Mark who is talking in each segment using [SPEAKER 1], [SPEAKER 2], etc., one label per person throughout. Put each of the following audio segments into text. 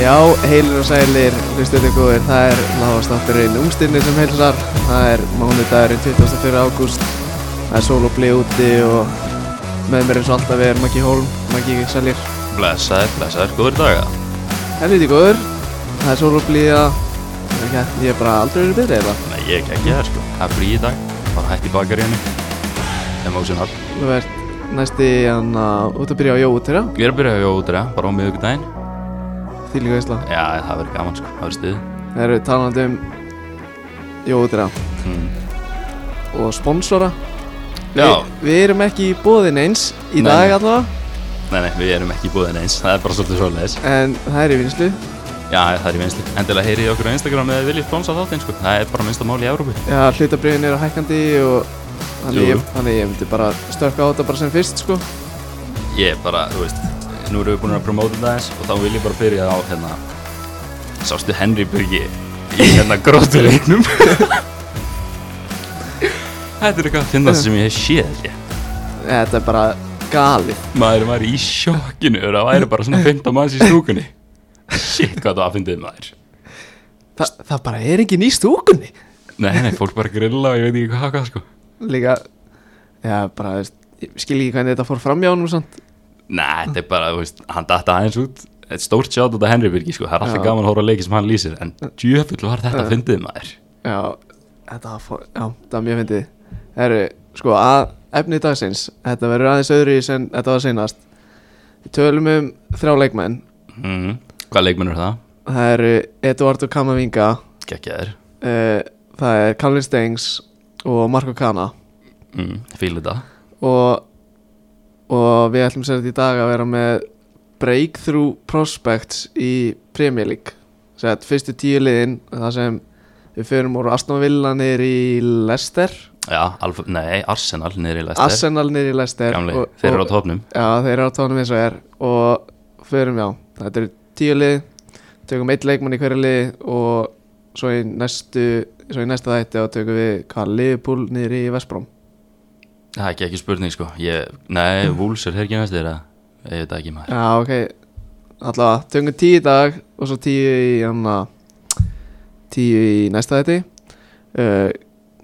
[SPEAKER 1] Já, heilir og sælir, hlustuðu góðir, það er lágastátturinn Ungstirni sem heilsar Það er mánudagurinn 24. ágúst Það er sól og blei úti og með mér eins og alltaf er Maggi Hólm, Maggi Sælir
[SPEAKER 2] Blessaður, blessaður, góður daga
[SPEAKER 1] Helviti góður, það er sól og blíða Það er ekki hægt, ég er bara aldrei verið betri eða
[SPEAKER 2] Nei, ég ekki ekki það sko Það er frí í dag Bara hætti bakar í henni Emotional
[SPEAKER 1] Þú ert næst í hann að út að byrja á jót, þeirra,
[SPEAKER 2] Ég er að byrja að jóðra Bara á miðugdæin
[SPEAKER 1] því líka veistla
[SPEAKER 2] Já, það verður gaman sko Það verður stuð
[SPEAKER 1] Það eru talandi um jót, þeirra
[SPEAKER 2] mm.
[SPEAKER 1] og sponsora
[SPEAKER 2] Já
[SPEAKER 1] Vi, Við erum ekki í bóðin eins í
[SPEAKER 2] Nei,
[SPEAKER 1] dag
[SPEAKER 2] nei.
[SPEAKER 1] allavega
[SPEAKER 2] Nei, nei, við erum ekki í búðin eins Það er bara svolítið svoleiðis
[SPEAKER 1] En það er í vinslu
[SPEAKER 2] Já, það er í vinsli Endilega heyrið í okkur á Instagram eða viljið sponsa þáttinn sko Það er bara minnsta mál í Európu
[SPEAKER 1] Já, hlutabriðin eru hækkandi og þannig
[SPEAKER 2] Jú.
[SPEAKER 1] ég, þannig ég myndi bara stökka á þetta bara sem fyrst sko
[SPEAKER 2] Ég er bara, þú veist Nú erum við búin að promóta þetta eins og þá vil ég bara byrja á hérna Sástu Henry Byrgi í hérna gróttuleiknum Þetta er eitthvað að finna Hérna sem ég hef séð ekki
[SPEAKER 1] Þetta er bara galið
[SPEAKER 2] Maður var í sjokkinu ef Það væri bara svona 15 manns í stúkunni Shit hvað það aðfindið maður
[SPEAKER 1] Þa, Það bara er ekki nýst úkunni
[SPEAKER 2] Nei, nei, fólk bara grilla og ég veit ekki hvað hvað sko
[SPEAKER 1] Líka, já bara, þú veist, ég skil ekki hvernig þetta fór fram hjá honum samt
[SPEAKER 2] Nei, þetta er bara, þú veist, hann datta aðeins út Þetta er stórt sjátt þetta Henry Birgi sko Það er alltaf
[SPEAKER 1] Já.
[SPEAKER 2] gaman að hóra leiki sem hann lýsir En djöfull var þetta að fyndið maður
[SPEAKER 1] Já, þetta fór, já, það var mjög fyndið Herru, sko, að efni dagsins Þetta verður aðeins öðru í sem þetta var seinast Við tölum um þrjá leikmenn
[SPEAKER 2] mm. Hvað leikmennur það?
[SPEAKER 1] Það eru Eduardo Camavinga
[SPEAKER 2] Gekkjaður
[SPEAKER 1] uh, Það er Callin Stengs og Marco Cana
[SPEAKER 2] mm. Fílu þetta
[SPEAKER 1] og, og við ætlum sér þetta í dag að vera með breakthrough prospects í Premier League Sett fyrstu tíu liðin það sem við förum úr Aston Villa niður í Leicester
[SPEAKER 2] Já, Alf nei, Arsenal niður í Leicester
[SPEAKER 1] Arsenal niður í Leicester
[SPEAKER 2] Gamli,
[SPEAKER 1] og-
[SPEAKER 2] þeir eru á
[SPEAKER 1] og-
[SPEAKER 2] topnum
[SPEAKER 1] Já, þeir eru á tónum eins og er og förum já, þetta eru tíu lið tökum eitt leikmann í hverju lið og svo í næstu svo í næsta þætti og tökum við hvað, Liverpool niður í Vestbróm
[SPEAKER 2] Það er ekki ekki spurning sko ég, Nei, Wolves er hér ekki næstir að Ég veit það ekki maður
[SPEAKER 1] Já, ok, allavega tökum tíu í dag og svo tíu í hana, tíu í næsta þætti uh,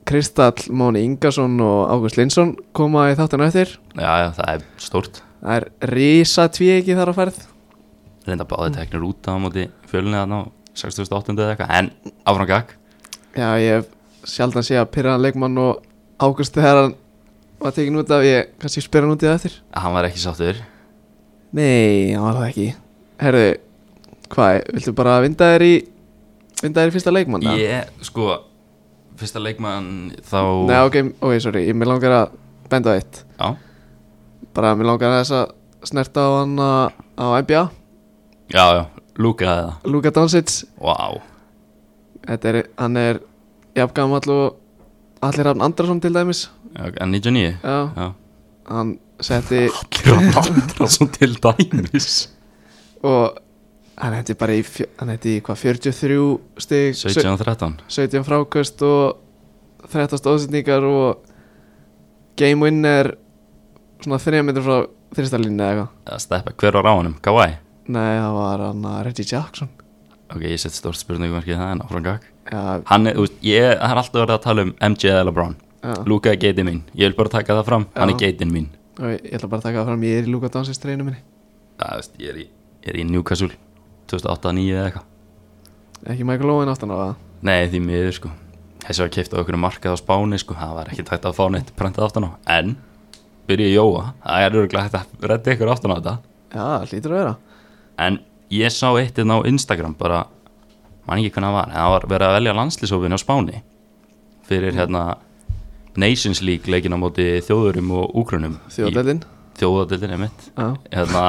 [SPEAKER 1] Kristall, Móni Ingarsson og Ágúst Linsson koma í þáttan eftir
[SPEAKER 2] Já, já, það er stórt
[SPEAKER 1] það er risa tvíegi þar á ferð
[SPEAKER 2] Reynda báði teknir út á móti fjölunni þarna á 68. eða eitthvað En áfram gag
[SPEAKER 1] Já, ég hef sjaldan sé að pyrra hann leikmann og águst þegar hann var tekin út af ég kannski spyr hann út í það eftir
[SPEAKER 2] Hann var ekki sáttur
[SPEAKER 1] Nei, hann var það ekki Herðu, hvað, viltu bara vinda þér í vinda þér í fyrsta leikmann? eða?
[SPEAKER 2] Ég, sko Fyrsta leikmann þá
[SPEAKER 1] Nei, ok, ok, sorry, ég mér langar að benda á eitt
[SPEAKER 2] Já,
[SPEAKER 1] bara mér langar að þess að snerta á hann uh, á NBA,
[SPEAKER 2] já, já Lúkaði það
[SPEAKER 1] Luka Doncic
[SPEAKER 2] Vá
[SPEAKER 1] Þetta er, hann er jafngamall og Allir Rafn Andrason til dæmis
[SPEAKER 2] Já, En 99
[SPEAKER 1] Já,
[SPEAKER 2] Já
[SPEAKER 1] hann setti
[SPEAKER 2] Landra svo til dæmis
[SPEAKER 1] og hann hætti bara í, fjö- hann hætti í hvað, 43 stig,
[SPEAKER 2] 17 og 13
[SPEAKER 1] 17 frákast og 13 stóðsendingar og game winner svona 3 metri frá þristalínu eða eitthvað.
[SPEAKER 2] Eða steppa, hver var á honum? Kawhi
[SPEAKER 1] Nei, það var hann að Reggie Jackson.
[SPEAKER 2] Ok, ég sett stórt spurningverkið það en áfram gag
[SPEAKER 1] Já,
[SPEAKER 2] Hann er, þú veist, ég það er alltaf verið að tala um MJ eða LeBron
[SPEAKER 1] já.
[SPEAKER 2] Luka er geitin mín, ég vil bara taka það fram Hann er
[SPEAKER 1] Já.
[SPEAKER 2] geitin mín
[SPEAKER 1] Og ég, ég ætla bara að taka það fram, ég er í Luka Donsins treinu minni.
[SPEAKER 2] Það, þú veist, ég er í, ég er í Newcastle 2008-2009 eða eitthvað
[SPEAKER 1] Ekki Michael Owen áttan á það.
[SPEAKER 2] Nei, því miður, sko Þessi var keipt á okkur markað á Spáni, sko Það var ekki tægt að fá neitt prentað aftan á En, byrja ég jóa Það er örgulega hægt að redda ykkur aftan á þetta
[SPEAKER 1] Já, það hlýtur að vera.
[SPEAKER 2] En ég sá eitt einn á Instagram bara Man ekki hvernig það var En það var verið að velja landslýsofinu á Spáni Fyrir hérna Nations League leikin á móti þjóðurum og úgrunum
[SPEAKER 1] Þjóðdælinn.
[SPEAKER 2] Þjóðadeldin er mitt
[SPEAKER 1] Já,
[SPEAKER 2] hérna,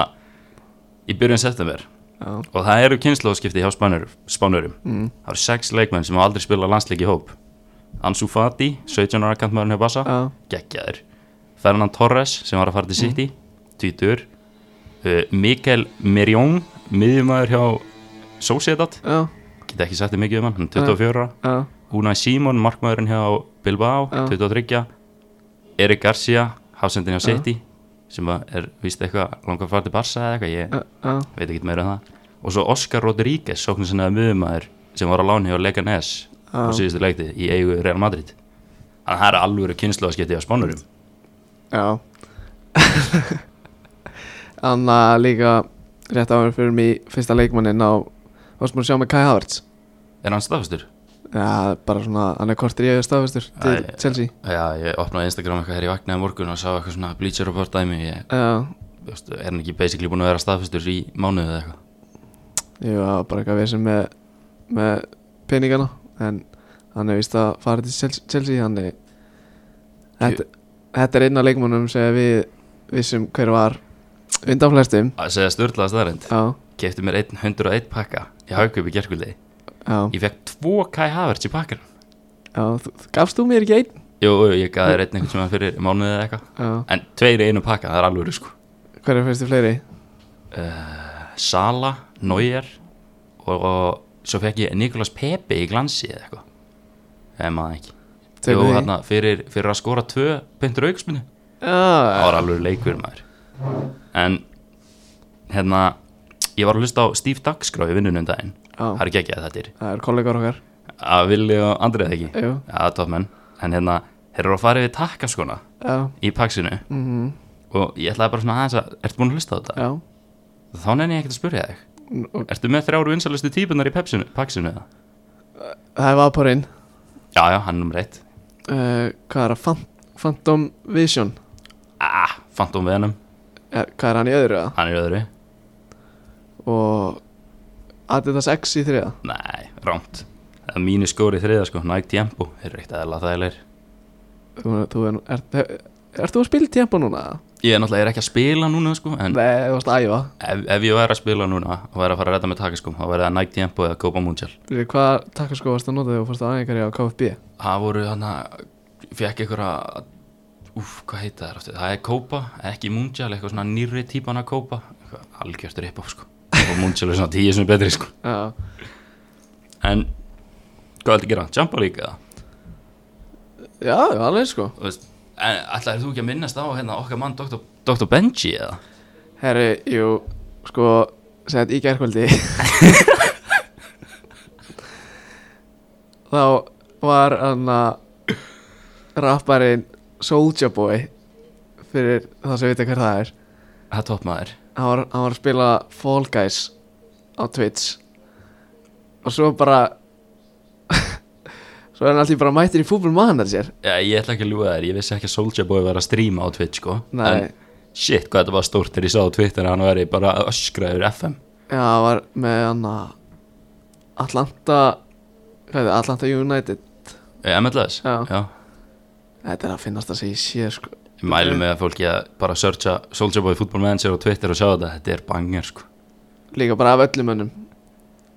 [SPEAKER 2] Í byrjun september
[SPEAKER 1] já,
[SPEAKER 2] Og það eru kynnslóðskipti hjá spánur, spánurum Það eru sex leikmenn sem hafa aldrei spilað landsleik í hóp Ansu Fati, 17 ára kantmaðurinn hjá Bassa
[SPEAKER 1] já.
[SPEAKER 2] geggjaður Fernand Torres sem var að fara til City
[SPEAKER 1] Mhm.
[SPEAKER 2] tvítur uh, Mikael Mirjón miðjumæður hjá Sociedad
[SPEAKER 1] Já,
[SPEAKER 2] geta ekki sagt þið mikið um hann, hann er 24 ára
[SPEAKER 1] já,
[SPEAKER 2] Unai Simon, markmaðurinn hjá Bilbao
[SPEAKER 1] Já.
[SPEAKER 2] 23 Erik Garcia, hafsendin hjá City sem að er víst eitthvað langar að fara til Barca eða eitthvað, ég
[SPEAKER 1] já, já,
[SPEAKER 2] veit ekki meira um það og svo Oscar Rodríguez sóknir sinna miðumæður sem var á láni hjá Leganes
[SPEAKER 1] Já.
[SPEAKER 2] á síðustu leikti í eigu Real Madrid þannig að það er alvöru kynnslóðasketti á spánurum
[SPEAKER 1] Já Anna líka rétt áður fyrir mig fyrsta leikmannin á varst maður að sjá með Kai Havertz
[SPEAKER 2] er hann staðfastur?
[SPEAKER 1] Já, bara svona, hann er kortur í auðvitað staðfestur til
[SPEAKER 2] Æ,
[SPEAKER 1] Chelsea
[SPEAKER 2] Já, ég opnaði Instagram eitthvað hér í vaknaði morgun og sá eitthvað svona Bleacher Report dæmi ég,
[SPEAKER 1] Já,
[SPEAKER 2] þú veist, er hann ekki basically búin að vera staðfastur í mánuðu eða eitthvað
[SPEAKER 1] ég var bara eitthvað vesum með, með peningana en hann er vist að fara til Chelsea- Chelsea hann er þetta, þetta er einn af leikmannum sem við vissum hver var undan flestum
[SPEAKER 2] að segja störlaða staðarind
[SPEAKER 1] Já,
[SPEAKER 2] kefti mér einn 101 pakka í haugkaup í gerkvöldi
[SPEAKER 1] já,
[SPEAKER 2] ég fekk tvo Kai Havertz í pakkan
[SPEAKER 1] já þú- þú- Gafst þú mér ekki einn?
[SPEAKER 2] jú, jú, ég gaði þér einn einhvern sem fyrir mánuði eða eitthvað
[SPEAKER 1] Já,
[SPEAKER 2] en tveir í einu pakka, það er alveg sko
[SPEAKER 1] hver er fyrstu fleiri?
[SPEAKER 2] Sala, Neuer og, og svo fekk ég Nikolas Pepe í glansi eða eitthvað eða maður ekki Jú,
[SPEAKER 1] Tekur því?
[SPEAKER 2] þarna, fyrir, fyrir að skora tvö pyntur aukspinu það
[SPEAKER 1] Já,
[SPEAKER 2] var alveg leikur maður en hérna ég var að hlusta á Steve Dagskrá í vinnunum daginn
[SPEAKER 1] Já.
[SPEAKER 2] það er ekki ekki að þetta er
[SPEAKER 1] það er kollegar okkar
[SPEAKER 2] að Vili og Andrið ekki
[SPEAKER 1] Jú,
[SPEAKER 2] já, toppmenn en hérna þeir eru að fara yfir takkaskona
[SPEAKER 1] já,
[SPEAKER 2] í paksinu
[SPEAKER 1] mhm,
[SPEAKER 2] og ég ætlaði bara svona aðeins að ertu búin að hlusta á þetta
[SPEAKER 1] já
[SPEAKER 2] þá nenni ég ekkert að spurja þig
[SPEAKER 1] Nú, og-
[SPEAKER 2] Ertu með þrjáru vinsalustu típunar í pepsinu, paksinu eða?
[SPEAKER 1] Það er Vaporinn
[SPEAKER 2] Já, já, hann er nummer eitt
[SPEAKER 1] uh, Hvað er það? Fan- Phantom Vision
[SPEAKER 2] Ah, Phantom Venom,
[SPEAKER 1] er, Hvað er hann í öðru það?
[SPEAKER 2] hann er í öðru
[SPEAKER 1] Og Adidas X í þriða
[SPEAKER 2] Nei, rámt Það er mínu skóri þriða sko, Nike Tempo Þeir eru eitt aðeila þægilegir
[SPEAKER 1] Þú, þú er, er, er, er þú að spila tempo núna?
[SPEAKER 2] Ég er náttúrulega ég er ekki að spila núna sko En ef,
[SPEAKER 1] Nei, þú varst að æfa
[SPEAKER 2] ef ég væri að spila núna og væri að fara að redda með takaskum þá væri það Nike Tempo eða Copa Mundial
[SPEAKER 1] Fyrir, Hvað takkaskó varst að nota þegar þú fórst að aðeinkari á KFB?
[SPEAKER 2] Það voru hann að Fekk einhverja Úf, hvað heita það aftur? Það er Copa, ekki Mundial Eitthvað svona nýri típan að Copa Eitthvað Algjört rip sko Og Mundial er svona tíu sem betri sko
[SPEAKER 1] Já,
[SPEAKER 2] En hvað ætlaði að gera? Jumpa líka eða?
[SPEAKER 1] já, já, alveg sko
[SPEAKER 2] Þú veist, En ætlaði þú ekki að minnast á hérna okkar mann Dr. Dr. Benji eða?
[SPEAKER 1] Herri, jú, sko Sett í gærkvöldi Þá var hann að Rapparinn Soulja Boy Fyrir það sem vita hver það er
[SPEAKER 2] Það er toppmaður
[SPEAKER 1] hann var, hann var að spila Fall Guys á Twitch og svo bara svo er hann alltaf bara mættir í fútbol maður sér
[SPEAKER 2] Já, ég ætla ekki að ljúga þér, ég vissi ekki að Soulja Boy var að stríma á Twitch sko
[SPEAKER 1] Nei.
[SPEAKER 2] En shit, hvað þetta var stórt þegar ég sá á Twitter að hann væri bara að öskra yfir FM
[SPEAKER 1] já, hann var með hann að Atlanta hvað er það, Atlanta United
[SPEAKER 2] Eh, MLS?
[SPEAKER 1] Já.
[SPEAKER 2] Já
[SPEAKER 1] þetta er að finnast að segja sér sko
[SPEAKER 2] Ég mælu með að fólki að bara searcha Soulja Boy Football Manager á Twitter og sjá þetta, þetta er banger sko
[SPEAKER 1] líka bara af öllum önnum,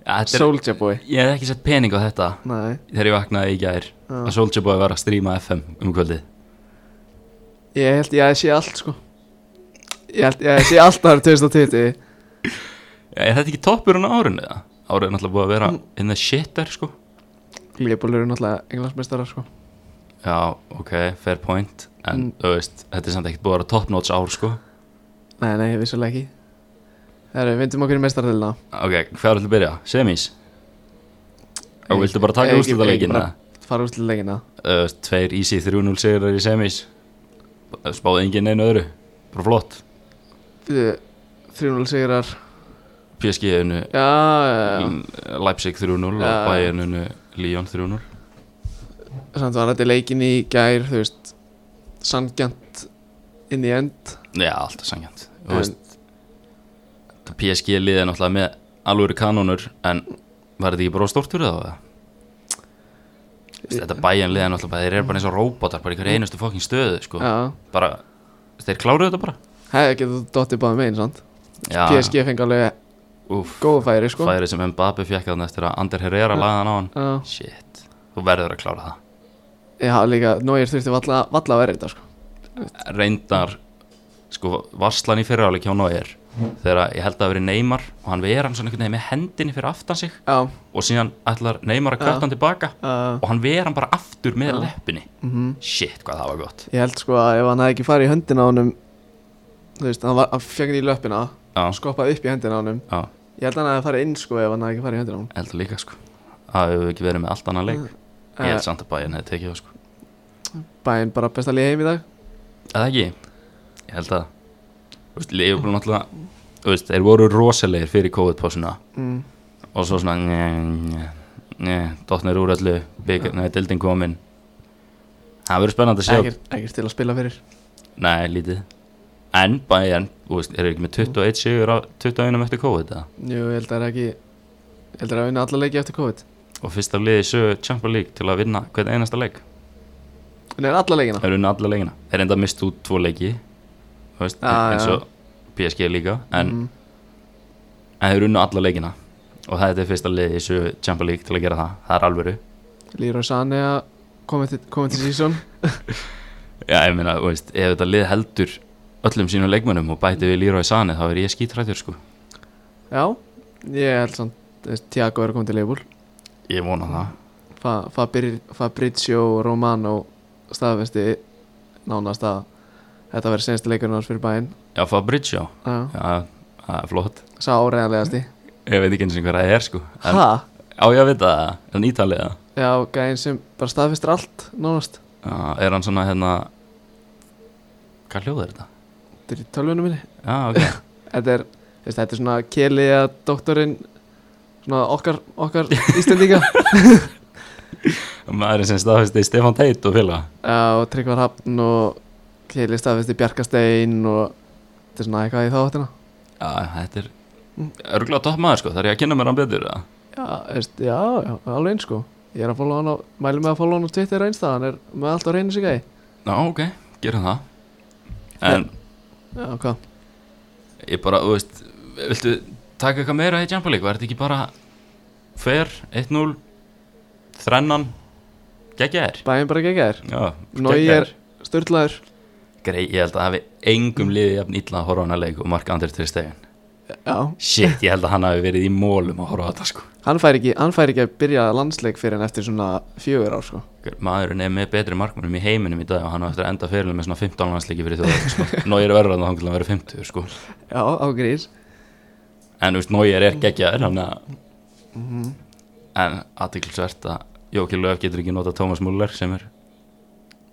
[SPEAKER 2] ja, þetta er,
[SPEAKER 1] Soulja Boy
[SPEAKER 2] Ég hef ekki sett pening á þetta
[SPEAKER 1] nei,
[SPEAKER 2] þegar ég vaknaði í gær
[SPEAKER 1] Já.
[SPEAKER 2] að Soulja Boy var að stríma FM um kvöldið
[SPEAKER 1] ég held ég að sé allt sko ég held ég að sé allt árið 2020
[SPEAKER 2] Já, Er þetta ekki toppurinn á árinu eða? Árið er náttúrulega búið að vera
[SPEAKER 1] Mm.
[SPEAKER 2] in the shit there sko
[SPEAKER 1] Leopold eru náttúrulega englansmestara sko
[SPEAKER 2] Já, ok, fair point En
[SPEAKER 1] Mm.
[SPEAKER 2] þú veist, þetta er samt ekkert búið að vera top notch ár sko
[SPEAKER 1] nei, nei, vissulega ekki Herru, vindum okkur í mestardelina
[SPEAKER 2] Ok, hvað er alltaf að byrja? Semis?
[SPEAKER 1] Nei,
[SPEAKER 2] Og viltu bara taka
[SPEAKER 1] ekki- ekki
[SPEAKER 2] úrslutaleikin eða?
[SPEAKER 1] bara- fara úr til leikina
[SPEAKER 2] Þú veist, Tveir easy 3-0 sigrar í semis Spáði enginn einu öðru Bara flott
[SPEAKER 1] 3-0 sigrar
[SPEAKER 2] PSG unu
[SPEAKER 1] já, já,
[SPEAKER 2] Mm.
[SPEAKER 1] já.
[SPEAKER 2] Leipzig 3-0 og
[SPEAKER 1] Já.
[SPEAKER 2] Bayern unu Lyon 3-0
[SPEAKER 1] samt var þetta leikin í gær þú veist sangjant inn í end
[SPEAKER 2] Já, alltaf sangjant Þú
[SPEAKER 1] En-
[SPEAKER 2] veist, PSG liðið náttúrulega með alvöru kanónur En var þetta ekki bara stórt fyrir þá? eða? Þú veist, Þetta Bayern liðið náttúrulega bara- Þeir eru bara eins og róbótar Bara í hverju einustu fokkin stöðu sko.
[SPEAKER 1] já,
[SPEAKER 2] Bara, þeir kláruðu þetta bara
[SPEAKER 1] hefði ekki þú dottið báðum einn sant
[SPEAKER 2] Já,
[SPEAKER 1] PSG fengi alveg
[SPEAKER 2] Úf,
[SPEAKER 1] góða færi sko
[SPEAKER 2] færi sem Mbappe fjekk þannig eftir að Ander Herrera lagði hann á hann
[SPEAKER 1] já,
[SPEAKER 2] Shit, þú verður að klára það
[SPEAKER 1] já líka Nóir þurfti valla, valla að vera þetta sko
[SPEAKER 2] Reyndar, sko, varslan í fyriráleik hjá Nóir Þegar ég held að það verið Neymar Og hann verið hann svona einhvern veginn með hendinni fyrir aftan sig
[SPEAKER 1] já,
[SPEAKER 2] Og síðan ætlar Neymar að kvarta hann tilbaka
[SPEAKER 1] uh,
[SPEAKER 2] Og hann verið hann bara aftur með leppinni
[SPEAKER 1] mhm.
[SPEAKER 2] Shit, hvað það var gott
[SPEAKER 1] ég held sko að ef hann hefði ekki farið í höndina á honum þú veist, hann, var- hann fengið í löppina
[SPEAKER 2] Já, sko,
[SPEAKER 1] skoppaði upp í höndina á honum
[SPEAKER 2] já,
[SPEAKER 1] Ég held að hann að það fara inn sko ef hann hafði ekki farið í höndina á
[SPEAKER 2] Ég held að líka sko Það hefur ekki verið með allt annað leik Ég
[SPEAKER 1] hún
[SPEAKER 2] held samt að bæinn hefði tekið það sko
[SPEAKER 1] Bæinn Eh, bara besta liði heim í dag
[SPEAKER 2] Eða ekki Ég held að Þú veist, Leifur náttúrulega Þú veist, þeir voru rosalegir fyrir COVID-pásuna
[SPEAKER 1] mm.
[SPEAKER 2] Og svo svona Nje, nje, nje Dottnir úr öllu Bygg, nei, dildin komin Það verður spennandi að sjá
[SPEAKER 1] ekkert, ekkert til að spila fyrir
[SPEAKER 2] Nei, lítið En Bayern, þú veist, eru ekki með 21 sigur á 21 eftir COVID eða?
[SPEAKER 1] Jú, ég held að það er ekki Ég held að það er að vinna alla leiki eftir COVID
[SPEAKER 2] Og fyrst af liði sögur Champions League til að vinna hvern einasta leik
[SPEAKER 1] Nei, alla leikina
[SPEAKER 2] Það eru unna alla leikina Þeir enda mist út tvo leiki þú veist,
[SPEAKER 1] Já,
[SPEAKER 2] eins
[SPEAKER 1] já.
[SPEAKER 2] og PSG líka En,
[SPEAKER 1] mm.
[SPEAKER 2] en þeir eru unna alla leikina Og þetta er fyrsta liði í sögu Champions League til að gera það Það er alvöru
[SPEAKER 1] Leroy Sané að koma til, koma til season
[SPEAKER 2] Já, ég meina, þú veist, ef þetta lið heldur öllum sínum leikmönnum og bæti við Leroy Sané þá er ég skítrættur sko
[SPEAKER 1] Já, ég held samt Tiago er að koma til leifbúl
[SPEAKER 2] Ég vona það
[SPEAKER 1] Fa, Fabri, Fabrizio Romano staðfesti nánast að þetta verður senstu leikurinn hans fyrir bæinn
[SPEAKER 2] Já, Fabrizio
[SPEAKER 1] Já.
[SPEAKER 2] Já, það er flott
[SPEAKER 1] sá áreðanlegasti
[SPEAKER 2] Ég veit ekki eins og hvað það er sko en,
[SPEAKER 1] ha?
[SPEAKER 2] Á ég að vita það, en ítalið það
[SPEAKER 1] já, gæðin sem bara staðfestir allt nánast
[SPEAKER 2] Já, Er hann svona hérna Hvað hljóð er þetta?
[SPEAKER 1] þetta er í tölvunum minni
[SPEAKER 2] Já, ok
[SPEAKER 1] þetta er, veist, þetta er svona keli að doktorinn svona okkar, okkar Íslendinga
[SPEAKER 2] Maðurinn sem staðfesti Stefan Teit og félaga
[SPEAKER 1] Já, og Tryggvar Hafn og keli staðfesti Bjarkastein og þetta er svona eitthvað í þáttina
[SPEAKER 2] Já, þetta er
[SPEAKER 1] Mm.
[SPEAKER 2] örgulega topp maður sko, þar ég að kynna mér hann betur eða?
[SPEAKER 1] já, veist, já, já, alveg eins sko ég er að fóla hann á, mælum með að fóla hann á Twitter einstað, hann er með allt á reynu sig gæði
[SPEAKER 2] Já, ok, gerum það En
[SPEAKER 1] já, hvað,
[SPEAKER 2] ég bara, þú veist Viltu taka eitthvað meira í Champions League? Var þetta ekki bara Fer, 1-0 Þrennan Geggjaðir
[SPEAKER 1] bæinn bara geggjær
[SPEAKER 2] Já,
[SPEAKER 1] Nói er störtlaður
[SPEAKER 2] Grei, ég held að hafi engum liðið jafn illa að horfa á hana leik og Mark Andri til stegin
[SPEAKER 1] já,
[SPEAKER 2] Shit, ég held að hann hafi verið í mólum að horfa á þetta sko
[SPEAKER 1] hann fær ekki, hann fær ekki að byrja landsleik fyrir hann eftir svona fjögur ár sko
[SPEAKER 2] Hver Maðurinn er með betri markmannum í heiminum í dag og hann á eftir að enda fyrirlega með svona 15 landsleiki fyrir þjóðar sko. Nói er verður að hann til að vera 50 sko.
[SPEAKER 1] já, á grís
[SPEAKER 2] En þú veist, Nóir er geggjaður hann að En aðtiklisvert að Jóki Löf getur ekki nota Tómas Muller sem er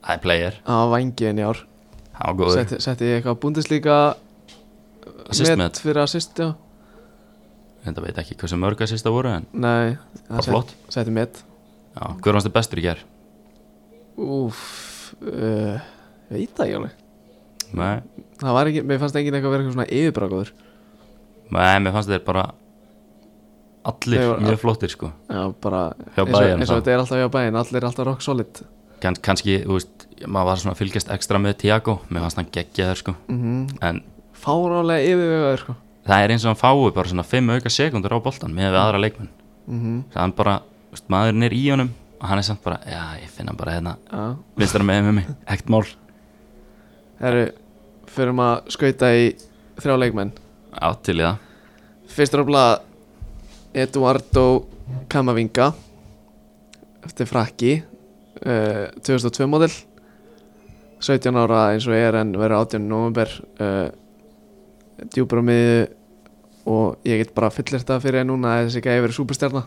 [SPEAKER 2] Það er player,
[SPEAKER 1] á vangiðin í ár
[SPEAKER 2] hann var góður
[SPEAKER 1] setti, setti ég eitthvað búndislíka
[SPEAKER 2] Assist með,
[SPEAKER 1] fyrir assist, já
[SPEAKER 2] þetta veit ekki hversu mörg assist það voru en
[SPEAKER 1] nei,
[SPEAKER 2] bara flott
[SPEAKER 1] setti met
[SPEAKER 2] Já, hver hans er bestur í ger?
[SPEAKER 1] úf, uh, veit það ekki alveg
[SPEAKER 2] Nei,
[SPEAKER 1] það var ekki, mér fannst enginn eitthvað vera eitthvað svona yfirbrákóður
[SPEAKER 2] nei, mér fannst þeir bara Allir
[SPEAKER 1] Þeir voru
[SPEAKER 2] mjög flottir sko
[SPEAKER 1] já, bara,
[SPEAKER 2] Hjá
[SPEAKER 1] eins og,
[SPEAKER 2] Bayern,
[SPEAKER 1] eins og
[SPEAKER 2] þá.
[SPEAKER 1] þetta er alltaf hjá bæinn allir er alltaf rock solid
[SPEAKER 2] Kann, Kannski, þú veist, maður var svona að fylgjast ekstra með Tiago Mér fannst hann geggjaður sko
[SPEAKER 1] mm
[SPEAKER 2] En
[SPEAKER 1] fárálega yfirvegaður sko
[SPEAKER 2] það er eins og hann fái bara svona 5 auka sekundur á boltan með við aðra leikmenn
[SPEAKER 1] mm
[SPEAKER 2] Það hann bara, þú veist, maðurinn er í honum og hann er samt bara, já, ég finna bara hérna
[SPEAKER 1] já
[SPEAKER 2] vinstar með með mig, ekkert mál
[SPEAKER 1] Herru, förum að skauta í þrjá leikmenn
[SPEAKER 2] Já, til í það
[SPEAKER 1] Fyrstur ofla Eduardo Camavinga eftir frakki uh, 2002 model 17 ára eins og er en verður 18. november uh, djúbra miðu og ég get bara fyllir þetta fyrir en núna að þessi gæði verið súperstjarna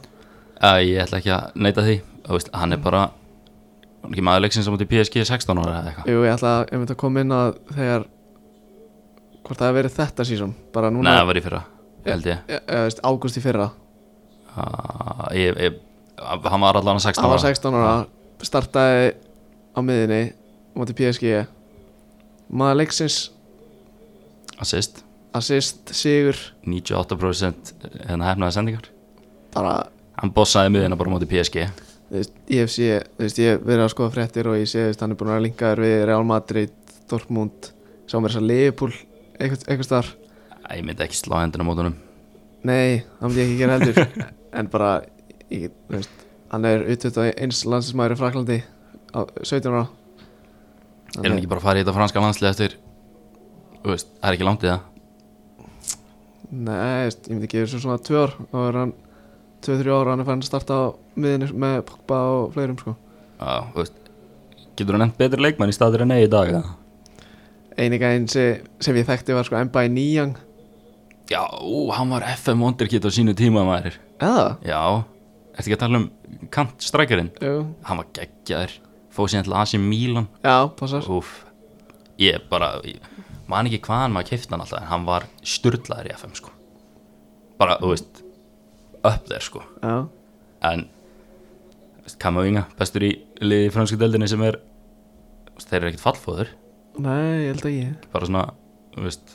[SPEAKER 2] Já, ég ætla ekki að neita því Þú veist, hann er bara hann er ekki maður leiksins á móti PSG 16 ára eða eitthvað
[SPEAKER 1] Jú, ég ætla að, ég myndi að koma inn að þegar hvort það hefur verið þetta sísum bara
[SPEAKER 2] Nei,
[SPEAKER 1] núna,
[SPEAKER 2] það var í fyrra, held ég
[SPEAKER 1] eh, eh, veist, ágúst í fyrra
[SPEAKER 2] Já, ég, ég hann var allan 16
[SPEAKER 1] hann var
[SPEAKER 2] ára
[SPEAKER 1] 16 ára startaði á miðinni á móti PSG maður leiksins
[SPEAKER 2] Assist,
[SPEAKER 1] assist, sigur
[SPEAKER 2] 98% hérna hefnaði sendingar
[SPEAKER 1] bara,
[SPEAKER 2] Hann bossaði miðina bara á móti PSG
[SPEAKER 1] þú veist, ég hef sé þú veist, ég hef verið að skoða fréttir og ég sé, þú veist, hann er búin að linka þér við Real Madrid, Dortmund sá mér þess að Liverpool eitthvað, eitthvað starf,
[SPEAKER 2] Æ, Ég myndi ekki slá hendina á mótunum
[SPEAKER 1] nei, það myndi ég ekki gera heldur en bara, ég, get- þú veist hann er utvitt á eins landsinsmaður í Fraklandi á 17 ára
[SPEAKER 2] Er hann ekki bara að fara í þetta franska landslið eftir Þú veist, það er ekki langt í það
[SPEAKER 1] Nei, veist, ég myndi gefa þessu svona tvö ár og er hann 2-3 ára hann er fann að starta á miðinni með Pogba og fleirum sko
[SPEAKER 2] Já, þú veist Getur hann enn betri leikmann í staður en eigi í dag eða?
[SPEAKER 1] Einiga einn sem, sem ég þekkti var sko Mbai Niyang
[SPEAKER 2] Já, ú, hann var FM Wonderkid á sínu tíma maður
[SPEAKER 1] eða,
[SPEAKER 2] Já, ertu ekki að tala um Kant strækjarinn?
[SPEAKER 1] jú,
[SPEAKER 2] Hann var geggjaður, fóð síðan til AC Milan
[SPEAKER 1] já, passar
[SPEAKER 2] Úf, ég bara ég man ekki hvaðan maður keifti hann alltaf en hann var styrlaður í FM sko bara, þú veist upp þeir sko,
[SPEAKER 1] já,
[SPEAKER 2] en þú veist, Kamavinga, bestur í liði í fransku deldinni sem er þú veist, þeir eru ekkert fallfóður,
[SPEAKER 1] nei, ég held ekki
[SPEAKER 2] bara svona þú veist,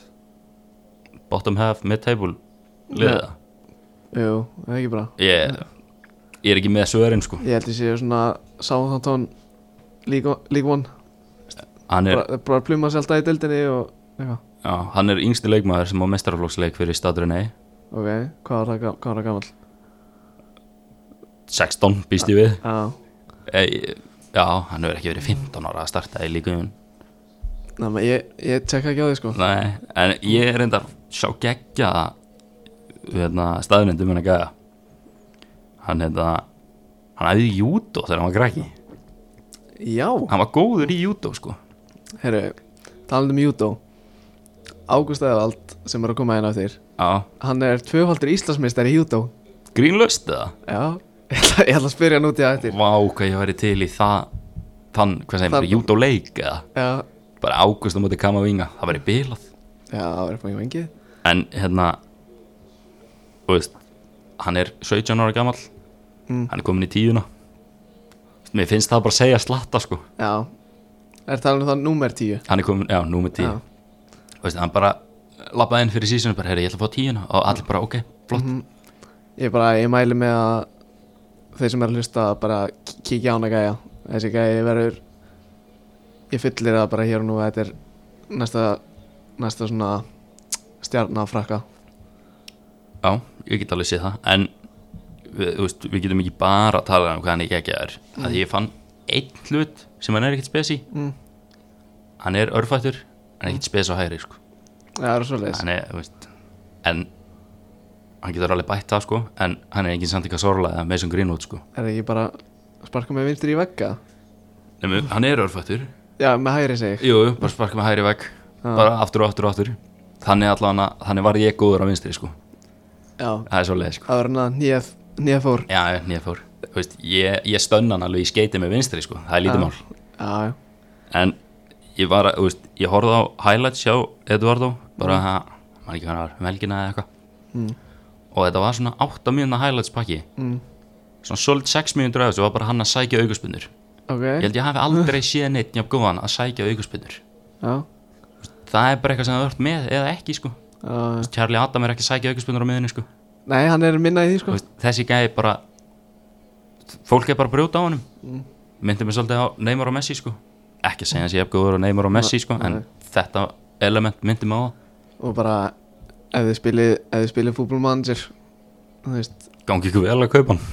[SPEAKER 2] bottom half, mid-table liða,
[SPEAKER 1] jú, það er ekki bra
[SPEAKER 2] ég ég er ekki með svörin sko,
[SPEAKER 1] ég held ég sé svona Southampton League League One
[SPEAKER 2] hann er,
[SPEAKER 1] bara, bara pluma sér alltaf í deildinni og eitthvað
[SPEAKER 2] já, hann er yngsti leikmaður sem á mestaraflóksleik fyrir stadrunni
[SPEAKER 1] ok, hvað var það, ga- hvað var það gammal
[SPEAKER 2] 16 býst ég við
[SPEAKER 1] já,
[SPEAKER 2] Ei, já, hann hefur ekki verið 15 ára að starta í líkuðun
[SPEAKER 1] næma, ég, ég tjekka ekki á því sko
[SPEAKER 2] Nei, en ég er reyndar sjá geggja hérna, staðnendum henni gæða hann hérna hann æfði í júdó þegar hann var græki
[SPEAKER 1] já,
[SPEAKER 2] hann var góður í júdó sko
[SPEAKER 1] herru, talandi um judo Ágúst Eðvald sem er að koma einn á þér
[SPEAKER 2] já,
[SPEAKER 1] hann er tvöfaldur Íslandsmeistar í judo
[SPEAKER 2] grínlöst eða
[SPEAKER 1] já, ég ætla, ég ætla að spyrja hann út í það eftir
[SPEAKER 2] vá, hvað ég væri til í það þann, hvað segir maður,
[SPEAKER 1] Þann-
[SPEAKER 2] júdó leik eða
[SPEAKER 1] já,
[SPEAKER 2] bara águst á móti kama vinga, það væri bilað
[SPEAKER 1] já, það verður fæðið vengið
[SPEAKER 2] en hérna þú veist, hann er 17 ára gamall
[SPEAKER 1] Mm.
[SPEAKER 2] hann er komin í tíuna mér finnst það bara að segja slatta sko
[SPEAKER 1] já, er talað um það númer 10
[SPEAKER 2] hann er komin, já, númer tíu
[SPEAKER 1] Já.
[SPEAKER 2] þú veist, hann bara lappaði inn fyrir sísunum bara, herri, ég ætla að fá tíuna og allir bara, ok, flott
[SPEAKER 1] Mhm. ég bara, ég mæli með að þeir sem er að hlusta bara k- kíkja á hana gæja þessi gæja verður ég fyllir það bara hér og nú að þetta er næsta, næsta svona stjarnafrakka
[SPEAKER 2] já, ég get alveg séð það en, við, þú veist, við getum ekki bara að tala um hvað hann ekki ekki er að ég fann einn hlut sem hann er ekkert spes í
[SPEAKER 1] Mm.
[SPEAKER 2] hann er örfættur, hann er ekkert spes á hægri sko.
[SPEAKER 1] það er svolítið
[SPEAKER 2] hann er, þú veist en, hann getur alveg bætt það sko, en hann er enginn samt eitthvað sorglega með sem grín út, sko
[SPEAKER 1] er ekki bara að sparka með vinstri í vegga
[SPEAKER 2] Nefnum, hann er örfættur,
[SPEAKER 1] já, með hægri sig
[SPEAKER 2] Jú, jú, bara sparka með hægri vegg Bara aftur og aftur og aftur Þannig allan að, þannig var ég góður á vinstri sko
[SPEAKER 1] já,
[SPEAKER 2] Það er svolítið sko
[SPEAKER 1] það er hann að nýja nýja fór
[SPEAKER 2] Já, já, nýja fór Þú veist, ég, ég stönn hann alveg í skeiti með vinstri sko Það er lítið mál
[SPEAKER 1] já, já,
[SPEAKER 2] En ég var, að, þú veist, ég horfði á highlights hjá Eduardo Bara það, maður ekki hvað hann var, um helgina eða eitthvað Og þetta var svona 8 mínuna highlights pakki
[SPEAKER 1] Mm.
[SPEAKER 2] Svona solid 6 mínútur af þessu var bara hann að sækja aukuspinnur
[SPEAKER 1] ok
[SPEAKER 2] Ég held ég hafi aldrei séð neitt njá góðan að sækja aukuspinnur
[SPEAKER 1] já,
[SPEAKER 2] Það er bara eitthvað sem það vart með eða ekki sko
[SPEAKER 1] já, já.
[SPEAKER 2] Charlie Adam er ekki að sækja aukaspunnar á miðunni sko.
[SPEAKER 1] nei, hann er minna í því
[SPEAKER 2] Þú
[SPEAKER 1] sko
[SPEAKER 2] veist, þessi gæði bara fólk er bara að brjóta á honum myndi mér svolítið á Neymar og Messi sko. ekki að segja hans ég hef góður á Neymar og Messi sko, en þetta element myndi mér á
[SPEAKER 1] og bara ef þið spilið ef þið spilið fútbolmanager þú veist
[SPEAKER 2] það gangi ykkur vel að kaupa hann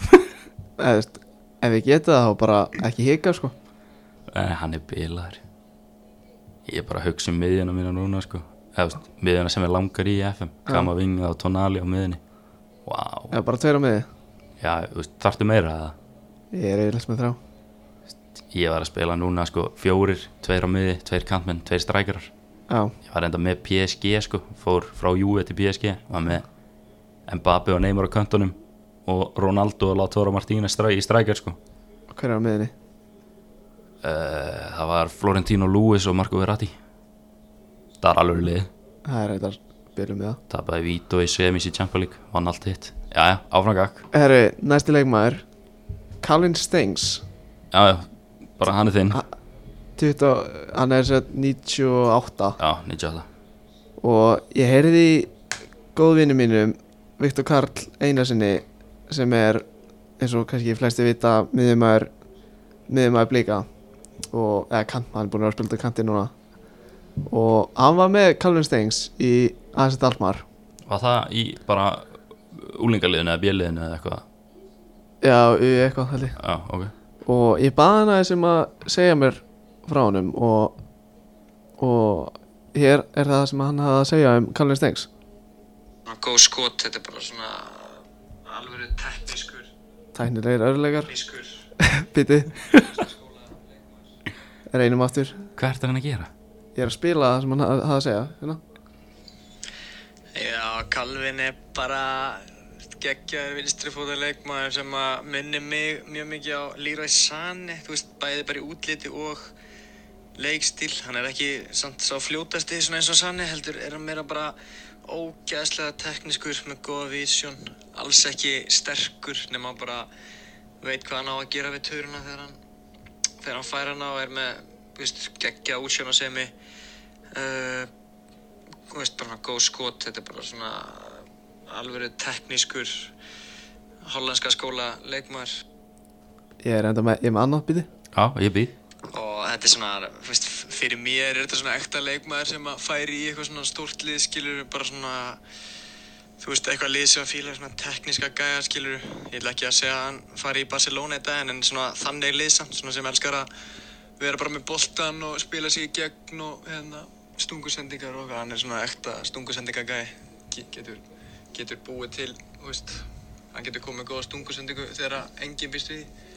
[SPEAKER 1] eða þú veist, ef ég geta það þá bara ekki hika sko
[SPEAKER 2] Nei, Eh, hann er bilaður ég er bara að hugsa um miðjuna mína núna sko. Eða, þú veist, miðjuna sem er langar í FM kama vingið á tonali á miðunni wow,
[SPEAKER 1] eða bara tveir á miði
[SPEAKER 2] já, þú veist, þarftu meira að
[SPEAKER 1] ég er eiginlega með þrá
[SPEAKER 2] ég var að spila núna sko, fjórir, tveir á miði, tveir kantmenn, tveir strækjarar
[SPEAKER 1] já,
[SPEAKER 2] Ég var enda með PSG sko, fór frá Juve til PSG, var með Mbappe og Neymar á köntunum og Ronaldo og Latora Martínez stræ, í strækjar sko.
[SPEAKER 1] hver er á miðinni
[SPEAKER 2] Uh, það var Florentino Lewis og Marco Verratti. Það var alveg lið.
[SPEAKER 1] það er eitthvað byrjum við það
[SPEAKER 2] Tapaði Vito í semis í Champions League, vann allt hitt. Jæja, áfram gakk.
[SPEAKER 1] herru, næsti leikmaður Colin Stings
[SPEAKER 2] Jæja, bara hann er þinn.
[SPEAKER 1] 20, hann er sér 98
[SPEAKER 2] Já, 98.
[SPEAKER 1] og ég heyrði í góðvinni mínum Viktor Karl Einarsinni sem er eins og kannski flesti vita miðjumæður miðjumæður blíka og eða kant, hann er búin að vera að spila til kanti núna og hann var með Calvin Stengs í AZ Almar
[SPEAKER 2] Var það í bara úlingaliðinu eða bjöliðinu eða eitthvað?
[SPEAKER 1] já, í eitthvað held ég
[SPEAKER 2] Já, ok.
[SPEAKER 1] og ég baði hann aðeins um að segja mér frá honum og, og hér er það sem hann hafði að segja um Calvin Stengs
[SPEAKER 3] svona góð skot, þetta er bara svona alvöru teknískur
[SPEAKER 1] tæknilegir örlegar,
[SPEAKER 3] teknískur
[SPEAKER 1] piti reynum aftur
[SPEAKER 2] Hvað ert það hann að gera?
[SPEAKER 1] Ég er að spila það sem hann hafði að segja hérna.
[SPEAKER 3] Já, Calvin er bara geggjaður vinstri fótaleikmaður sem að minni mig mjög mikið á Leroy Sané, þú veist, bæði bara í útliti og leikstíl, hann er ekki samt sá fljótasti svona eins og Sané heldur, er hann meira bara ógæðslega teknískur með góða vísjón, alls ekki sterkur nema bara veit hvað hann á að gera við töruna þegar hann þegar hann fær hann á er með þú veist, geggja útsjóna sem í uh, þú veist, bara svona góð skot þetta er bara svona alvöru teknískur hollenska skóla leikmaður
[SPEAKER 1] Ég er enda með, ég er með annað býti
[SPEAKER 2] Já, ég býð
[SPEAKER 3] og þetta er svona, þú veist, fyrir mér er þetta svona ekta leikmaður sem að færi í eitthvað svona stórt lið, skilur bara svona þú veist, eitthvað lið sem að fíla svona tekníska gæja, skilur ég ætla ekki að segja að hann fari í Barcelona í daginn en svona þannig lið samt, svona sem elskar að vera bara með boltan og spila sig í gegn og hérna stungusendingar og hvað, hann er svona ekta stungusendinga gæja getur, getur búið til, þú veist hann getur komið með góða stungusendingu þegar að enginn býst við því.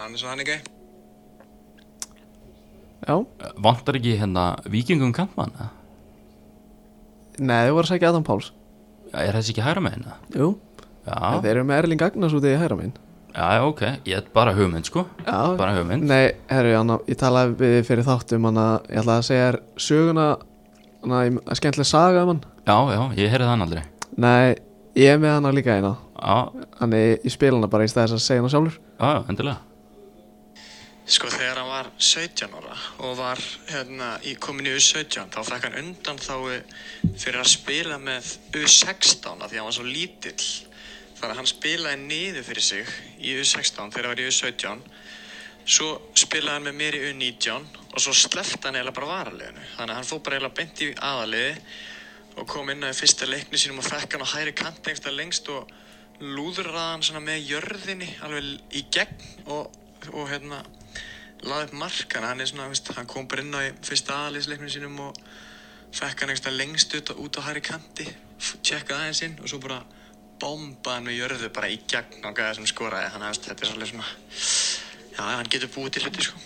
[SPEAKER 3] hann er svona hann gæja
[SPEAKER 1] Já,
[SPEAKER 2] Vantar ekki hérna vikingum kantmann? eða?
[SPEAKER 1] nei, þau voru að segja Adam Páls
[SPEAKER 2] Er þessi ekki hægra með hérna?
[SPEAKER 1] Jú,
[SPEAKER 2] Já,
[SPEAKER 1] þeir eru með Erling Agnars út í hæra mín
[SPEAKER 2] já, já, ok, ég er bara hugmynd sko
[SPEAKER 1] Já,
[SPEAKER 2] Bara hugmynd
[SPEAKER 1] Nei, herru, anna, ég talaði við þig fyrir þáttum hann að ég ætla að segja þér söguna hana, að skemmtileg saga um hann
[SPEAKER 2] Já, já, ég heyrði þann aldrei
[SPEAKER 1] Nei, ég er með hana líka eina
[SPEAKER 2] Já,
[SPEAKER 1] Þannig ég- ég spila hana bara í stæðis að segja hana sjálfur
[SPEAKER 2] já, já, endilega
[SPEAKER 3] Sko þegar hann var 17 ára og var hérna í kominu U17 þá fekk hann undan þá fyrir að spila með U16 af því að hann var svo lítill þannig að hann spilaði niður fyrir sig í U16 þegar hann var í U17 svo spilaði hann með mér í U19 og svo sleppti hann eiginlega bara varaleginu þannig að hann fór bara eiginlega beint í aðaliði og kom inn á í fyrsta leikni sínum og fekk hann á hæri kant einhversta lengst og lúðraði hann svona með jörðinni alveg í gegn og, og hérna laði upp markan hann er svona, veist, hann kom bara inn á í fyrsta aðalísleikni sínum og fekk hann einhversta lengst út, út á hæri kanti f- tjekkaði aðeins inn og svo bara bombaði hann með jörðu bara í gegn og gæði sem skoraði þannig að veist, þetta er svolítið svona já, hann getur búið til hluti sko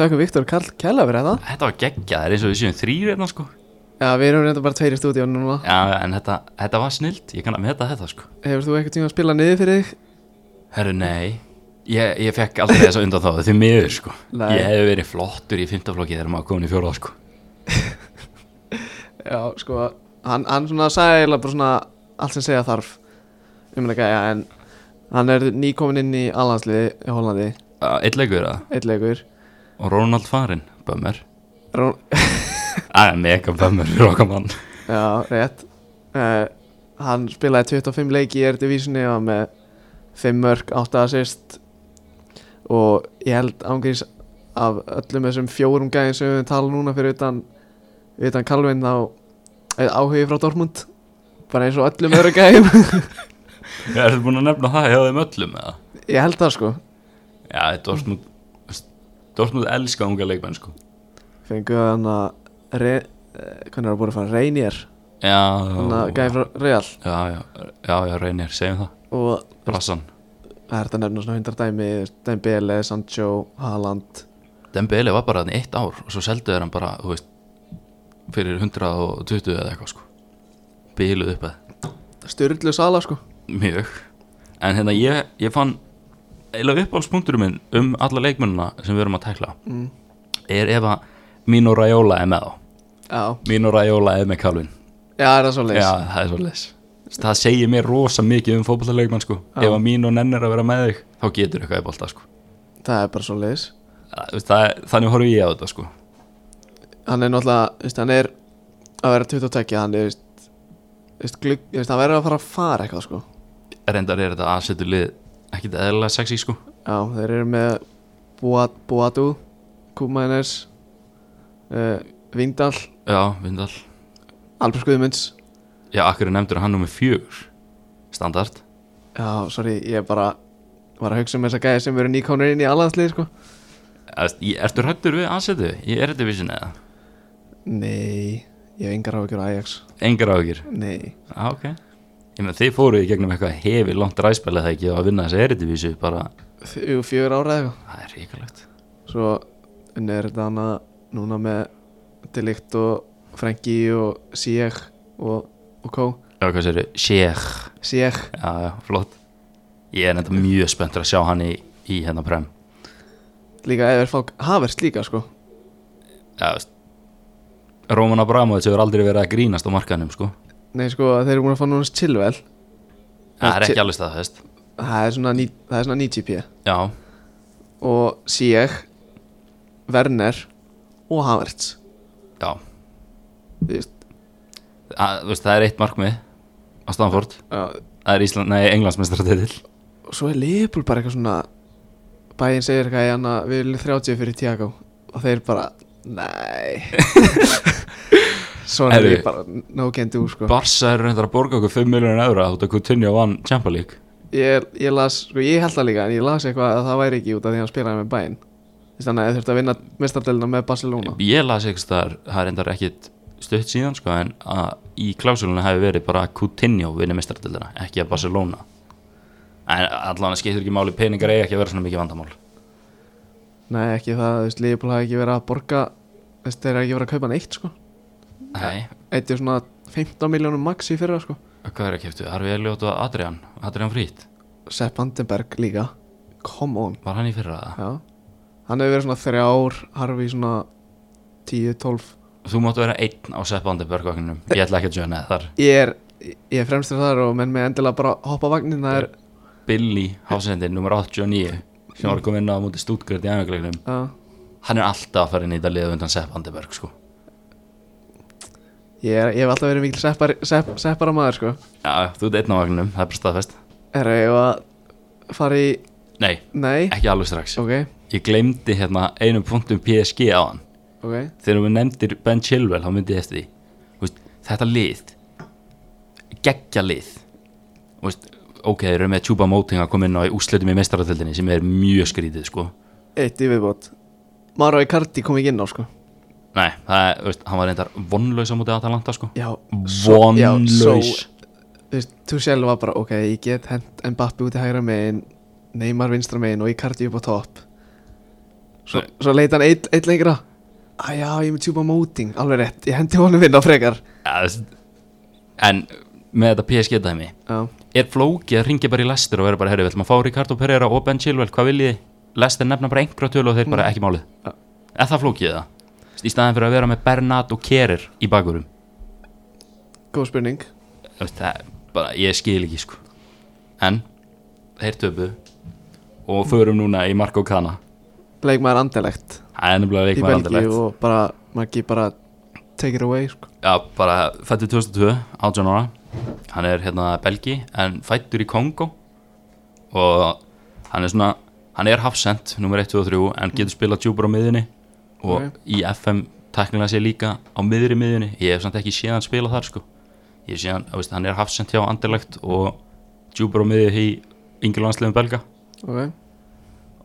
[SPEAKER 1] Þakka Viktor Karl Kjella fyrir þetta
[SPEAKER 2] Þetta var geggjað, það er eins og við séum þrýr hérna sko
[SPEAKER 1] Já, við erum reynda bara tveir í stúdíu núna
[SPEAKER 2] Já, en þetta, þetta var snilt, ég kann að meta þetta sko
[SPEAKER 1] Hefur þú eitthvað tíma að spila niður fyrir þig?
[SPEAKER 2] Herru, nei Ég, ég fekk aldrei þess að undan þá, því miður sko
[SPEAKER 1] Nei.
[SPEAKER 2] Ég hef verið flottur í fymtaflokki þegar maður komin í fjóra sko
[SPEAKER 1] Já, sko, hann, hann svona sagði eiginlega bara svona allt sem segja þarf um þetta gæja en hann er nýkomin inn í alhansliði í Hollandi,
[SPEAKER 2] Uh, Eitt leikur það,
[SPEAKER 1] eitt leikur
[SPEAKER 2] og Ronald Farin, bömmur
[SPEAKER 1] Rón,
[SPEAKER 2] Það er mega bömmur fyrir okkar mann
[SPEAKER 1] Já, rétt uh, Hann spilaði 25 leiki í Eredivísinni og var með 5 mörg, 8 assist og ég held ángriðs af öllum þessum fjórum gæðin sem við tala núna fyrir utan, utan Kalvin þá er áhugi frá Dortmund bara eins og öllum öru gæðin
[SPEAKER 2] Ertu búin að nefna það hjá þeim öllum eða?
[SPEAKER 1] Ég held það sko
[SPEAKER 2] Já, Dortmund Dortmund elska unga leikmenn sko
[SPEAKER 1] fengu hann að re, eh, hvernig er það búin að fara, Reinier
[SPEAKER 2] Já,
[SPEAKER 1] hann að gæði frá Real
[SPEAKER 2] já, já, já, já, reynir, segjum það
[SPEAKER 1] og
[SPEAKER 2] Brassan,
[SPEAKER 1] það er þetta nefnir svona hundra dæmi Dembele, Sancho, Haaland
[SPEAKER 2] Dembele var bara hann eitt ár og svo seldu þeir hann bara, þú veist fyrir 120 eða eitthvað sko bíluð upp að
[SPEAKER 1] Sturlu Sala sko
[SPEAKER 2] mjög en hérna ég, ég fann eiginlega uppáhaldspunkturum minn um alla leikmennina sem við erum að tækla
[SPEAKER 1] Mm.
[SPEAKER 2] er ef að Mino Raiola er með þá
[SPEAKER 1] Já,
[SPEAKER 2] Mino Raiola er með Calvin
[SPEAKER 1] já er það svo leis
[SPEAKER 2] Já, það er svo les Það segir mér rosa mikið um fótballaleikmann sko
[SPEAKER 1] Já.
[SPEAKER 2] Ef að Mino nennir að vera með þig þá getur eitthvað í bolta sko
[SPEAKER 1] Það er bara svo leis
[SPEAKER 2] Það- þú veist, það, er- þannig horfi ég á þetta sko
[SPEAKER 1] Hann er náttúrulega, veist, hann er að vera 22, hann er veist, veist, glugg, veist, hann verður að fara að fara eitthvað sko
[SPEAKER 2] reyndar er þetta aðsetu lið ekkit eðlilega sexy sko
[SPEAKER 1] Já, þeir eru með Boat, Boatu, Kumainers uh, Vindal
[SPEAKER 2] já, Vindal,
[SPEAKER 1] Albrecht Guðmunds
[SPEAKER 2] já, akkur nefndur hann nummer fjögur standard
[SPEAKER 1] Já, sorry, ég bara var að hugsa um þessa gæði sem eru nýkónur inn í alhanslið sko
[SPEAKER 2] Eðast, ég, ertu hrættur við aðsetu í eredivision eða?
[SPEAKER 1] Nei, ég hef engar á ekki á Ajax
[SPEAKER 2] engar á ykkur,
[SPEAKER 1] Nei,
[SPEAKER 2] já, ok ég menn þið fóruð í gegnum eitthvað hefi langt ræspæla það ekki að vinna þessi eredivisu bara,
[SPEAKER 1] þrjú, fjögur ára eða eitthvað
[SPEAKER 2] það er ríkulegt
[SPEAKER 1] Svo unnið er þetta hana núna með Delikt og Frenki og Sieg og, og kó
[SPEAKER 2] Já, hvað sér þau? Sjekh
[SPEAKER 1] Sjekh,
[SPEAKER 2] Já, já, flott Ég er nefnda mjög spenntur að sjá hann í, í hérna prem
[SPEAKER 1] líka eða er fólk Havers líka sko
[SPEAKER 2] Já, veist Róman Abramovic hefur aldrei verið að grínast á markanum, sko
[SPEAKER 1] Nei sko, þeir eru búin að fá núna chillvel
[SPEAKER 2] Það er ekki alveg staðfest
[SPEAKER 1] Það er svona, ní, það er svona 90 p
[SPEAKER 2] Já,
[SPEAKER 1] og Sjekh Werner og Havertz
[SPEAKER 2] já
[SPEAKER 1] Þú veist,
[SPEAKER 2] að, þú veist, Það er eitt markmið á Stanford
[SPEAKER 1] já,
[SPEAKER 2] Það er Ísland, nei, Englandsmeistratitill
[SPEAKER 1] og svo er Leopold bara eitthvað svona bæinn segir eitthvað í hana við viljum 30 fyrir Tiago og þeir bara, nei svona er
[SPEAKER 2] Herri.
[SPEAKER 1] ég bara no can do sko
[SPEAKER 2] Barsa er reyndar að borga okkur 5 miljonar eura út að Coutinho vann Champions League
[SPEAKER 1] ég, ég las, sko ég held það líka en ég las eitthvað að það væri ekki út af því að hann spilaði með bæinn Þú veist, þannig að þeir þurfti að vinna mestardelina með Barcelona
[SPEAKER 2] Ég las eitthvað staðar, það er reyndar ekkit stutt síðan sko en að í klásulunni hefur verið bara að Coutinho vinni mistratildina, ekki að Barcelona en allan að skiptur ekki máli peningar eiga ekki að vera svona mikið vandamál
[SPEAKER 1] nei ekki það, þú veist, Leopold hafi ekki verið að borga þú veist, þeir hafi ekki verið að kaupa neitt sko
[SPEAKER 2] Nei,
[SPEAKER 1] eitt er svona 15 miljónum max í fyrra sko
[SPEAKER 2] hvað er að kiptu? Harfi Elliot og Adrian, Adrian Frít
[SPEAKER 1] Sepp Vandenberg líka come on
[SPEAKER 2] var hann í fyrra það?
[SPEAKER 1] Já, hann hefur verið svona þrjár, harfi svona 10-12
[SPEAKER 2] Þú máttu vera einn á Seppandi börgvagninum, ég ætla ekki að sjöna þar
[SPEAKER 1] Ég er, ég er fremstur þar og menn með endilega bara hoppa vagnin Það er,
[SPEAKER 2] Billy Hásendin, nummer 89 sem var komin á múti stútgrætt í æfingleiknum
[SPEAKER 1] já,
[SPEAKER 2] hann er alltaf að fara inn í þetta liða undan Seppandi börg sko.
[SPEAKER 1] ég, er, ég hef alltaf verið mikil seppar, sepp, seppara maður sko
[SPEAKER 2] Já, þú ert einn á vagninum, það er bara staðfest
[SPEAKER 1] Er ég að fara í,
[SPEAKER 2] Nei,
[SPEAKER 1] nei,
[SPEAKER 2] ekki alveg strax
[SPEAKER 1] ok,
[SPEAKER 2] Ég glemdi hérna einu punktum PSG á hann
[SPEAKER 1] ok
[SPEAKER 2] Þegar við nefndir Ben Chilwell þá myndi ég eftir því Þú veist, Þetta lið Geggja lið Þú veist, Ok, þeir eru með Tjúba Móting að koma inn á í úslutum í mestaratöldinni sem er mjög skrítið sko.
[SPEAKER 1] Eitt í viðbót Maro Icardi kom ekki inn á sko
[SPEAKER 2] Nei, það er, þú veist, hann var reyndar vonlaus á móti Atalanta sko.
[SPEAKER 1] Já, svo- já, svo-
[SPEAKER 2] Vonlaus
[SPEAKER 1] Þú veist, þú sjálf var bara, ok, ég get hent Mbappi út í hægra megin Neymar vinstra megin og Icardi upp á topp Svo,
[SPEAKER 2] Nei.
[SPEAKER 1] svo leita hann eitt, eitt lengra Æ, já, ég er með tjúpa móting, alveg rétt Ég hendi honum inn á frekar
[SPEAKER 2] ja, þú veist, En með þetta PSG dæmi
[SPEAKER 1] Já,
[SPEAKER 2] Er flókið að ringja bara í lestir og vera bara, herri, við ætlum að fá Ricardo Pereira og Ben Chilwell, hvað viljið? Lestir nefna bara einhverja tölu og þeir bara ekki málið.
[SPEAKER 1] Mm. Ja.
[SPEAKER 2] Er það flókið það? Í staðan fyrir að vera með Bernat og Kerir í bakurum.
[SPEAKER 1] góð spurning
[SPEAKER 2] Þú veist, Það er bara, ég skil ekki, sko. En, þeir töpu og förum núna í Marko Kana.
[SPEAKER 1] Leikmaður andelegt
[SPEAKER 2] Það er nefnilega
[SPEAKER 1] Í
[SPEAKER 2] leikmaður
[SPEAKER 1] Belgíu
[SPEAKER 2] andilegt.
[SPEAKER 1] og bara, Maggi bara Take it away, sko
[SPEAKER 2] Já, bara fættur 2002, 18 ára. Hann er hérna belgi, en fættur í Kongo. og hann er svona hann er hafsend, nummer 1, 2 og 3 en getur spilað djúpar á miðunni og
[SPEAKER 1] Ok.
[SPEAKER 2] í FM teknilega sé líka á miðri miðunni, ég hef samt ekki séð hann spila þar sko, ég sé hann, þú veist, hann er hafsend hjá Anderlegt og djúpar á miðju í yngirlandslegum belga
[SPEAKER 1] Ok,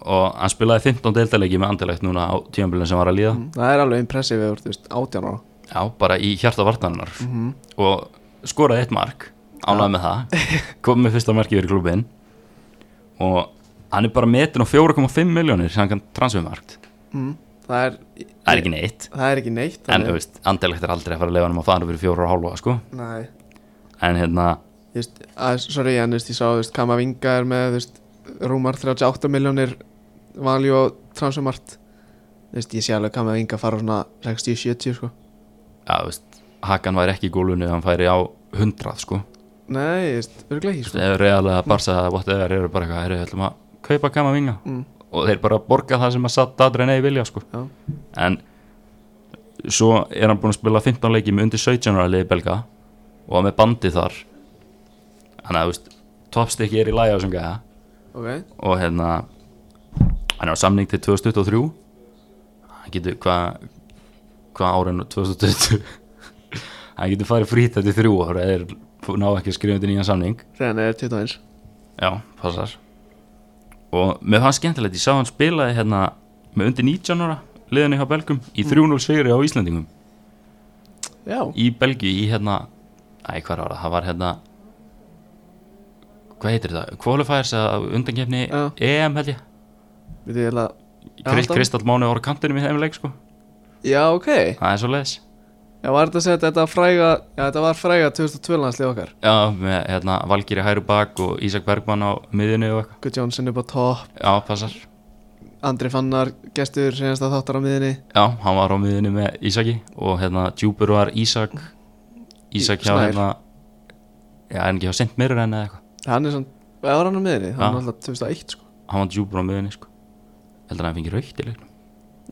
[SPEAKER 2] og hann spilaði 15 deildalegi með Anderlegt núna á tíambilin sem var að líða
[SPEAKER 1] það er alveg impressive eða, þú veist, 18 ára
[SPEAKER 2] já, bara í hjarta vartaninnar
[SPEAKER 1] Mhm.
[SPEAKER 2] og skoraði eitt mark ánægð með það, kom með fyrsta marki fyrir klubin og hann er bara metin á 4,5 miljónir sem hann kann transfermarkt,
[SPEAKER 1] mm. Það er
[SPEAKER 2] það er ekki neitt
[SPEAKER 1] Það er ekki neitt
[SPEAKER 2] en
[SPEAKER 1] þannig-
[SPEAKER 2] þú veist, andelegt er aldrei að fara að lefa hann að fara fyrir 4,5 sko,
[SPEAKER 1] Nei
[SPEAKER 2] en hérna
[SPEAKER 1] Þú veist, að, sorry, en þú veist, ég sá, þú veist, Kamavinga er með, þú veist, rúmar 38 miljónir valjú á transumart þú veist, ég sé alveg Kamavinga fara svona 60-70, sko
[SPEAKER 2] já, þú veist, Hakan væri ekki í gólunni ef hann færi á 100 sko,
[SPEAKER 1] nei, þú veist, örgulega ekki, sko.
[SPEAKER 2] Þú veist, ef reyðarlega Barca whatever eru bara eitthvað, "Heyrðu, við ætlum að kaupa kama vinga
[SPEAKER 1] Mm.
[SPEAKER 2] og þeir bara borga það sem að satt aðra neði vilja sko
[SPEAKER 1] sko já,
[SPEAKER 2] en svo er hann búinn að spila 15 leiki með undir 17 ára liði belga og var með bandi þar þannig að þú veist toppstikki er í lagi á þessum gæða
[SPEAKER 1] ok,
[SPEAKER 2] og hérna hann er á samning til 2023 hann getur hvað hvað árin 2020 hann getur farið frýtt þetta í þrjú ára eða er- ná ekki að skrifa undir nýjan samning
[SPEAKER 1] reyna er 21
[SPEAKER 2] já, passar og mér fannst skemmtilegt, ég sá hann spilaði hérna með undir 19 ára liðinni hjá Belgum í
[SPEAKER 1] Mm.
[SPEAKER 2] 3-0 sigri á Íslandingum
[SPEAKER 1] já,
[SPEAKER 2] í Belgíu í hérna Æ, hvað var það? Það var hérna Hvað heitir það? Qualifiers að undankefni
[SPEAKER 1] Já.
[SPEAKER 2] EM held ég
[SPEAKER 1] við þið eiginlega Já,
[SPEAKER 2] Krist,
[SPEAKER 1] alltaf.
[SPEAKER 2] Kristall Mánu voru á kantinum í þeim leik sko
[SPEAKER 1] já, ok,
[SPEAKER 2] Það er svo leiðis
[SPEAKER 1] Já, var þetta að segja að þetta fræga Já, þetta var fræga 2012 landslið okkar
[SPEAKER 2] Já, með hérna, Valgýri Hæru Bak og Ísak Bergmann á miðinu og eitthvað
[SPEAKER 1] Guð Jónsson upp á topp
[SPEAKER 2] Já, passar
[SPEAKER 1] Andri Fannar, gestur, senast að þáttar á miðinni
[SPEAKER 2] Já, hann var á miðinu með Ísaki og hérna Djúpur var Ísak Ísak hjá
[SPEAKER 1] Snær.
[SPEAKER 2] hérna Já, en ekki hjá sent meirur enn eða eitthvað
[SPEAKER 1] Hann er svona, eða var hann á miðinni Hann
[SPEAKER 2] Já.
[SPEAKER 1] var alltaf 2001 sko
[SPEAKER 2] Hann var Djúpur á miðinu, sko Heldur hann fengi raukt í leiknum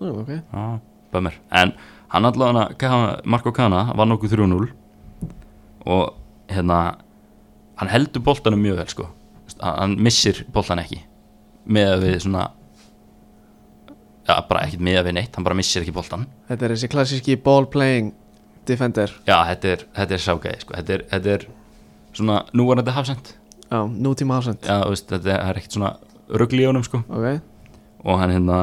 [SPEAKER 1] Nú, ok
[SPEAKER 2] Já, bæmur En hann allavega, Ka- Marko Kana var nokkuð 3-0 og hérna hann heldur boltanum mjög vel, sko Hann- Hann missir boltan ekki með að við svona Já, bara ekkert með að við neitt, hann bara missir ekki boltan
[SPEAKER 1] Þetta er þessi klassíski ball playing defender
[SPEAKER 2] Já, þetta er, þetta er ságæði sko. þetta, er, þetta er svona núvarandi hafsend
[SPEAKER 1] Já, nútíma ásend
[SPEAKER 2] Já, þú veist, þetta er ekkert svona rugl í honum sko.
[SPEAKER 1] Ok,
[SPEAKER 2] og hann hérna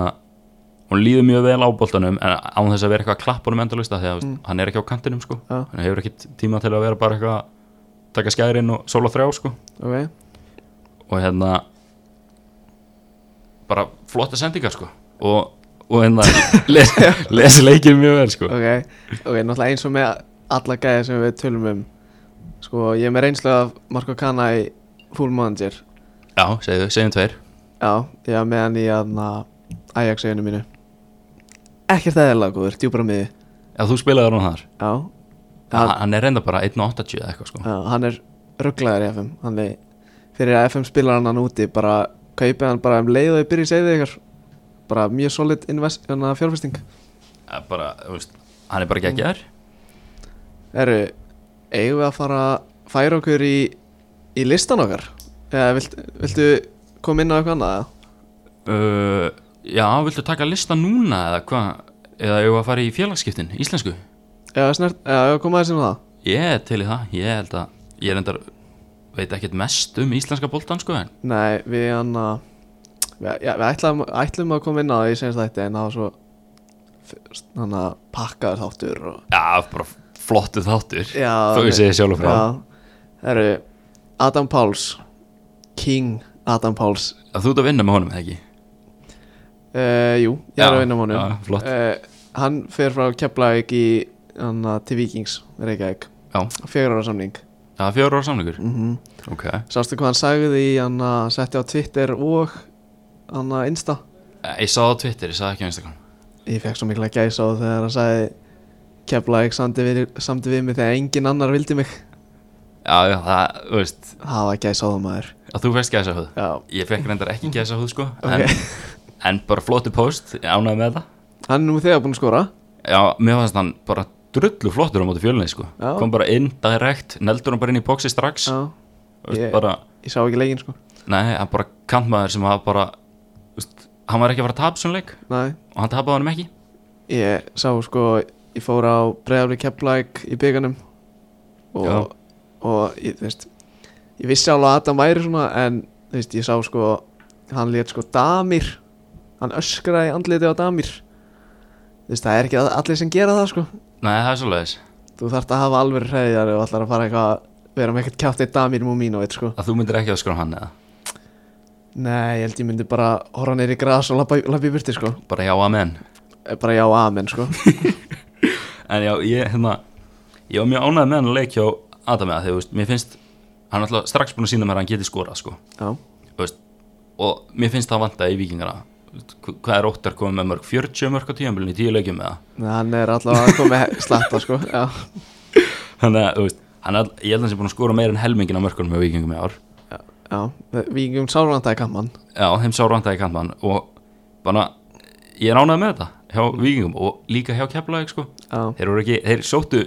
[SPEAKER 2] hún líður mjög vel á boltanum en án þess að vera eitthvað að klappa honum endalist af því að mm. hann er ekki á kantinum sko.
[SPEAKER 1] Já.
[SPEAKER 2] hann hefur ekkert tíma til að vera bara eitthvað að taka skærin og sóla þrjá sko.
[SPEAKER 1] ok
[SPEAKER 2] og hérna bara flotta sendingar sko. og, og hérna les, les leikir mjög vel sko.
[SPEAKER 1] ok, ok, náttúrulega eins og með alla gæði sem við tölum um sko, ég er með reynslu af Marko Kana í Full Manager
[SPEAKER 2] Já, segðu, segjum tveir
[SPEAKER 1] já, ég var með hann í aðna Ajax-eiginu mínu ekkert eðlilega góður, djúbra miði
[SPEAKER 2] Já, þú spilaður hann þar
[SPEAKER 1] já,
[SPEAKER 2] hann,
[SPEAKER 1] já,
[SPEAKER 2] hann er reynda bara 1.80 eða eitthvað sko
[SPEAKER 1] já hann er rugglaður í FM hann er, fyrir að FM spilar hann hann úti bara kaupið hann bara um leið og ég byrja í segðið ykkur bara mjög solid invest, hérna, fjárfesting
[SPEAKER 2] Það er Eh, bara, þú veist, hann er bara geggjar
[SPEAKER 1] Herru, eigum við að fara að færa okkur í, í listan okkar? Eða vilt, viltu koma inn á eitthvað annað? eða?
[SPEAKER 2] uh, Já, viltu taka lista núna eða hvað eða eigum við að fara í félagsskiptin, íslensku
[SPEAKER 1] Eða, snert, eða koma aðeins inn á það?
[SPEAKER 2] Ég er til í það, ég held að ég reyndar, veit ekkert mest um íslenska boltan sko en
[SPEAKER 1] Nei, við hann að Við, já, við ætlum, ætlum að koma inn á það í senst þætti en það var svo fyrst- hann að pakkaður þáttur og
[SPEAKER 2] Já, bara flottu þáttur
[SPEAKER 1] Já,
[SPEAKER 2] Þó
[SPEAKER 1] ok.
[SPEAKER 2] ég segi sjálf frá já.
[SPEAKER 1] Já, herru, Adam Páls King Adam Páls
[SPEAKER 2] Þú ert að vinna með honum, eða ekki?
[SPEAKER 1] Uh, jú, ég
[SPEAKER 2] Já,
[SPEAKER 1] er að vinna mónu
[SPEAKER 2] já, flott.
[SPEAKER 1] Hann fer frá Keflavík í, hana, til Víkings, Reykjavík
[SPEAKER 2] Já.
[SPEAKER 1] Fjögur ára samning
[SPEAKER 2] Já, fjóra ára samlingur
[SPEAKER 1] mm
[SPEAKER 2] Ok,
[SPEAKER 1] Sástu hvað hann sagði í, hann setti á Twitter og hann Insta
[SPEAKER 2] Eh, ég sá það á Twitter, ég sá það ekki á Instagram
[SPEAKER 1] Ég fekk svo mikla gæs á þegar hann sagði Keflavík samdi við, samdi við mig þegar engin annar vildi mig
[SPEAKER 2] Já, já, það, þú veist,
[SPEAKER 1] Það var gæs á það maður
[SPEAKER 2] að þú fæst gæsa höfð
[SPEAKER 1] Já,
[SPEAKER 2] Ég fekk reyndar ekki gæsa húð sko
[SPEAKER 1] ok
[SPEAKER 2] en, en bara flottu post, ég ánægði með það
[SPEAKER 1] Hann er nú þegar búinn að skora
[SPEAKER 2] Já, mér fannst hann bara drullu flottur á móti fjölunni sko
[SPEAKER 1] Já.
[SPEAKER 2] Kom bara inn, direkt, neldur hann bara inn í bóksi strax
[SPEAKER 1] Já,
[SPEAKER 2] Þú veist,
[SPEAKER 1] ég-
[SPEAKER 2] bara,
[SPEAKER 1] Ég sá ekki leikinn sko
[SPEAKER 2] Nei, hann bara kantmaður sem hafa bara þú veist, Hann var ekki að fara að tapa svona leik
[SPEAKER 1] Nei,
[SPEAKER 2] Og hann tapaði honum ekki
[SPEAKER 1] Ég sá sko, ég fór á bregðarlega keplæk í bygganum
[SPEAKER 2] Já.
[SPEAKER 1] og, og ég, þú veist, ég vissi alveg að Adam væri svona en þú veist, ég sá sko, hann lét sko damir, hann öskraði andliti á damir þú veist, það er ekki allir sem gera það sko
[SPEAKER 2] Nei, það er svoleiðis
[SPEAKER 1] þú þarft að hafa alveg hreiðjar og allar að fara eitthvað að vera með ekkert kjátt eitt damir múm mín og eitt sko
[SPEAKER 2] Að þú myndir ekki að skora hann eða
[SPEAKER 1] Nei, ég held ég myndi bara horfa neyri gras og lappa, lappa í burti sko
[SPEAKER 2] Bara já, amen
[SPEAKER 1] bara já, amen sko
[SPEAKER 2] En já, ég, hérna Ég var mjög ánægði með hann að leik hjá Adam eða því, þú veist, mér finnst Hann er alltaf strax búin að sína mér að hann geti skorað sko
[SPEAKER 1] Já,
[SPEAKER 2] Þú veist, Og mér finnst það vanta í vikingana Hvað er óttar komið með mörg? 40 mörg á tíðanbílunni í tíu leikjum eða
[SPEAKER 1] hann er allavega að koma slatta sko Já
[SPEAKER 2] þannig að þú veist hann er, ég held að hann sé búin að skora meira en helmingin á mörkunum með vikingum í ár
[SPEAKER 1] Já, vikingum sárvandæði kamman
[SPEAKER 2] já, þeim sá randaði kantmann og bara, ég er ánægð með þetta hjá vikingum og líka hjá Keflavík sko
[SPEAKER 1] Já,
[SPEAKER 2] þeir voru ekki, þeir sóttu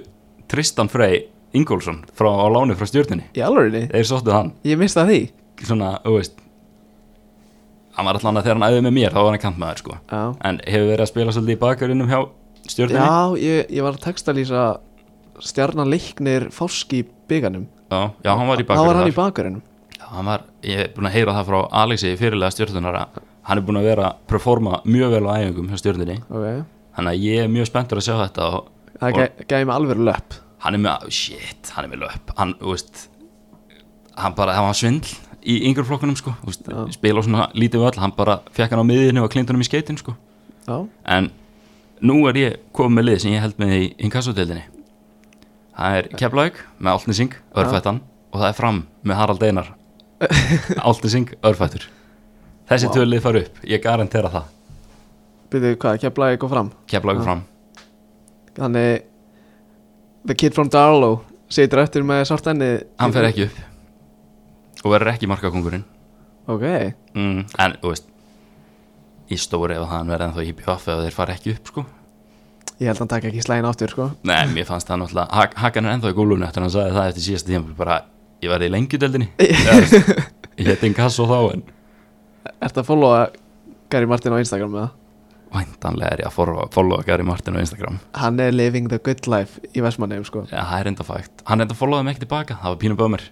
[SPEAKER 2] Tristan Frey Ingolson frá á láni frá stjórninni
[SPEAKER 1] í alvörinni
[SPEAKER 2] þeir sóttu hann,
[SPEAKER 1] Ég mista því
[SPEAKER 2] svona, þú veist hann var allan að þegar hann æði með mér þá var hann kantmaður sko
[SPEAKER 1] Já,
[SPEAKER 2] en hefur verið að spila svolítið í bakarinnum hjá stjórninni
[SPEAKER 1] já ég, ég var að textalýsa stjarnan leiknir fáski í bygganum
[SPEAKER 2] já, já, hann var í
[SPEAKER 1] Það var hann
[SPEAKER 2] bakarinnum
[SPEAKER 1] í bakurinnum
[SPEAKER 2] Já, hann var, ég er búin að heyra það frá Alexi fyrirlega stjórnunar að hann er búin að vera að performa mjög vel á æfingum hjá stjórnunni
[SPEAKER 1] Ok,
[SPEAKER 2] þannig að ég er mjög spenntur að sjá þetta og
[SPEAKER 1] það gæ- gæði mig alveg löpp
[SPEAKER 2] hann er með, shit, hann er með löp hann, þú veist hann bara, það var svindl í yngur flokkunum sko, þú veist, spila á svona lítið völl hann bara fekk hann á miðinu og klindunum í skeitin sko.
[SPEAKER 1] Já,
[SPEAKER 2] en nú er ég komið með lið sem ég held með í inkassodeildinni Það er Keflavík með Áltnising, örfættan og það er fram með Harald Einar Áltnising, örfættur Þessi wow.
[SPEAKER 1] Vá.
[SPEAKER 2] tvölið fara upp, ég garantera það
[SPEAKER 1] Byrðu hvað, Keflavík og fram
[SPEAKER 2] Keflavík
[SPEAKER 1] Já.
[SPEAKER 2] fram
[SPEAKER 1] Þannig The Kid from Darlow situr eftir með svartenni
[SPEAKER 2] Hann fer ekki upp og verður ekki markakongurinn
[SPEAKER 1] Ok,
[SPEAKER 2] mm, En, þú veist í stóri ef hann verður ennþá í BF ef þeir fara ekki upp, sko
[SPEAKER 1] ég held að hann taka ekki slægin aftur sko
[SPEAKER 2] Nei, mér fannst það náttúrulega Hak- Hakan er ennþá í gólunni eftir að hann sagði það eftir síðasta tíma bara, ég verði í lengjudeldinni Eða, þú veist, Ég heti enn kass og þá en
[SPEAKER 1] Ertu að followa Gary Martin á Instagram með það?
[SPEAKER 2] væntanlega er ég að forfa- followa Gary Martin á Instagram
[SPEAKER 1] Hann er living the good life í Vestmannheim sko
[SPEAKER 2] Já, það er enda fægt. Hann enda fólóði mig ekki tilbaka, það var pínu bömmir.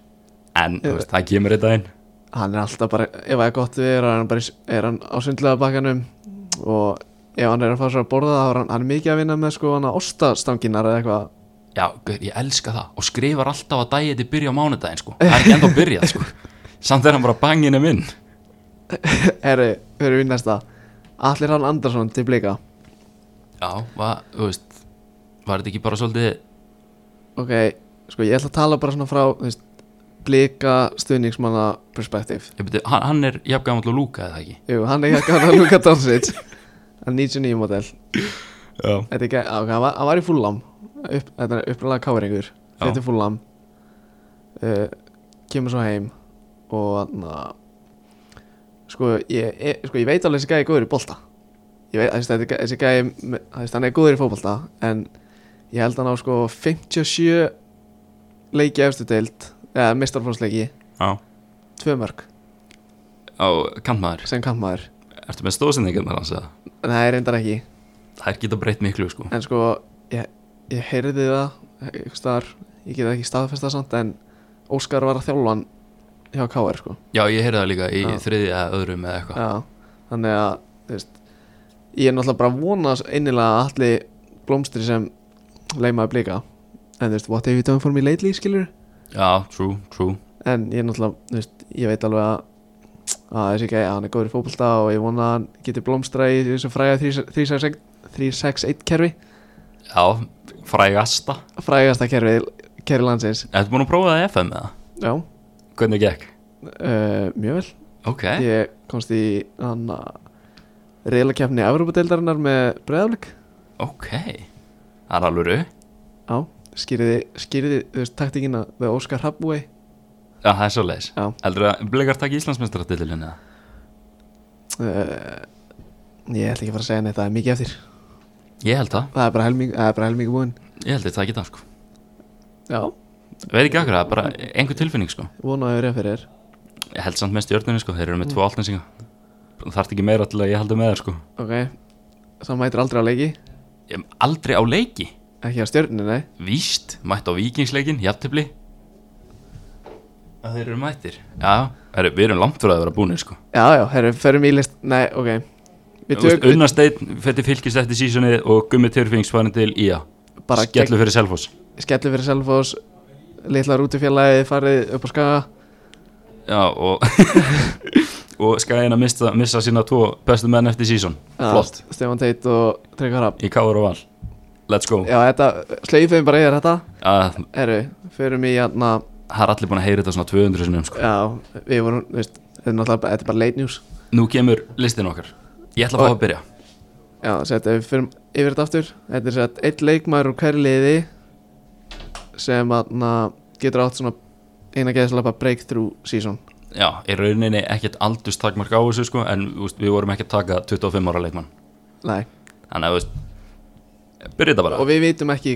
[SPEAKER 2] En, þú
[SPEAKER 1] Já.
[SPEAKER 2] veist, það kemur í daginn.
[SPEAKER 1] Hann er alltaf bara, ef það er gott við er hann, bara, í s- er hann á sundlega bakkanum og ef hann er að fá svo að borða þá er hann, hann er mikið að vinna með sko hann að ostastanginar eða eitthvað
[SPEAKER 2] Já, guð, ég elska það. Og skrifar alltaf að dagið til byrja á mánudaginn, sko. Það er ekki enda að byrja, sko. Samt er hann bara um banginu minn.
[SPEAKER 1] Herri, fyrir við næsta Allir hann Andersson til blika
[SPEAKER 2] Já, va, þú veist, var þetta ekki bara svolítið...
[SPEAKER 1] Ok, sko ég ætla að tala bara svona frá þú veist, blika stuðningsmanna perspektíf
[SPEAKER 2] Ég beti, hann, hann er jafngaðum alltaf lúka, eða ekki?
[SPEAKER 1] Jú, hann er ekki að gana Luka Donsic Hann er 99 model
[SPEAKER 2] Já.
[SPEAKER 1] Þetta er ekki, á, ok, hann var, hann var í fullam upp, Þetta er uppræðlega káringur
[SPEAKER 2] Já.
[SPEAKER 1] Þetta er fullam uh, Kemur svo heim Og na, sko, ég, ég, sko, ég veit alveg þessi gæði góður í bolta Ég veit, þessi, þetta er gæ- þessi gæði me- þú veist, Hann er góður í fótbolta En ég held hann á sko 57 Leiki efstu deild Eða mistarfónsleiki,
[SPEAKER 2] Já.
[SPEAKER 1] tvö mörg
[SPEAKER 2] Á, kantmaður,
[SPEAKER 1] Sem kampmaður
[SPEAKER 2] ertu með stóðsendingarnar hans, eða?
[SPEAKER 1] En það er reyndar ekki
[SPEAKER 2] Það er geta breytt miklu, sko.
[SPEAKER 1] En sko, ég, ég heyrði það einhvers staðar, ég get ekki staðfesta samt en Óskar var að þjálfa hann hjá KR sko
[SPEAKER 2] Já, ég heyrði það líka í
[SPEAKER 1] Já.
[SPEAKER 2] þriði eða öðrum eða eitthvað.
[SPEAKER 1] Já, þannig að þú veist, ég er náttúrulega bara að vona s- innilega að allir blómstri sem leimaði blika en þú veist, what have you done for me lately skilur
[SPEAKER 2] Já, true, true.
[SPEAKER 1] en ég er náttúrulega, þú veist, ég veit alveg að að þessi gæja, hann er góður í fótbolta og ég vona að hann geti blómstra í þessu fræga 361 361 kerfi,
[SPEAKER 2] Já, frægasta.
[SPEAKER 1] frægasta kerfi kerfi landsins,
[SPEAKER 2] Ertu búin að prófa það í FM eða?
[SPEAKER 1] já
[SPEAKER 2] Hvernig gekk?
[SPEAKER 1] Uh, mjög vel,
[SPEAKER 2] Ok,
[SPEAKER 1] ég komst í hann reyðlakefni Evrópadeildarinnar með breyðaflik
[SPEAKER 2] ok Það er alveg rau
[SPEAKER 1] Já, skýriði, skýriði þú veist, taktíkina við Óskar Hathaway
[SPEAKER 2] Já, það er svo leis
[SPEAKER 1] Já.
[SPEAKER 2] Eldur að bleikar takk Íslandsmeistaratillin eða?
[SPEAKER 1] uh, Ég ætla ekki að fara að segja neitt, það er mikið eftir
[SPEAKER 2] Ég held það,
[SPEAKER 1] Það er bara helming, það er bara helming búinn
[SPEAKER 2] ég held þetta ekki það sko
[SPEAKER 1] Já,
[SPEAKER 2] Veit ekki akkur, það er bara einhver tilfinning sko
[SPEAKER 1] vona að vera fyrir þér
[SPEAKER 2] Ég held samt mest í örninu sko, þeir eru
[SPEAKER 1] Mm.
[SPEAKER 2] með tvo altninsinga Þarft ekki meira til að ég haldi með þér sko
[SPEAKER 1] Ok, það mætir aldrei á leiki
[SPEAKER 2] Ég hef aldrei á leiki
[SPEAKER 1] Ekki á stjörninu, nei
[SPEAKER 2] Víst, mætt á vikingsleikin, jafntefli Að þeir eru mættir Já, er, við erum langt fyrir að vera búinir sko
[SPEAKER 1] Já, já, herru, förum í list, nei, ok Við tökum
[SPEAKER 2] Unnasteinn fyrir fylgist eftir sísunni og Gummi Törfings farin til IA
[SPEAKER 1] bara gegn,
[SPEAKER 2] Skellu fyrir Selfoss
[SPEAKER 1] skellu fyrir Selfoss Litla rútufélagi farið upp á skaga
[SPEAKER 2] Já og og skæðin að missa, missa sína tvo bestu menn eftir sísón
[SPEAKER 1] Já,
[SPEAKER 2] flott,
[SPEAKER 1] Stefán Teit og Tryggvar Hafn
[SPEAKER 2] í káður og val let's go,
[SPEAKER 1] Já, þetta, sleifum bara yfir þetta
[SPEAKER 2] að,
[SPEAKER 1] Herru, förum í hérna
[SPEAKER 2] það er allir búin að heyra þetta svona 200 sinum sko,
[SPEAKER 1] Já, við vorum, þú veist Þetta er náttúrulega, bara- þetta er bara late news
[SPEAKER 2] nú kemur listin okkar ég ætla að fá að byrja
[SPEAKER 1] Já, sett, við förum yfir þetta aftur Þetta er sett, eitt leikmaður úr hverju liði sem hérna getur átt svona eina geðslega breakthrough season
[SPEAKER 2] já, í rauninni ekkert aldurstakmark á þessu sko, en úst, við vorum ekki að taka 25 ára leikmann,
[SPEAKER 1] Nei,
[SPEAKER 2] þannig að þú veist byrja þetta bara,
[SPEAKER 1] og við vitum ekki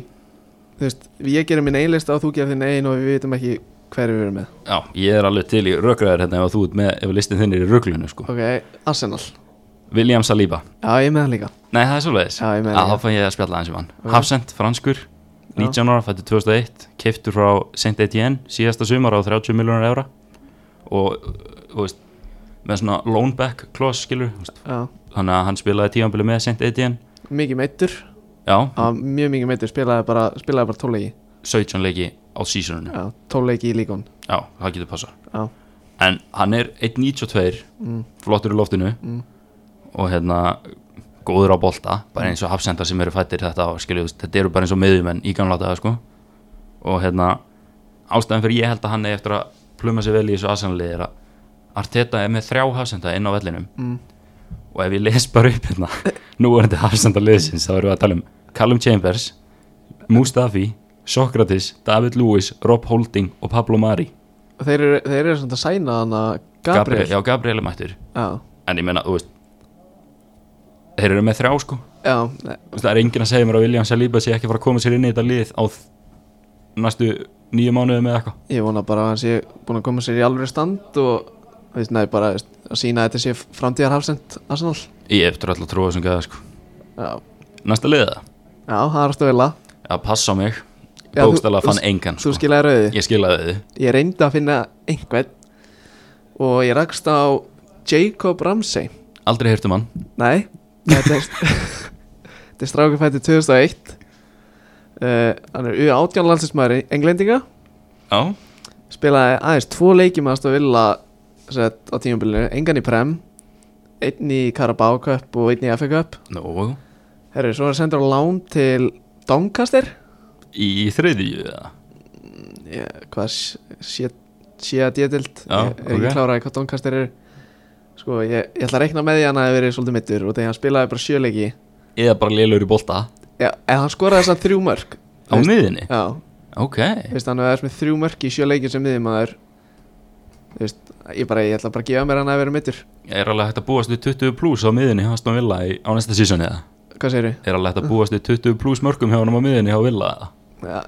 [SPEAKER 1] Þú veist, ég gerum minn ein lista og þú gerir þinn ein og við vitum ekki hverju við erum með
[SPEAKER 2] já, ég er alveg til í rökraðar hérna ef þú ert með, ef listin þinn er í röklunum sko,
[SPEAKER 1] Ok, Arsenal
[SPEAKER 2] William Saliba
[SPEAKER 1] Já, ég er með hann líka
[SPEAKER 2] Nei, það er svolítið
[SPEAKER 1] Já, ég meina
[SPEAKER 2] Þá
[SPEAKER 1] ég.
[SPEAKER 2] fann ég að spjalla aðeins um hann Hafsend, franskur, 19 ára, fættu 2001 Keiftur frá St. Etienne síðasta sumar á 30 miljónar evra Og, uh, þú veist, með svona loan back clause, skilur þú veist.
[SPEAKER 1] Já,
[SPEAKER 2] Þannig að hann spilaði tíanbili með St. Etienne
[SPEAKER 1] mikið meittur
[SPEAKER 2] Já,
[SPEAKER 1] Já, mjög mikið meittur, spilaði bara, spilaði bara tóleiki
[SPEAKER 2] 17 leiki á seasoninu Já,
[SPEAKER 1] Já, tóleiki í líkon
[SPEAKER 2] það getur passa
[SPEAKER 1] Já,
[SPEAKER 2] En hann er 1.92
[SPEAKER 1] Mm.
[SPEAKER 2] Flottur í loftinu Og hérna, góður á
[SPEAKER 1] Mm.
[SPEAKER 2] bolta Bara eins og Hafsendar sem eru fættir þetta ár, skilur, þú veist, Þetta eru bara eins og miðjumenn í gamla daga, sko og hérna ástæðan fyrir ég held að hann er eftir að pluma sér vel í þessu aðsannalið er að Arteta er með þrjá hafsenda inn á vellinum
[SPEAKER 1] Mm.
[SPEAKER 2] og ef ég les bara upp hérna nú er þetta hafsenda liðsins þá erum við að tala um Callum Chambers Mustafi, Sokratis, David Lewis Rob Holding og Pablo Mari
[SPEAKER 1] Og Þeir eru, þeir eru svona að sæna hann að Gabriel,
[SPEAKER 2] Já, Gabriel er mættur
[SPEAKER 1] Já,
[SPEAKER 2] en ég meina, þú veist þeir eru með þrjá sko
[SPEAKER 1] já, e, ne-
[SPEAKER 2] Þú veist, það er enginn að segja mér að William Saliba sé ekki að fara að koma sér inn í þetta lið á þ- næstu nýju mánuðum eða eitthvað
[SPEAKER 1] ég vona bara að hann sé búin að koma sér í alveg stand og veist, nei, bara veist, að sína að þetta sé framtíðar hafsend Arsenal
[SPEAKER 2] ég eftir alltaf að trúa þessum gæða sko
[SPEAKER 1] Já,
[SPEAKER 2] næsta liða,
[SPEAKER 1] já það er alltaf vel að
[SPEAKER 2] að passa á mig
[SPEAKER 1] Já, þú-
[SPEAKER 2] bókstæla fann
[SPEAKER 1] þú-
[SPEAKER 2] engan
[SPEAKER 1] Þú
[SPEAKER 2] sko.
[SPEAKER 1] skilaði rauði
[SPEAKER 2] ég skilaði þið
[SPEAKER 1] Ég reyndi að finna einhvern og ég rakst á Jacob Ramsey
[SPEAKER 2] aldrei hirtum hann,
[SPEAKER 1] Nei, þetta er Þetta er strákur fættið 2001 uh, Hann er U18 landsinsmaður englendinga
[SPEAKER 2] já,
[SPEAKER 1] Spilaði aðeins tvo leiki með aðstofa vilja sett á tímabilinu, engan í Prem einn í Carabao Cup og einn í FA Cup
[SPEAKER 2] nú
[SPEAKER 1] Herru, svo er hann sendur á lán til Doncaster
[SPEAKER 2] í þriðju eða?
[SPEAKER 1] Já, hvað s- sé- sé að dítild
[SPEAKER 2] Já,
[SPEAKER 1] ég er
[SPEAKER 2] ok.
[SPEAKER 1] ekki kláraði hvað Doncaster er sko ég, ég ætla að reikna með því að hann að það verið svolítið mittur og þegar hann spilaði bara sjöleiki
[SPEAKER 2] eða bara lélur í bolta
[SPEAKER 1] Já, en hann skoraði þess að þrjú mörg
[SPEAKER 2] á miðinni,
[SPEAKER 1] Já,
[SPEAKER 2] ok
[SPEAKER 1] þú veist, hann hefði með þrjú mörg í sjöleiki sem miðjumæður Þú veist, ég bara, ég ætla bara að gefa mér að hann að verið mittur
[SPEAKER 2] er alveg hægt að búast við 20 pluss á miðinni hans og Villa í- á næsta sísoni eða
[SPEAKER 1] Hvað segirðu?
[SPEAKER 2] er alveg hægt að búast við 20 pluss mörgum hjá hann á miðinni hjá Villa eða
[SPEAKER 1] Já,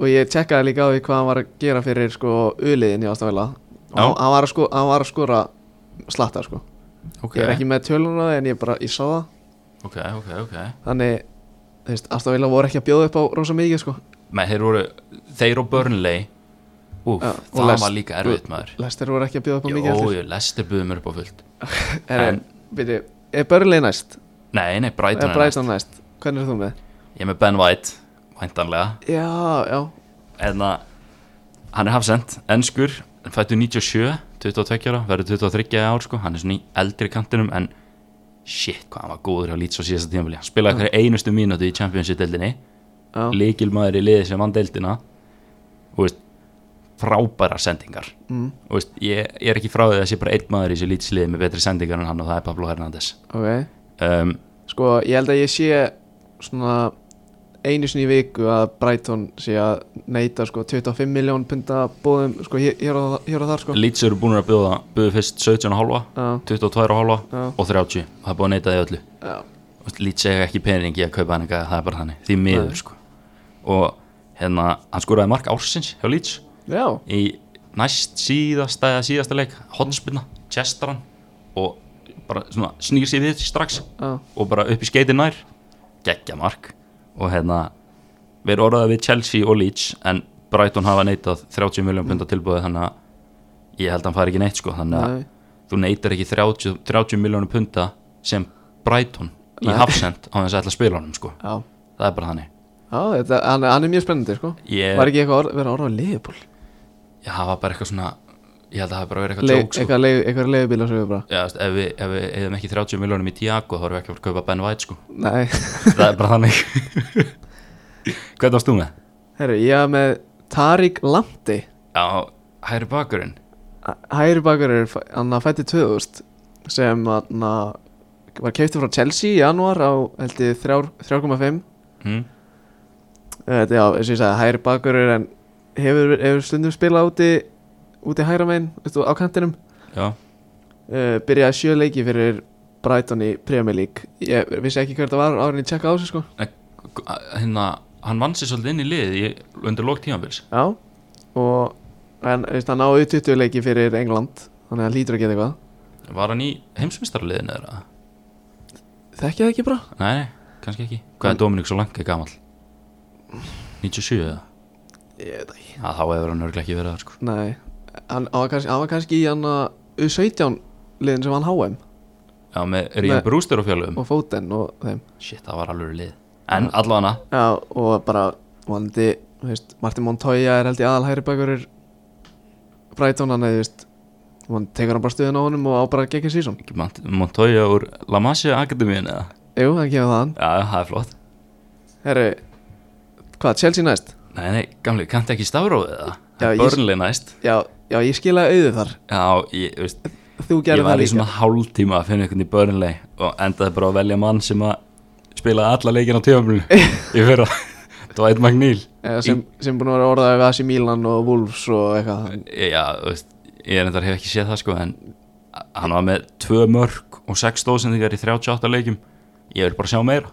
[SPEAKER 1] og ég tjekkaði líka á því hvað hann var að gera fyrir sko uliðin í ástafélag og
[SPEAKER 2] Já.
[SPEAKER 1] hann, hann, var að sko, hann var að skora slatta sko
[SPEAKER 2] ok,
[SPEAKER 1] Ég er ekki með tölun á því en ég bara, ég sá það
[SPEAKER 2] ok, ok, ok
[SPEAKER 1] Þannig, þú veist, ástafélag voru ekki að bjóða upp á rosa mikið sko
[SPEAKER 2] Men þeir voru, þeir og Burnley Úf,
[SPEAKER 1] Já, og
[SPEAKER 2] það
[SPEAKER 1] Leicester-
[SPEAKER 2] var líka erfitt maður
[SPEAKER 1] Lester voru ekki að bjóða upp á mikið
[SPEAKER 2] Jó, jú, Lester buðum mér upp á fullt
[SPEAKER 1] eftir Er,
[SPEAKER 2] en-
[SPEAKER 1] byrju, er Börli næst?
[SPEAKER 2] Nei, nei, Brighton
[SPEAKER 1] Er
[SPEAKER 2] er næst
[SPEAKER 1] Brighton næst? Hvernig er þú með?
[SPEAKER 2] Ég er með Ben White, væntanlega
[SPEAKER 1] Já, já,
[SPEAKER 2] En að, hann er hafsend, ennskur Fættu 97, 22 ára Verður 23 ár, sko, hann er svona í eldri kantinum En shit, hvað hann var góður Hjá Leeds á síðasta tímafili Hann spilaði hverja einustu mínútu í Championship-deldinni
[SPEAKER 1] já,
[SPEAKER 2] Líkilmaður í liði sem vann deildina Þú veist, frábærar sendingar
[SPEAKER 1] mm,
[SPEAKER 2] Þú veist, ég, ég er ekki frá því að það sé bara einn maður í þessu lítslið með betri sendingar en hann og það er Pablo Hernández
[SPEAKER 1] ok
[SPEAKER 2] um,
[SPEAKER 1] Sko, ég held að ég sé svona einu sinni í viku að Brighton sé að neyta sko 25 miljón punta bóðum sko hér, hér, og, hér og þar sko
[SPEAKER 2] Leeds eru búin að bjóða, bjóða fyrst 17,5
[SPEAKER 1] Já,
[SPEAKER 2] 22,5
[SPEAKER 1] Já.
[SPEAKER 2] og 30 og það er búin að neita því öllu
[SPEAKER 1] já,
[SPEAKER 2] Þú veist, Leeds segja ekki pening í að kaupa hann eitthvað, það er bara þannig, því
[SPEAKER 1] Nei.
[SPEAKER 2] miður sko. og hérna, hann skoraði mark ársins hjá Leeds
[SPEAKER 1] já,
[SPEAKER 2] í næst síðasta eða síðasta leik, hotspilna, chestaran og bara svona snýr sér við strax
[SPEAKER 1] já,
[SPEAKER 2] og bara upp í skeitin nær geggja mark og hérna við erum orðað við Chelsea og Leeds en Brighton hafa neitað 30 miljón pundar tilbúið þannig að ég held að hann fari ekki neitt sko þannig að
[SPEAKER 1] nei,
[SPEAKER 2] þú neitar ekki 30, 30 miljónu punta sem Brighton í
[SPEAKER 1] Nei.
[SPEAKER 2] hafsend á þess að ætla að spila honum sko
[SPEAKER 1] já,
[SPEAKER 2] það er bara þannig
[SPEAKER 1] já, þetta, hann, hann er mjög spennandi sko
[SPEAKER 2] ég,
[SPEAKER 1] Var ekki eitthvað orð, verið að orða á Leifbúl?
[SPEAKER 2] ég hafa bara eitthvað svona ég held að það hafa bara verið eitthvað
[SPEAKER 1] Le,
[SPEAKER 2] joke sko
[SPEAKER 1] eitthvað leif, eitthvað leifbíl að segja bara
[SPEAKER 2] Já, þú veist, ef, við, ef við hefum ekki 30 miljónum í Tiago þá erum við ekki að fara að kaupa Ben White sko
[SPEAKER 1] Nei,
[SPEAKER 2] það er bara þannig hvernig varst þú með?
[SPEAKER 1] herru, ég var með Tarik Lamti
[SPEAKER 2] Já, hægri bakurinn
[SPEAKER 1] Hæri bakur er fæ- hann að fætti 2000 sem hann var keiptur frá Chelsea í janúar á held ég 3 3,5
[SPEAKER 2] mm.
[SPEAKER 1] Þetta, já, eins og ég sagði, hægri bakurur en hefur, hefur stundum spilað úti úti hægra megin, veistu, á kantinum
[SPEAKER 2] Já,
[SPEAKER 1] uh, byrjaði sjö leiki fyrir Brighton í Premier League ég vissi ekki hver þetta var árinni tjekka á þessu sko
[SPEAKER 2] hérna, hann vann sér svolítið inn í liðið í, undir lók tímanbils
[SPEAKER 1] já, og en, veist, hann náði 20 leiki fyrir England þannig að hann lítur að geta eitthvað
[SPEAKER 2] Var hann í heimsmyndstaraliðinu eða?
[SPEAKER 1] þekki það ekki bara?
[SPEAKER 2] Nei, kannski ekki Hvað er Dominik svo langt gamall? 97 eða?
[SPEAKER 1] Ég veit ekki
[SPEAKER 2] Já, þá hefur hann örglega ekki verið það sko
[SPEAKER 1] Nei, hann hann var kannski, hann var kannski í hann að U17 liðin sem hann HM
[SPEAKER 2] Já, með Ríðan
[SPEAKER 1] Nei.
[SPEAKER 2] Brúster og fjálfum
[SPEAKER 1] og Foden og þeim
[SPEAKER 2] Shit, það var alveg lið En allavega
[SPEAKER 1] Já, og bara vonandi, þú veist, Martin Montoya er held í aðalhæri bakurur Brighton, hann eða, þú veist hann tekur hann bara stuðin á honum og á bara geggir sísón
[SPEAKER 2] hana Montoya úr La Masia Akademíin eða?
[SPEAKER 1] Jú, hann kemur það hann
[SPEAKER 2] Já, það er flott
[SPEAKER 1] Herru, hvað, Chelsea næst?
[SPEAKER 2] Nei, nei, gamli, kanntu ekki stafrófið það?
[SPEAKER 1] Já,
[SPEAKER 2] Það er
[SPEAKER 1] ég-
[SPEAKER 2] börnlega næst
[SPEAKER 1] já, já, ég skilaði auðu þar
[SPEAKER 2] Já, ég, þú veist,
[SPEAKER 1] þú
[SPEAKER 2] ég
[SPEAKER 1] gerði það
[SPEAKER 2] var í
[SPEAKER 1] líka
[SPEAKER 2] svona hálftíma að finna einhvern í börnlega og endaði bara að velja mann sem að spilaði alla leikin á tjöfumlu í fyrra Dwight McNeil
[SPEAKER 1] Eh, sem, sem búin að vera orðaði við Asi Milan og Wolves og eitthvað
[SPEAKER 2] Já, þú veist, ég er endar hef ekki séð það sko en hann var með tvö mörg og sex stóðsendingar í 38 leikum Ég vil bara sjá meira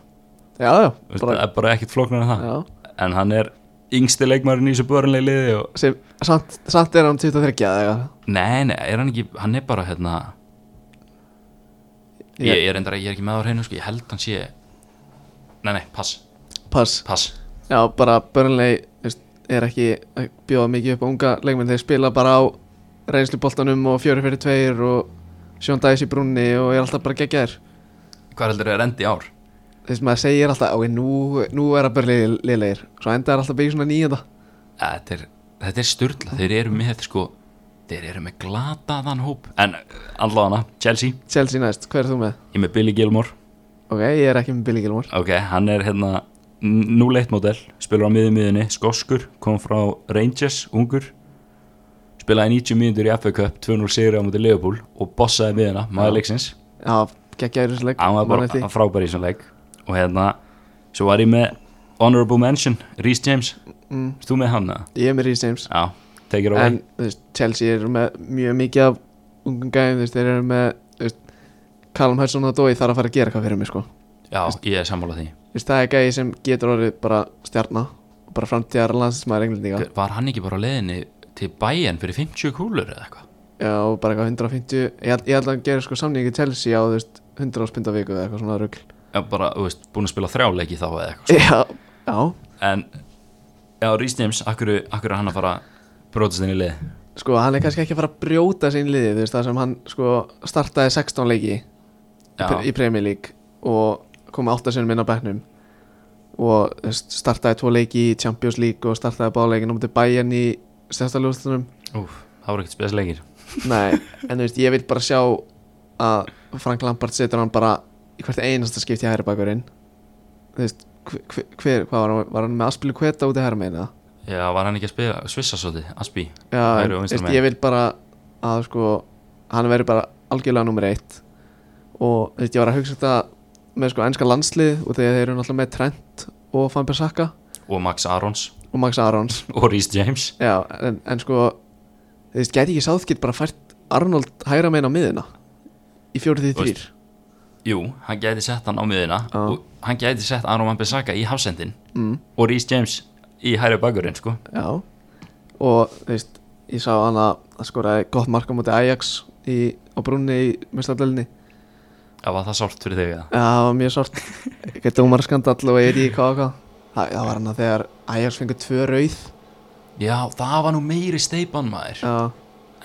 [SPEAKER 1] já, já,
[SPEAKER 2] Þú veist, Það
[SPEAKER 1] bara,
[SPEAKER 2] er bara ekkert flóknar en það
[SPEAKER 1] já.
[SPEAKER 2] En hann er yngsti leikmarinn í þessu börnlega liði og
[SPEAKER 1] Sem, samt, samt er hann 23 eða eitthvað
[SPEAKER 2] Nei, nei, er hann ekki, hann er bara hérna
[SPEAKER 1] Ég-
[SPEAKER 2] Ég, ég, er, endara, ég er ekki með á hreinu, sko, ég held hann sé Nei, nei, pass,
[SPEAKER 1] pass,
[SPEAKER 2] pass
[SPEAKER 1] já, bara Burnley veist, er ekki að bjóða mikið upp á unga leikmenn, þeir spila bara á reynsluboltanum og fjöri fyrir tveir og Sjón Dæs í brúnni og er alltaf bara geggjaðir
[SPEAKER 2] Hvað heldur er endi í ár?
[SPEAKER 1] þess maður segir alltaf, ok, nú, nú er að Burnley liðlegir, svo enda er alltaf bara í svona nýjönda
[SPEAKER 2] Æ, Þetta er, þetta er styrla, þeir eru með, sko Þeir eru með glataðan hóp En allavega Chelsea,
[SPEAKER 1] Chelsea næst, hver er þú með?
[SPEAKER 2] ég er með Billy Gilmore
[SPEAKER 1] ok, ég er ekki með Billy Gilmore
[SPEAKER 2] Ok, hann er hérna 0-1 model, spilur á miðum miðunni Skoskur, kom frá Rangers, ungur Spilaði 90 mínútur í FA Cup, 2-0 sigri á mútið Leopold Og bossaði miðuna,
[SPEAKER 1] Já.
[SPEAKER 2] maður leiksins
[SPEAKER 1] já, geggjaður í þessu leik
[SPEAKER 2] hann var
[SPEAKER 1] man eftir
[SPEAKER 2] bara
[SPEAKER 1] því.
[SPEAKER 2] frábær í þessum leik og hérna, svo var ég með honorable mention, Rhys James
[SPEAKER 1] Mm.
[SPEAKER 2] Erst þú með hann eða?
[SPEAKER 1] ég er með Reece James
[SPEAKER 2] Já, take it away
[SPEAKER 1] en þú veist, Chelsea eru með mjög mikið af ungum gæðum, þú veist, þeir eru með þú veist, Callum Hudson og Dói þarf að fara að gera eitthvað fyrir mig sko.
[SPEAKER 2] Já, ég er sammálað því
[SPEAKER 1] Þú veist, það er gæði sem getur orðið bara stjarna og bara framtíðar landsmaður englendinga
[SPEAKER 2] Var hann ekki bara á leiðinni til bæjan fyrir 50 kúlur eða eitthvað?
[SPEAKER 1] Já, og bara eitthvað 150 ég, held- ég held að hann gerir sko samningi Chelsea á þú veist, 100 áspinda viku eða eitthvað svona rugl
[SPEAKER 2] Já, bara, þú veist, búin að spila þrjá leiki þá eða eitthvað
[SPEAKER 1] Já, já
[SPEAKER 2] En, já, Rhys James, akkur, akkur er hann að fara brotast inn í lið
[SPEAKER 1] sko hann er kannski ekki að fara að brjóta sín liði þú veist, það sem hann sko startaði 16 leiki í pre-
[SPEAKER 2] Já,
[SPEAKER 1] í Premier League og kom 8 sinum inn á bekknum og þú veist, startaði tvo leiki í Champions League og startaði báleikin á mútið Bayern í stjæftaljóðstunum
[SPEAKER 2] úf, það voru ekkert spes leikir
[SPEAKER 1] Nei, en þú veist, ég vil bara sjá að Frank Lampard setur hann bara í hvert einasta skipti hægri bakurinn Þú veist, hver, hver hvað var hann, var hann með Aspilu Kveta út í hægri meina?
[SPEAKER 2] Já, var hann ekki að spila, svissa svo Aspi
[SPEAKER 1] Já,
[SPEAKER 2] Hægri
[SPEAKER 1] en,
[SPEAKER 2] og
[SPEAKER 1] þú
[SPEAKER 2] vinstri
[SPEAKER 1] veist,
[SPEAKER 2] megin.
[SPEAKER 1] ég vil bara að sko, hann verður bara algjörlega nummer eitt og þú veist, ég var að hugsa þetta með sko enska landslið og þegar þeir eru náttúrulega með Trent og Van Bissaka
[SPEAKER 2] og Max Arons
[SPEAKER 1] og Max Arons
[SPEAKER 2] og Rhys James
[SPEAKER 1] Já, en, en sko þú veist, gæti ekki sáðkitt bara fært Arnold hægra meina á miðina í fjórið því
[SPEAKER 2] Þú veist,
[SPEAKER 1] þrýr
[SPEAKER 2] Jú, hann gæti sett hann á miðina
[SPEAKER 1] Já.
[SPEAKER 2] og hann gæti sett Aron Van Bissaka í hafsendin
[SPEAKER 1] mm.
[SPEAKER 2] og Rhys James í hæri bakurinn sko.
[SPEAKER 1] Já Og þú veist, ég sá hann að skoraði gott marka múti Ajax í, á brunni í mestardölinni
[SPEAKER 2] Það var það sált fyrir þig eða?
[SPEAKER 1] Það var mjög sort Eitthvað dómarskandall og er í hvað og hvað Það það var hann að þegar Ajax fengur tvö rauð
[SPEAKER 2] Já, það var nú meiri steipan maður Já,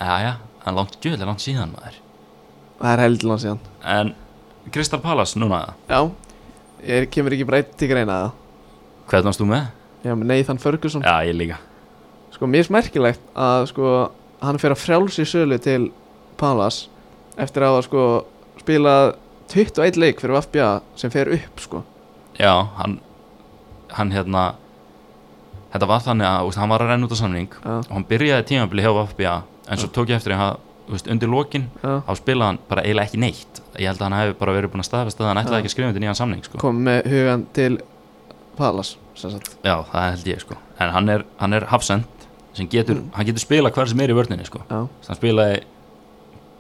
[SPEAKER 1] Já,
[SPEAKER 2] já, hann langt djöðlega langt síðan maður
[SPEAKER 1] það er heldur langt síðan
[SPEAKER 2] En Crystal Palace núna
[SPEAKER 1] Já, ég kemur ekki breytt til greina það
[SPEAKER 2] Hvernig varst þú með?
[SPEAKER 1] Já, með Nathan Ferguson
[SPEAKER 2] Já, ég líka
[SPEAKER 1] Sko, mér er smerkilegt að sko hann fer að frjálsi sölu til Palace eftir að hafa sko spilað 21 leik fyrir FBA sem fer upp sko
[SPEAKER 2] Já, hann, hann hérna Þetta var þannig að úst, hann var að renna út á samning
[SPEAKER 1] Já,
[SPEAKER 2] og hann byrjaði tímabili hjá FBA en svo tók ég eftir að úst, undir lokin
[SPEAKER 1] já
[SPEAKER 2] þá spilaði hann bara eiginlega ekki neitt ég held að hann hefði bara verið búin að staðfesta að hann ætlaði
[SPEAKER 1] Já.
[SPEAKER 2] ekki að skrifa undir nýjan samning sko.
[SPEAKER 1] kom með hugan til Palas
[SPEAKER 2] Já, það held ég sko En hann er, hann er hafsend sem getur,
[SPEAKER 1] Mm.
[SPEAKER 2] hann getur spila hver sem er í vörninni sko
[SPEAKER 1] Já,
[SPEAKER 2] Þannig hann spilaði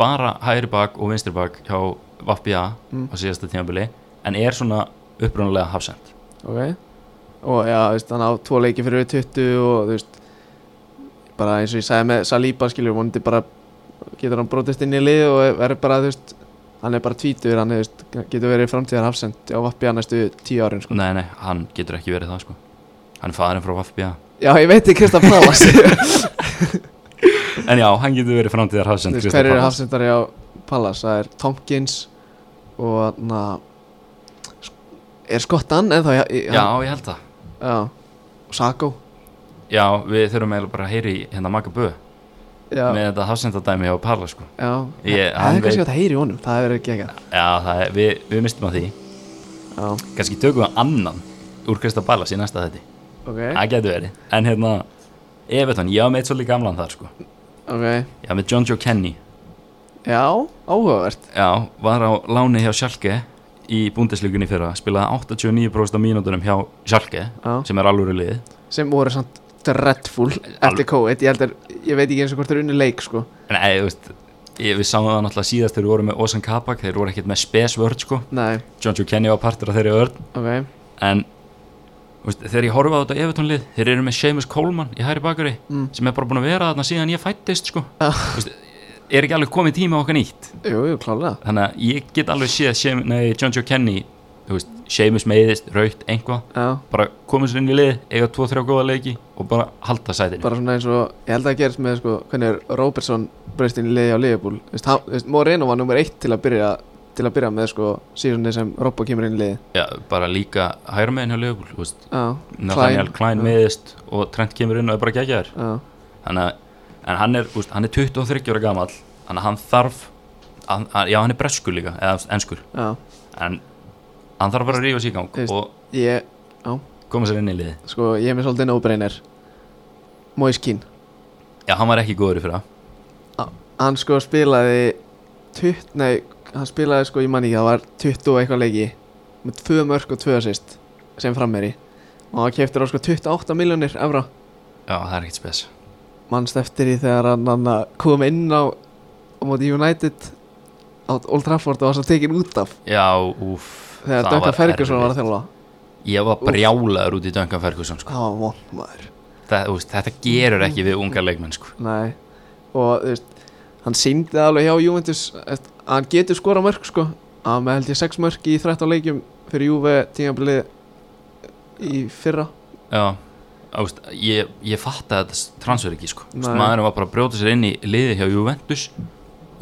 [SPEAKER 2] bara hægri bak og vinstri bak hjá Vapja
[SPEAKER 1] Mm.
[SPEAKER 2] á síðasta tímabili en er svona upprunalega hafsend
[SPEAKER 1] ok og já, þú veist, hann á tvo leiki fyrir 20 og þú veist bara eins og ég sagði með Saliba skiljum vonandi bara getur hann brotist inn í lið og verður bara, þú veist hann er bara tvítur, hann er, þú veist, getur verið framtíðar hafsend á Vapja næstu tíu árin sko.
[SPEAKER 2] Nei, nei, hann getur ekki verið það sko Hann er farinn frá Vapja
[SPEAKER 1] Já, ég veit ekki Kristaf Palas
[SPEAKER 2] En já, hann getur verið framtíðar hafsend
[SPEAKER 1] Hver eru hafsendari á Palas? Það er Tompkins og na, er Skottan ennþá í- í-
[SPEAKER 2] Já, ég held það
[SPEAKER 1] já. og Sako
[SPEAKER 2] Já, við þurfum eiginlega bara að heyri hérna Maka Bö
[SPEAKER 1] já.
[SPEAKER 2] með þetta hafsendadæmi hjá Parla sko
[SPEAKER 1] Já,
[SPEAKER 2] Ég-
[SPEAKER 1] það
[SPEAKER 2] hann
[SPEAKER 1] er kannski
[SPEAKER 2] veit-
[SPEAKER 1] hægt að heyra í honum, það er ekki ekki
[SPEAKER 2] Já, það er, við, við mistum að því
[SPEAKER 1] Já,
[SPEAKER 2] Kannski tökum við annan úr Krista Ballas í næsta þetti
[SPEAKER 1] ok,
[SPEAKER 2] það getur verið, en hérna Evertón, ég var með eitt svolítið gamlan þar sko
[SPEAKER 1] ok
[SPEAKER 2] ég var með John Joe Kenny
[SPEAKER 1] Já, áhugavert
[SPEAKER 2] Já, var á láni hjá Schalke í búndislugunni fyrra, spilaði 89% af mínútunum hjá Schalke
[SPEAKER 1] Já.
[SPEAKER 2] sem er alvöru liðið
[SPEAKER 1] Sem voru samt dreadful eftir COVID Ég, held að, ég veit ekki eins og hvort þeir unni leik sko
[SPEAKER 2] Nei, þú veist, ég, við sáum það náttúrulega síðast þegar við vorum með Ozan Kabak, þeir voru ekkert með spes vörd sko,
[SPEAKER 1] Nei,
[SPEAKER 2] John Joe Kenny var partur af þeirri vörd,
[SPEAKER 1] ok
[SPEAKER 2] en þú veist, þegar ég horfa á þetta efutónlið, þeir eru með Seamus Coleman í hæri bakari,
[SPEAKER 1] Mm.
[SPEAKER 2] sem er bara búin að vera þarna síðan ég fættist sko,
[SPEAKER 1] Já.
[SPEAKER 2] Þú veist, er ekki alveg komið tíma á okkar nýtt
[SPEAKER 1] Jú, jú, klálega
[SPEAKER 2] þannig að ég get alveg séð Seam- nei, John Joe Kenny, þú veist, Seamus meiðist, raut, einhvað
[SPEAKER 1] Já,
[SPEAKER 2] bara komið sér inn í lið, eiga 2-3 góða leiki og bara halda sætinu
[SPEAKER 1] bara svona eins og Ég held að það gerist með sko Hvernig er Robertson breystin í liði á Liverpool Veist, hann- veist, Moreno var nummer eitt til að byrja Til að byrja með sko Síðan sem Robbo kemur inn í liði
[SPEAKER 2] Já, bara líka hægra meðin hjá Leopold þú veist,
[SPEAKER 1] Já,
[SPEAKER 2] Nathaniel Klein
[SPEAKER 1] Já.
[SPEAKER 2] meðist og Trent kemur inn og er bara geggjaður
[SPEAKER 1] Já,
[SPEAKER 2] Þannig að, en hann er, þú veist, hann er 23 ára gamall þannig að hann þarf hann, hann- já, hann er breskur líka, eða enskur
[SPEAKER 1] já
[SPEAKER 2] en hann þarf bara að rífa sig í gang
[SPEAKER 1] Þú veist.
[SPEAKER 2] og
[SPEAKER 1] Ég,
[SPEAKER 2] koma sér inn í liði
[SPEAKER 1] sko, ég er með svolítið no-brainer Moise Keane
[SPEAKER 2] Já, hann var ekki góður í fyrra
[SPEAKER 1] hann sko spilaði tutt, nei, hann spilaði sko ég man ekki, það var 20 og eitthvað leiki með tvö mörg og tvö assist sem frammeri og hann keftir á sko 28 miljónir evra
[SPEAKER 2] Já, það er ekkert spes
[SPEAKER 1] mannst eftir því þegar hann, hann kom inn á, á móti United á Old Trafford og var svo tekin út af
[SPEAKER 2] Já, úff
[SPEAKER 1] þegar
[SPEAKER 2] það
[SPEAKER 1] Duncan Ferguson var að
[SPEAKER 2] erfitt.
[SPEAKER 1] þjálfa
[SPEAKER 2] Ég var brjálaður út í Duncan Ferguson sko.
[SPEAKER 1] það var vond maður
[SPEAKER 2] það, þú veist, Þetta gerur ekki við unga leikmenn sko.
[SPEAKER 1] nei. og þú veist hann síndi alveg hjá Juventus þú veist, hann getur skora mörg sko hann með held ég 6 mörg í 13 leikjum fyrir Juve tímabilið í fyrra
[SPEAKER 2] Já, á, veist, ég, ég fatt að þetta transfer ekki sko. Þú veist,
[SPEAKER 1] Nei.
[SPEAKER 2] maðurinn var bara að brjóta sér inn í liði hjá Juventus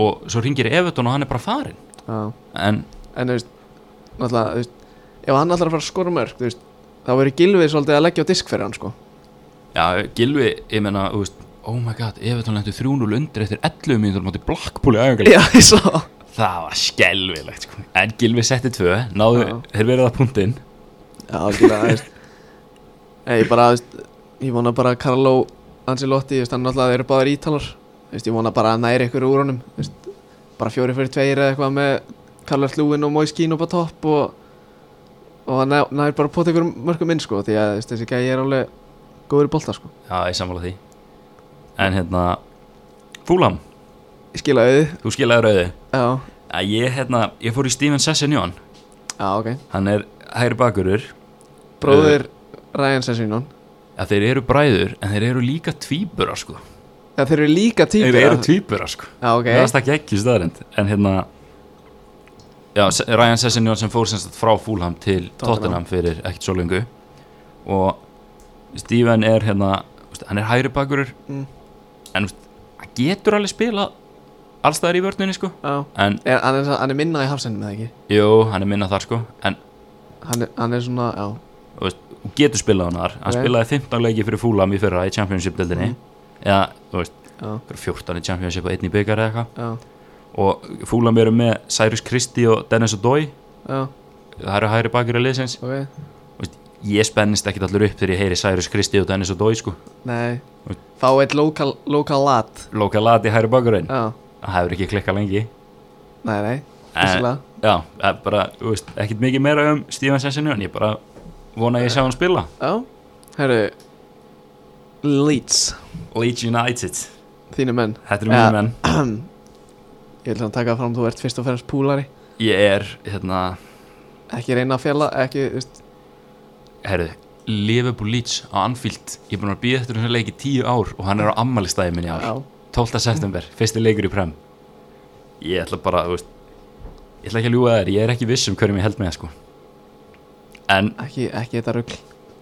[SPEAKER 2] og svo ringir Everton og hann er bara farinn
[SPEAKER 1] Já.
[SPEAKER 2] en
[SPEAKER 1] en þú veist náttúrulega þú veist ef hann ætlar að fara að skora mörg þú veist þá verður Gilvið svolítið að leggja á disk fyrir hann sko
[SPEAKER 2] já, Gilvi, ég menna þú veist, oh my god, Everton lendur 3-0 undir eftir 11 mínútur mátti Blackpool í æfingarleik
[SPEAKER 1] já ég sá
[SPEAKER 2] það var skelvilegt sko. en Gilvi setti tvö, náðu,
[SPEAKER 1] Já.
[SPEAKER 2] þeir verið að punktinn
[SPEAKER 1] já algjörlega þú veist Nei, ég bara þú veist ég vona bara að Carlo Ancelotti þú veist hann náttúrulega þeir eru báðir ítalar þú veist ég vona bara að næri ykkur úr honum þú veist bara fjóri fyrir tveir eða eitthvað með Carlos Lúin og Moise Keane upp á topp og og hann nær- nær bara að pota ykkur mörgum inn sko því að þú veist, þessi gæi er alveg góður í bolta sko
[SPEAKER 2] já, ég samfála því en hérna, Fúlam
[SPEAKER 1] ég skila auði
[SPEAKER 2] þú skilaði rauði
[SPEAKER 1] já
[SPEAKER 2] að ég, hérna, ég fór í Steven Sessignon
[SPEAKER 1] já ok
[SPEAKER 2] hann er hægri bakurur
[SPEAKER 1] bróðir Ryan Sessignon
[SPEAKER 2] að þeir eru bræður en þeir eru líka tvíburar sko
[SPEAKER 1] Já, þeir eru líka týpur
[SPEAKER 2] þeir eru tvíburar sko
[SPEAKER 1] Já, ok
[SPEAKER 2] okay. það stakki ekki staðarind en hérna já, Se- Ryan Sessignon sem fór semst frá Fulham til
[SPEAKER 1] Tottenham.
[SPEAKER 2] Tottenham fyrir ekkert svo lengu og Steven er hérna þú veist, hann er hægri bakurur
[SPEAKER 1] Mm.
[SPEAKER 2] en þú veist, hann getur alveg spila allstaðar í vörninni sko
[SPEAKER 1] Já
[SPEAKER 2] en
[SPEAKER 1] er, hann, er, hann er minna í hafsendum eða ekki
[SPEAKER 2] jú, hann er minna þar sko en
[SPEAKER 1] hann er, hann er svona, já
[SPEAKER 2] þú veist, og getur spilað hann þar hann
[SPEAKER 1] Ok. Mm.
[SPEAKER 2] spilaði 15 leiki fyrir Fulham í fyrra í Championship-deldinni eða, þú veist,
[SPEAKER 1] Já,
[SPEAKER 2] einhver 14 í Championship og 1 í byggar eða eitthvað
[SPEAKER 1] já,
[SPEAKER 2] og Fulham eru með Cyrus Christie og Dennis O'Doy
[SPEAKER 1] já,
[SPEAKER 2] það eru hægri bakir að liðsins
[SPEAKER 1] ok
[SPEAKER 2] ég spennist ekkit allur upp þegar ég heyri Cyrus Christie og Dennis O'Doy sko
[SPEAKER 1] Nei
[SPEAKER 2] Ok.
[SPEAKER 1] Fá eitt lokal, lokal lat
[SPEAKER 2] lokalati hægri bakurinn
[SPEAKER 1] Já,
[SPEAKER 2] það hefur ekki klikkað lengi
[SPEAKER 1] nei, nei
[SPEAKER 2] en,
[SPEAKER 1] Þessulega
[SPEAKER 2] já, það er bara, þú veist, ekkit mikið meira um Steven Sessinu en ég bara vona að ég sjá hann spila
[SPEAKER 1] Já Herru Leeds
[SPEAKER 2] Leeds United,
[SPEAKER 1] Þínu menn
[SPEAKER 2] þetta er mjög
[SPEAKER 1] Já.
[SPEAKER 2] menn
[SPEAKER 1] Ég vil svona taka fram Þú ert fyrst og fremst púlari
[SPEAKER 2] ég er, hérna,
[SPEAKER 1] Ekki reyna að fjalla Ekki, þú veist
[SPEAKER 2] herru Liverpool Leeds á Anfield ég er búin að býða eftir þessu leik í tíu ár og hann er á ammælistæði minni í ár
[SPEAKER 1] Já
[SPEAKER 2] 12. september, fyrsti leikur í prem ég ætla bara, þú veist ég ætla ekki að ljúga þér, ég er ekki viss um hverjum ég held með sko. en,
[SPEAKER 1] Ekki, ekki þetta rugl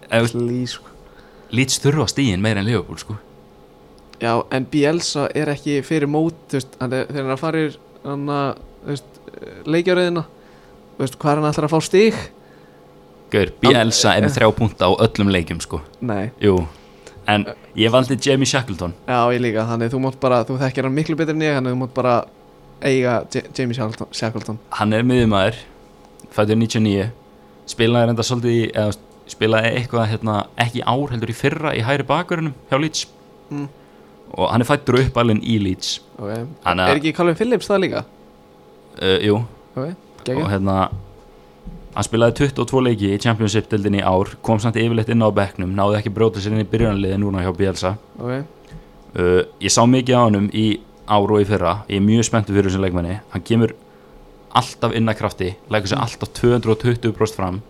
[SPEAKER 2] en þú veist,
[SPEAKER 1] Leeds sko
[SPEAKER 2] Leeds þurfa stíðin meira en Liverpool sko.
[SPEAKER 1] Já, en Bielsa er ekki fyrir mót þú veist, hann er, þegar hann farir hann að, þú veist, leikjaröðina þú veist, hvað er hann alltaf að fá stig?
[SPEAKER 2] Gaur, Bielsa er með þrjá punta á öllum leikjum sko.
[SPEAKER 1] Nei,
[SPEAKER 2] jú, en ég valdi Jamie Shackleton
[SPEAKER 1] já, ég líka þannig, þú mátt bara, þú þekkir hann miklu betur en ég þannig, þú mátt bara eiga J Jamie Shackleton, Shackleton.
[SPEAKER 2] hann er miðumæður fættur 99 spilaði reynda svolítið í, eða, þú veist, spilaði eitthvað hérna, ekki í ár heldur í fyrra í hæri bakverunum hjá Leeds
[SPEAKER 1] Mm.
[SPEAKER 2] og hann er fættur og uppalinn í Leeds
[SPEAKER 1] okay.
[SPEAKER 2] Þannig
[SPEAKER 1] Er
[SPEAKER 2] að,
[SPEAKER 1] ekki Calvin Phillips það líka?
[SPEAKER 2] uh, jú,
[SPEAKER 1] Okay.
[SPEAKER 2] og
[SPEAKER 1] geggjað.
[SPEAKER 2] hérna hann spilaði 22 leiki í Championship-dildinni í ár kom samt yfirleitt inn á bekknum náði ekki að brjóta sér inn í byrjanliði núna hjá Bielsa
[SPEAKER 1] Ok.
[SPEAKER 2] uh, ég sá mikið á hannum í ár og í fyrra ég er mjög spenntur fyrir þessum leikmanni hann kemur alltaf inn að krafti leikur
[SPEAKER 1] Mm.
[SPEAKER 2] sér alltaf 220% fram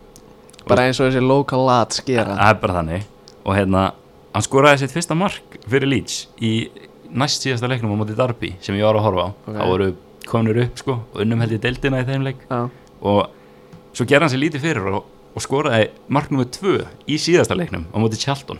[SPEAKER 1] Bara eins og þessi local lads gera
[SPEAKER 2] það er bara þannig og hérna, hann skoraði sitt fyrsta mark fyrir Leeds í næst síðasta leiknum á móti Darby sem ég var að horfa á
[SPEAKER 1] Ok.
[SPEAKER 2] þá voru konur upp sko og unnum held ég deildina í þeim leik
[SPEAKER 1] Já,
[SPEAKER 2] og svo gerði hann sér lítið fyrir og, og skoraði mark nummer 2 í síðasta leiknum á móti Charlton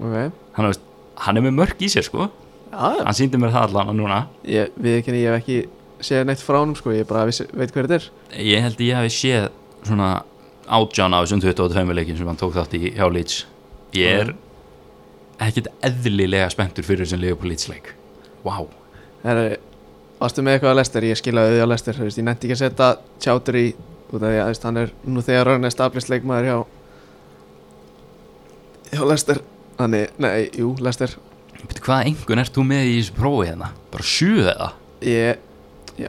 [SPEAKER 1] ok
[SPEAKER 2] hann, veist, hann er með mörk í sér sko
[SPEAKER 1] Já,
[SPEAKER 2] hann síndi mér það allan núna
[SPEAKER 1] ég, við ekki, ég hef ekki séð neitt frá honum sko, ég bara vissi, veit hver þetta er
[SPEAKER 2] ég held ég hafi séð svona átján af þessum 22 leikin sem hann tók þátt í hjá Leeds ég er ekkert eðlilega spenntur fyrir þessum Liverpool Leeds leik wow.
[SPEAKER 1] Herri, varstu með eitthvað að lestir? Ég skilaði því að lestir, þú veist, ég nefndi ekki að setja tjátur í, út af því að þú veist, hann er nú þegar hann er stablist leikmaður hjá hjá lestir Þannig, nei, jú, lestir
[SPEAKER 2] Bíddu, hvaða engun ert þú með í þessu prófi hérna bara sjö eða
[SPEAKER 1] Ég, já,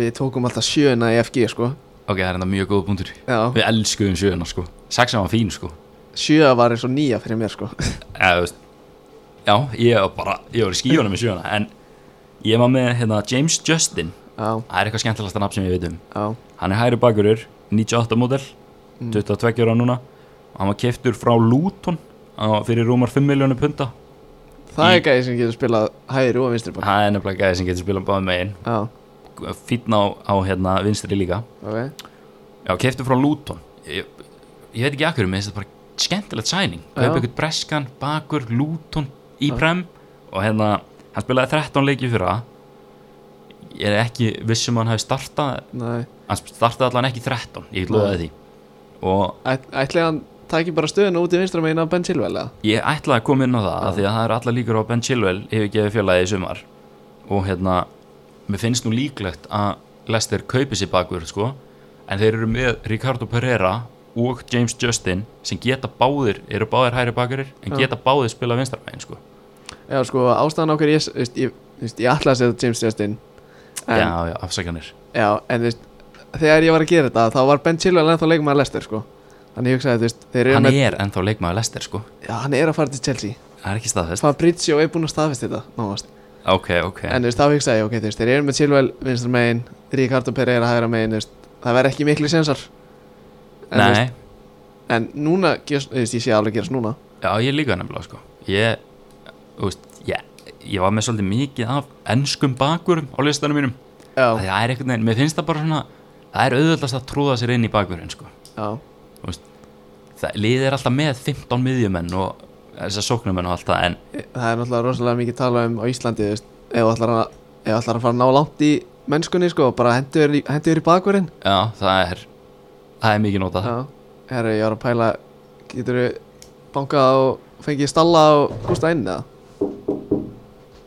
[SPEAKER 1] við tókum alltaf sjöna í FG sko
[SPEAKER 2] ok, það er enda mjög góð punktur
[SPEAKER 1] Já,
[SPEAKER 2] við elskuðum sjöuna sko saxan var fín sko
[SPEAKER 1] sjöa var eins og nýja fyrir mér sko
[SPEAKER 2] eða, þú veist, já, ég var bara ég var í skíunum með sjöuna en ég var með hérna, James Justin
[SPEAKER 1] Já,
[SPEAKER 2] það er eitthvað skemmtilegasta nafn sem ég veit um
[SPEAKER 1] já,
[SPEAKER 2] hann er hæri bakurur, 98 módel 22 ára núna og hann var keftur frá Luton á- fyrir rúmar 5 miljónu punta
[SPEAKER 1] það
[SPEAKER 2] Í-
[SPEAKER 1] er gæði sem getur spilað hægri og vinstri bara
[SPEAKER 2] það er nefnilega gæði sem getur spilað báðum megin
[SPEAKER 1] Já,
[SPEAKER 2] fýtna á, á hérna vinstri líka
[SPEAKER 1] ok,
[SPEAKER 2] já, keftur frá Luton ég, ég veit ekki akkur um þetta er bara skemmtilegt sæning
[SPEAKER 1] Já.
[SPEAKER 2] kaupa ykkur Breskan, Bakur, Luton í prem og hérna hann spilaði 13 leiki fyrir það ég er ekki vissum að hann hafi startað
[SPEAKER 1] nei
[SPEAKER 2] hann startaði allan ekki 13 ég get lofaði því og
[SPEAKER 1] Æt- Ætli hann taki bara stöðuna út í vinstra megin af Ben Silvel eða?
[SPEAKER 2] Ég ætlaði að koma inn á það af því að það er allar líkur á að Ben Chilwell hefur gefið félagið í sumar og hérna, mér finnst nú líklegt að Lester kaupi sér bakur sko, en þeir eru með Ricardo Pereira og James Justin sem geta báðir, eru báðir hæri bakurir en
[SPEAKER 1] Já.
[SPEAKER 2] geta báðir spila vinstarmæðin sko.
[SPEAKER 1] Já, sko, ástæðan okkur ég, veist, ég, veist, ég ætla að setja James Justin en,
[SPEAKER 2] Já,
[SPEAKER 1] já.
[SPEAKER 2] já, afsakanir
[SPEAKER 1] en veist, þegar ég var að gera þetta þá var Ben Chilwell ennþá leikmaður Lester sko. þannig ég hugsaði, þú veist, þeir eru
[SPEAKER 2] Hann
[SPEAKER 1] með,
[SPEAKER 2] er ennþá leikmaður Lester sko,
[SPEAKER 1] já, hann er að fara til Chelsea
[SPEAKER 2] það er ekki staðfest
[SPEAKER 1] Fabrizio er búinn að staðfist þetta náast.
[SPEAKER 2] Ok, ok,
[SPEAKER 1] en þú veist, þá hugsaði ég, ok, þú veist, þeir eru með Chilwell vinstra megin, Ricardo Pereira hægra megin þú veist, það verð ekki miklu sensar en, þú
[SPEAKER 2] nei,
[SPEAKER 1] en núna, gerst, þú veist, ég sé alveg gerast núna
[SPEAKER 2] já, ég líka nefnilega sko Ég, þú veist, ég, ég var með svolítið mikið af enskum bakurum á listanum mínum
[SPEAKER 1] já,
[SPEAKER 2] Af því það er einhvern veginn, mér finnst það bara svona það er auðvöldast að trúða sér inn í bakverðin sko.
[SPEAKER 1] já,
[SPEAKER 2] Þú veist, það liðið er alltaf með 15 miðjumenn og þessar sóknumenn og allt það en
[SPEAKER 1] það er náttúrulega rosalega mikið tala um á Íslandi, þú veist, ef þú ætlar að ef þú ætlar að fara að ná langt í mennskunni sko, bara hendur þér í, hendu þér í bakverðin
[SPEAKER 2] já, það er það er mikið notað
[SPEAKER 1] Já, herru, ég var að pæla Getur þú bankað og fengið stalla og gústa inn eða?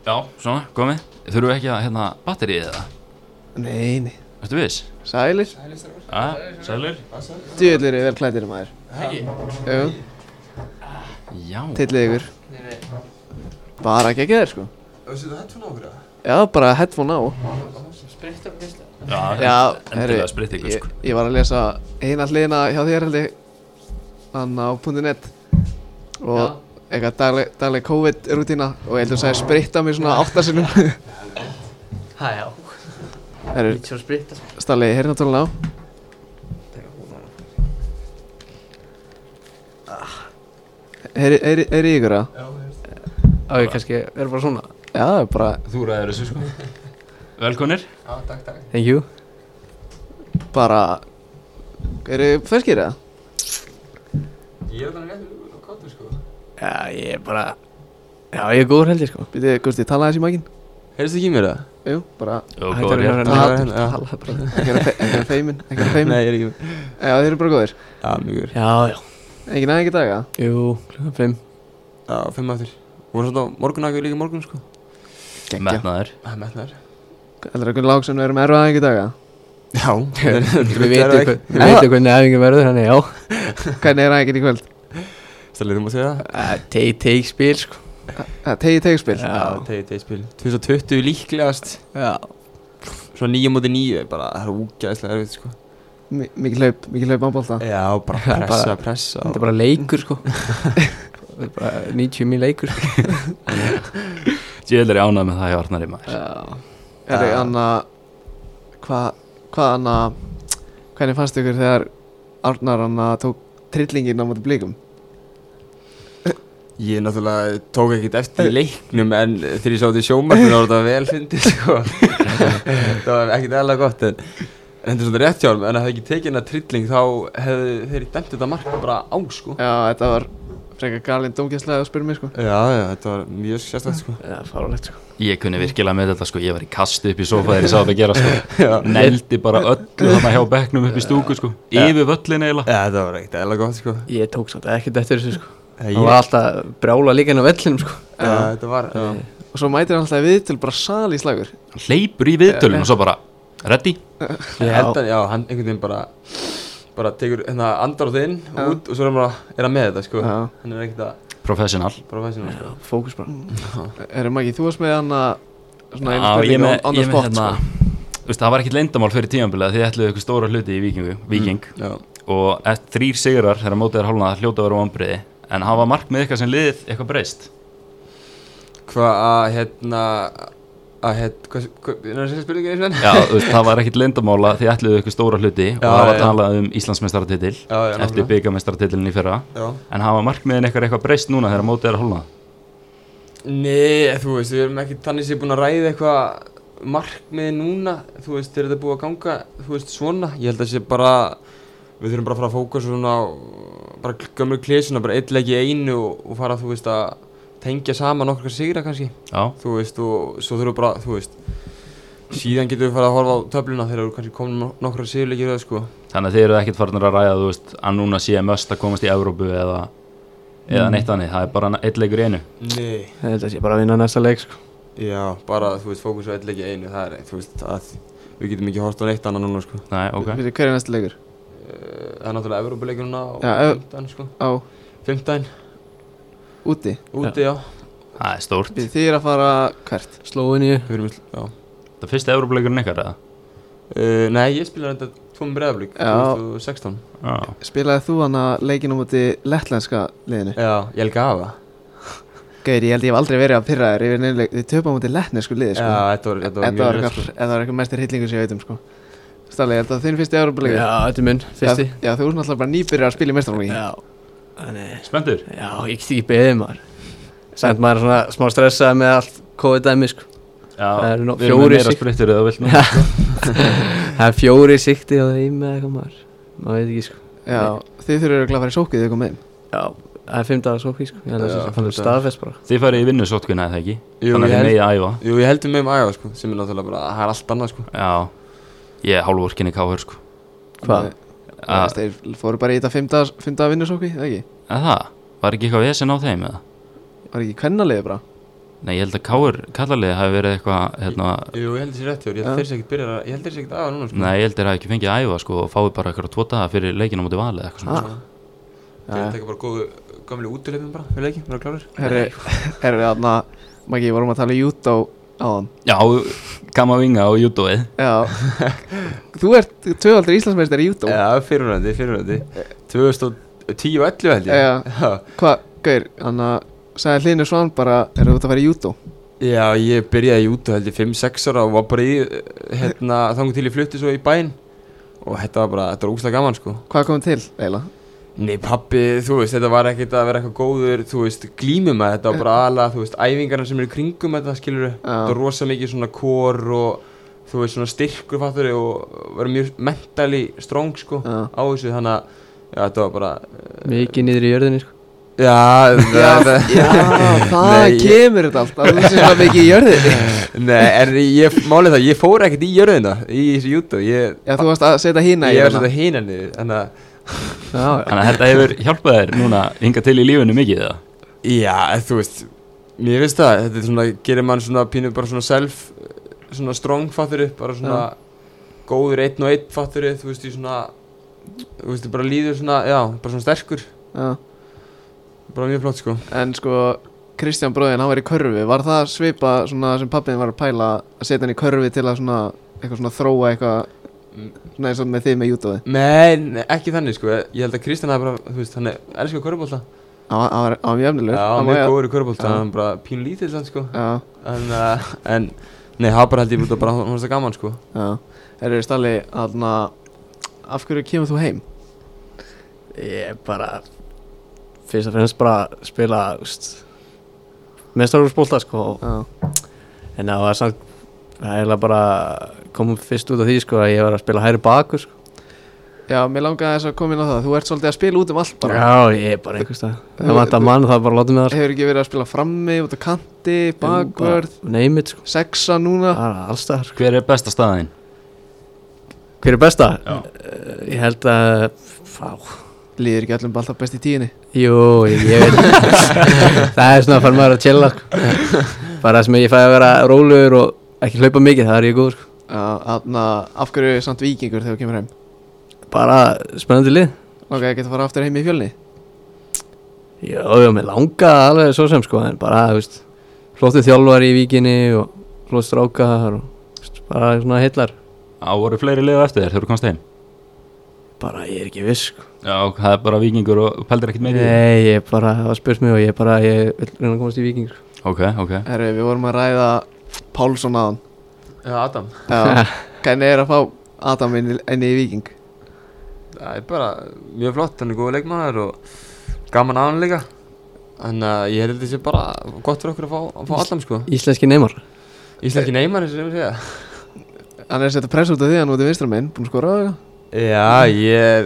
[SPEAKER 2] já, svona, komið þurfum við ekki að hérna batterið eða
[SPEAKER 1] Nei, nei
[SPEAKER 2] Ertu viss?
[SPEAKER 1] Sælir?
[SPEAKER 2] Já, sælur
[SPEAKER 1] Djöðlir er vel klættir maður Jú,
[SPEAKER 2] Já,
[SPEAKER 1] tillið ykkur Bara að gegja þér sko
[SPEAKER 4] Þú setur headphone á okkur eða?
[SPEAKER 1] Já, bara headphone á
[SPEAKER 2] já,
[SPEAKER 1] Já,
[SPEAKER 2] endilega spritt ykkur
[SPEAKER 1] ég,
[SPEAKER 2] sko.
[SPEAKER 1] ég var að lesa eina hliðina hjá þér held ég Hann á .net Og eitthvað dagleg, dagleg COVID-rútína Og ég held þú sagði spritta mig svona áttasinnum
[SPEAKER 5] Það já,
[SPEAKER 1] Herru,
[SPEAKER 5] lítið svo spritta sko.
[SPEAKER 1] Stalli, heyrðu náttúrulega á Ah. Heyri, heyri, heyri í ykkur að?
[SPEAKER 5] Á ég kannski, er bara svona
[SPEAKER 1] Já, bara,
[SPEAKER 2] Þú ræður þessu sko Velkonir
[SPEAKER 4] Já, takk, takk.
[SPEAKER 5] Thank you
[SPEAKER 1] bara Eru þið ferskir eða?
[SPEAKER 4] Ég er alveg rétt og kottur sko.
[SPEAKER 5] Já, ég er bara Já, ég er góður held ég sko
[SPEAKER 1] Býtið, Gusti, talaði þessi mækin?
[SPEAKER 4] Heyrðist ekki í mér það?
[SPEAKER 1] Jú, bara
[SPEAKER 2] Jó,
[SPEAKER 5] Hættu
[SPEAKER 2] góður
[SPEAKER 5] að
[SPEAKER 2] ég
[SPEAKER 5] vera-
[SPEAKER 1] Tala,
[SPEAKER 4] Nei, já.
[SPEAKER 1] tala bara Ekki vera fe- ekki vera feimin, ekki vera feimin
[SPEAKER 4] Nei, ég er ekki með.
[SPEAKER 1] Já, þeir eru bara góðir
[SPEAKER 4] Já, mjög góður.
[SPEAKER 5] Já, já,
[SPEAKER 1] Ekki næði ekki daga
[SPEAKER 5] jú, klukkan 5
[SPEAKER 4] Já, fimm aftur. Vorum svona á morgunakur líka í morgun sko.
[SPEAKER 1] Gekkja
[SPEAKER 2] Metnaður
[SPEAKER 4] Það er metnar.
[SPEAKER 1] Heldur að Gunnar Láksson verður með erfað ekki daga? Já,
[SPEAKER 5] Við
[SPEAKER 4] Drukkar
[SPEAKER 5] veitum
[SPEAKER 4] vegg.
[SPEAKER 5] hvern- við veitum hvernig æfingin verður Þannig já
[SPEAKER 1] hvernig er ægin í kvöld?
[SPEAKER 4] Stærlega þú má segja það
[SPEAKER 5] Eh, Take, take spil sko
[SPEAKER 1] Það tegi tegi spil
[SPEAKER 5] Já,
[SPEAKER 4] Tegi, tegi spil 2020 líklegast
[SPEAKER 5] já
[SPEAKER 4] Svo nýja móti nýju Bara það er úgæðislega erfitt sko
[SPEAKER 1] Mi- Mikið hlaup, mikið hlaup ábólta
[SPEAKER 4] Já, bara
[SPEAKER 5] Það er
[SPEAKER 4] pressa,
[SPEAKER 5] bara-
[SPEAKER 4] pressa
[SPEAKER 5] Þetta er bara leikur sko Þetta er bara 90 mil leikur sko.
[SPEAKER 2] Ég er ánað með það hjá Arnari maður
[SPEAKER 1] Er það anna Hvað, hvað anna Hvernig fannst ykkur þegar Arnar anna tók trillingin á móti blíkum?
[SPEAKER 4] Ég náttúrulega tók ekkert eftir í leiknum en þegar ég sá þetta í sjómarfinu var þetta vel fyndið sko Það var ekkert eðalega gott en en þetta er svona rétt hjá honum, en að það ekki tekið hennar trilling þá hefðu þeir dæmt þetta mark bara á sko
[SPEAKER 1] Já, þetta var frekar galinn dómgæslega að spyrja mig sko
[SPEAKER 4] Já, já, þetta var mjög sérstætt sko
[SPEAKER 5] Það er fárlegt sko
[SPEAKER 2] Ég kunni virkilega með þetta sko, ég var í kastu upp í sofa þegar ég sá þetta að gera
[SPEAKER 4] Já.
[SPEAKER 2] sko Neldi bara öllu þarna hjá bekknum upp í stúku sko Yfir völlin eiginlega
[SPEAKER 4] Já, þetta var ekkert eðalega gott sko
[SPEAKER 5] Ég tók samt ekkert eftir þessu sko
[SPEAKER 4] ég,
[SPEAKER 5] Það var alltaf brjála líka inn á vellinum sko
[SPEAKER 4] Já, þetta var já.
[SPEAKER 1] Og svo mætir hann alltaf við til bara sali í slagur
[SPEAKER 2] Hleypur í viðtölun og svo bara Ready?
[SPEAKER 4] Ég held að, já, hann einhvern veginn bara bara tekur hérna andar á þinn
[SPEAKER 1] Já.
[SPEAKER 4] út og svo er hann bara er hann með þetta sko
[SPEAKER 1] Já.
[SPEAKER 4] Hann er ekkert að
[SPEAKER 2] Professional
[SPEAKER 4] professional sko
[SPEAKER 5] Fókus bara
[SPEAKER 1] Erum ekki, þú varst með hann að Svona einu
[SPEAKER 2] Já, ég
[SPEAKER 1] spurningu
[SPEAKER 4] um
[SPEAKER 2] með,
[SPEAKER 1] on- on the
[SPEAKER 2] ég með
[SPEAKER 1] spot
[SPEAKER 2] hérna
[SPEAKER 1] sko
[SPEAKER 2] Þú veist, það var ekkit leyndamál fyrir tímanbilað Þið ætluðu ykkur stóra hluti í Víkingu, Víking
[SPEAKER 4] Mm. Já,
[SPEAKER 2] Og eftir þrýr sigrar þegar mótið er hálfnað hljóta að vera vombriði En hafa markmið eitthvað sem liðið eitthvað breyst
[SPEAKER 4] Hvað að hérna að hérna, hvað, hvað, er það sér spurningi eins og enn?
[SPEAKER 2] Já, þú veist, það var ekkit leyndamála því ætluðu ykkur stóra hluti og
[SPEAKER 4] Já,
[SPEAKER 2] það var
[SPEAKER 4] já.
[SPEAKER 2] talað um Íslandsmeistaratitil
[SPEAKER 4] Já, já,
[SPEAKER 2] eftir
[SPEAKER 4] nákvæmlega.
[SPEAKER 2] byggamestaratitilin í fyrra
[SPEAKER 4] Já.
[SPEAKER 2] en hafa markmiðin eitthvað eitthvað breyst núna þegar mótið er að hólna
[SPEAKER 4] Nei, þú veist, við erum ekki þannig sem búin að ræða eitthvað markmið núna, þú veist, er þetta búið að ganga, þú veist, svona, ég held að sé bara, við þurfum bara að fara að fókusa svona á bara gömur klísuna, bara eitt leik í einu og, og fara, þú veist, að tengja saman okkur sigra kannski,
[SPEAKER 2] Já,
[SPEAKER 4] þú veist, og svo þurfum við bara, þú veist, síðan getum við fara að horfa á töfluna þegar við kannski komum nokkra sigurleikir eða sko.
[SPEAKER 2] þannig að þið eru ekkit farnir að ræða þú veist, að núna sé möst að komast í Evrópu eða, eða
[SPEAKER 5] Mm.
[SPEAKER 2] neitt annir, það er bara eitt leikur í einu
[SPEAKER 4] Nei.
[SPEAKER 5] Ég held að sé bara að vinna næsta leik sko
[SPEAKER 4] Já, bara, þú veist, fókus á eitthvað ekki einu, það er, þú veist, að við getum ekki hort á neitt annað núna, sko.
[SPEAKER 2] Nei, ok,
[SPEAKER 1] Fyrir hver er næsti leikur?
[SPEAKER 4] Eh, Það er náttúrulega Evrópuleikur núna á
[SPEAKER 1] Já, ev-
[SPEAKER 4] 15, sko.
[SPEAKER 1] Á,
[SPEAKER 4] 15,
[SPEAKER 1] úti
[SPEAKER 4] úti, já.
[SPEAKER 2] það er stórt
[SPEAKER 1] Við þið er að fara hvert?
[SPEAKER 5] Slóinju
[SPEAKER 4] Við erum, í sl- já.
[SPEAKER 2] Það fyrst Evrópuleikurinn ykkar eða?
[SPEAKER 4] Uh, nei, ég spilaði þetta tvo með breðaflík,
[SPEAKER 1] Já.
[SPEAKER 4] 2016.
[SPEAKER 2] Já,
[SPEAKER 1] Spilaði þú hann að leikinu múti lettlenska liðinu?
[SPEAKER 4] Já, ég helga hafa.
[SPEAKER 1] Gauður, ég held ég hef aldrei verið að pyrra þér yfir neinu leik Þið töpa múti lettnesku liði sko
[SPEAKER 4] Já, þetta var, þetta
[SPEAKER 1] Þetta var
[SPEAKER 4] var
[SPEAKER 1] hérna.
[SPEAKER 4] mjög rétt,
[SPEAKER 1] eitthvað,
[SPEAKER 4] sko.
[SPEAKER 1] þetta var eitthvað mestir hitlingu sem ég veit um sko Stalli, er þetta þinn fyrsti Európa-leikur?
[SPEAKER 5] Já, þetta er minn, fyrsti
[SPEAKER 1] Já, þú ert náttúrulega bara nýbyrjar að spila í mestarfólki
[SPEAKER 5] Já Þannig
[SPEAKER 2] spenntur
[SPEAKER 5] Já, ég get ekki beðið maður Sænt maður er svona smá stressað með allt COVID-dæmi sko
[SPEAKER 2] Já,
[SPEAKER 5] Það eru nú
[SPEAKER 2] við erum með
[SPEAKER 5] fjórir
[SPEAKER 2] meira
[SPEAKER 5] sig-
[SPEAKER 2] sprittur eða vilt nú
[SPEAKER 5] Já. Það er fjóri sikti á þeim eða eitthvað maður Maður veit ekki sko
[SPEAKER 1] Já, þið þurfum að fara í sókið þegar komið heim
[SPEAKER 5] Já, það er fimm dagar sókví sko Ég held að
[SPEAKER 4] Já,
[SPEAKER 5] það sé
[SPEAKER 4] fimm
[SPEAKER 5] fann
[SPEAKER 4] dagar.
[SPEAKER 5] staðfest bara
[SPEAKER 2] Þið farið í vinnu sótkuna eða ekki?
[SPEAKER 4] Jú,
[SPEAKER 2] Þannig að
[SPEAKER 4] ég
[SPEAKER 2] þið
[SPEAKER 4] held-
[SPEAKER 2] megið að æfa
[SPEAKER 4] Jú, ég heldur með um æfa, sko, sem er náttúrulega bara, það er allt annað, sko.
[SPEAKER 2] Já, ég er hálfvorkinni káhör sko
[SPEAKER 5] Hvað?
[SPEAKER 1] Ah. Þeir fóru bara í þetta fimm daga- fimm daga vinnusóki, eða ekki?
[SPEAKER 2] Að það, var ekki eitthvað vesen á þeim eða?
[SPEAKER 1] Var ekki kvennaliði bara?
[SPEAKER 2] Nei, ég held að káhör kallarlið hafi verið eitthvað hérna,
[SPEAKER 4] Jú, ég heldur sér rétt, hjá þér, ég
[SPEAKER 1] Já.
[SPEAKER 4] held þeir sér ekkert byrjar að, ég heldur þeir sér ekkert aða núna, sko.
[SPEAKER 2] Nei, ég held þeir hafi ekki fengið að æfa sko og fáið bara eitthvað tvo daga fyrir leikina mútið valið eitthvað svona
[SPEAKER 1] Ah.
[SPEAKER 2] sko.
[SPEAKER 4] Þeir tekja bara góðu, gamli útileipin bara, fyrir leiki, vera klárir.
[SPEAKER 1] Herri, herri, þarna, Maggi, vorum að tala í jútó á hann
[SPEAKER 2] Já, Kamavinga og Júdóið
[SPEAKER 1] Já, þú ert tvöaldri Íslandsmeistar í jútó
[SPEAKER 4] Já, fyrirhundandi, fyrirhundandi 2010 og 11 held ég
[SPEAKER 1] Eh. Já.
[SPEAKER 4] Já.
[SPEAKER 1] Hvað, Gaur, hann að sagði Hlynur Svan bara, er þú út að fara í jútó?
[SPEAKER 4] Já, ég byrjaði í út og held ég 5-6 ára og var bara í, hérna, þangu til ég flutti svo í bæinn og þetta var bara, þetta var úslega gaman sko
[SPEAKER 1] Hvað kom til, eiginlega?
[SPEAKER 4] Nei pappi, þú veist, þetta var ekkert að vera eitthvað góður, þú veist, glímum að þetta var bara aðalega, þú veist, æfingarna sem eru í kringum þetta, skilur þetta var rosa mikið svona kor og, þú veist, svona styrkur fattur og vera mjög mentally strong, sko,
[SPEAKER 1] Já.
[SPEAKER 4] á þessu, þannig að, já, þetta var bara,
[SPEAKER 5] Mikið niður í jörðinni sko
[SPEAKER 4] Já, já,
[SPEAKER 1] Já, það
[SPEAKER 4] Nei, ég-
[SPEAKER 1] kemur þetta allt, að þú sem var mikið í jörðinni
[SPEAKER 4] Nei, en ég, málið það, ég fór ekkert í jörðina í þessu jútu Ég,
[SPEAKER 1] Já, þú varst að setja hína í hérna.
[SPEAKER 4] ég var
[SPEAKER 1] jörðina.
[SPEAKER 4] þetta hína niður Þannig að,
[SPEAKER 5] Já,
[SPEAKER 2] Þannig að þetta hefur hjálpað þér núna hinga til í lífinu mikið eða?
[SPEAKER 4] já, en þú veist Mér finnst það, þetta er svona, gerir mann svona pínu bara svona self Svona strong fattur upp, bara svona góður einn og einn fattur þú veist, í svona þú veist, bara líður svona, já, bara svona sterkur
[SPEAKER 1] já.
[SPEAKER 4] bara mjög flott sko
[SPEAKER 1] En sko, Kristján bróðin, hann var í körfi Var það svipa svona sem pappiðin var að pæla að setja hann í körfi til að svona eitthvað svona þróa eitthvað
[SPEAKER 4] Mm.
[SPEAKER 1] svona eins og með þið með jútóði
[SPEAKER 4] Nei, nei, ekki þannig sko, ég held að Kristján hafi bara, þú veist, hann er elskar körubólta
[SPEAKER 1] Hann var- hann var hann var mjög efnilegur
[SPEAKER 4] Já,
[SPEAKER 1] Hann
[SPEAKER 4] hann
[SPEAKER 1] var
[SPEAKER 4] er
[SPEAKER 1] mjög-
[SPEAKER 4] góður í körubólta,
[SPEAKER 1] Já.
[SPEAKER 4] hann er bara pínu lítið sann sko
[SPEAKER 1] Já,
[SPEAKER 4] En, uh, en, nei, það bara held ég út að bara, hann var það gaman sko
[SPEAKER 1] já Erður Stalli, hann Af hverju kemur þú heim?
[SPEAKER 5] Ég bara Fyrst og fremst bara að spila úst, Mestarúrspólta sko og-
[SPEAKER 1] Já,
[SPEAKER 5] En það var samt Það er eiginlega bara Komum fyrst út af því sko að ég var að spila hæri bakur sko.
[SPEAKER 1] já mér langaði þess að koma inn á það Þú ert svolítið að spila út um allt bara Eh,
[SPEAKER 5] Já, ég er bara einhverstað
[SPEAKER 1] Þú-
[SPEAKER 5] Það vant
[SPEAKER 1] þú-
[SPEAKER 5] að mann það er bara að láta mig sko. það
[SPEAKER 1] Hefur ekki verið að spila frammi, út á kanti, bakvörð
[SPEAKER 5] Neymit sko
[SPEAKER 1] Sexa núna
[SPEAKER 5] Það er allstaðar sko.
[SPEAKER 2] Hver er besta staðin?
[SPEAKER 5] Hver er besta?
[SPEAKER 2] Já.
[SPEAKER 5] Eh, Ég held að Fá
[SPEAKER 1] Líður ekki allum alltaf best í tíðinni
[SPEAKER 5] Jú, ég ég veit Það er svona að fara maður að chilla sko. Bara sem ég fæ að vera rólegur og ekki hlaupa mikið, það er ég góður sko.
[SPEAKER 1] Já, þarna, af hverju samt vikingur þegar þú kemur heim?
[SPEAKER 5] Bara spennandi lið
[SPEAKER 1] Langaði ekki að fara aftur heim í fjölni?
[SPEAKER 5] Jú, já, mér langaði alveg svo sem sko, en bara, þú veist flóttu þjálfar í víkinni og flóttu strákar og þú veist, bara svona heillar
[SPEAKER 2] Á voru fleiri liða eftir þér þegar þú komst heim?
[SPEAKER 5] Bara, ég er ekki viss sko.
[SPEAKER 2] Já, það er bara vikingur og og pældir ekkert meiri í því.
[SPEAKER 5] Nei, ég bara, það var spurt mig og ég bara, ég vil reyna að komast í víking sko.
[SPEAKER 2] Ok, ok
[SPEAKER 1] Herru, við vorum að ræða Pálsson aðan
[SPEAKER 4] Já, Adam
[SPEAKER 1] Já, Hvernig er að fá Adam inn í, inn í viking?
[SPEAKER 4] Það er bara mjög flott, hann er góð leikmaður og gaman að hann líka Þannig að ég held þessi bara gott fyrir okkur að fá, að fá allam sko
[SPEAKER 5] Íslenski neymar
[SPEAKER 4] Íslenski neymar eins og ég vil segja
[SPEAKER 1] Hann er að setja press út af því hann út í vinstra minn Búin að skora á það
[SPEAKER 4] Já, ég er,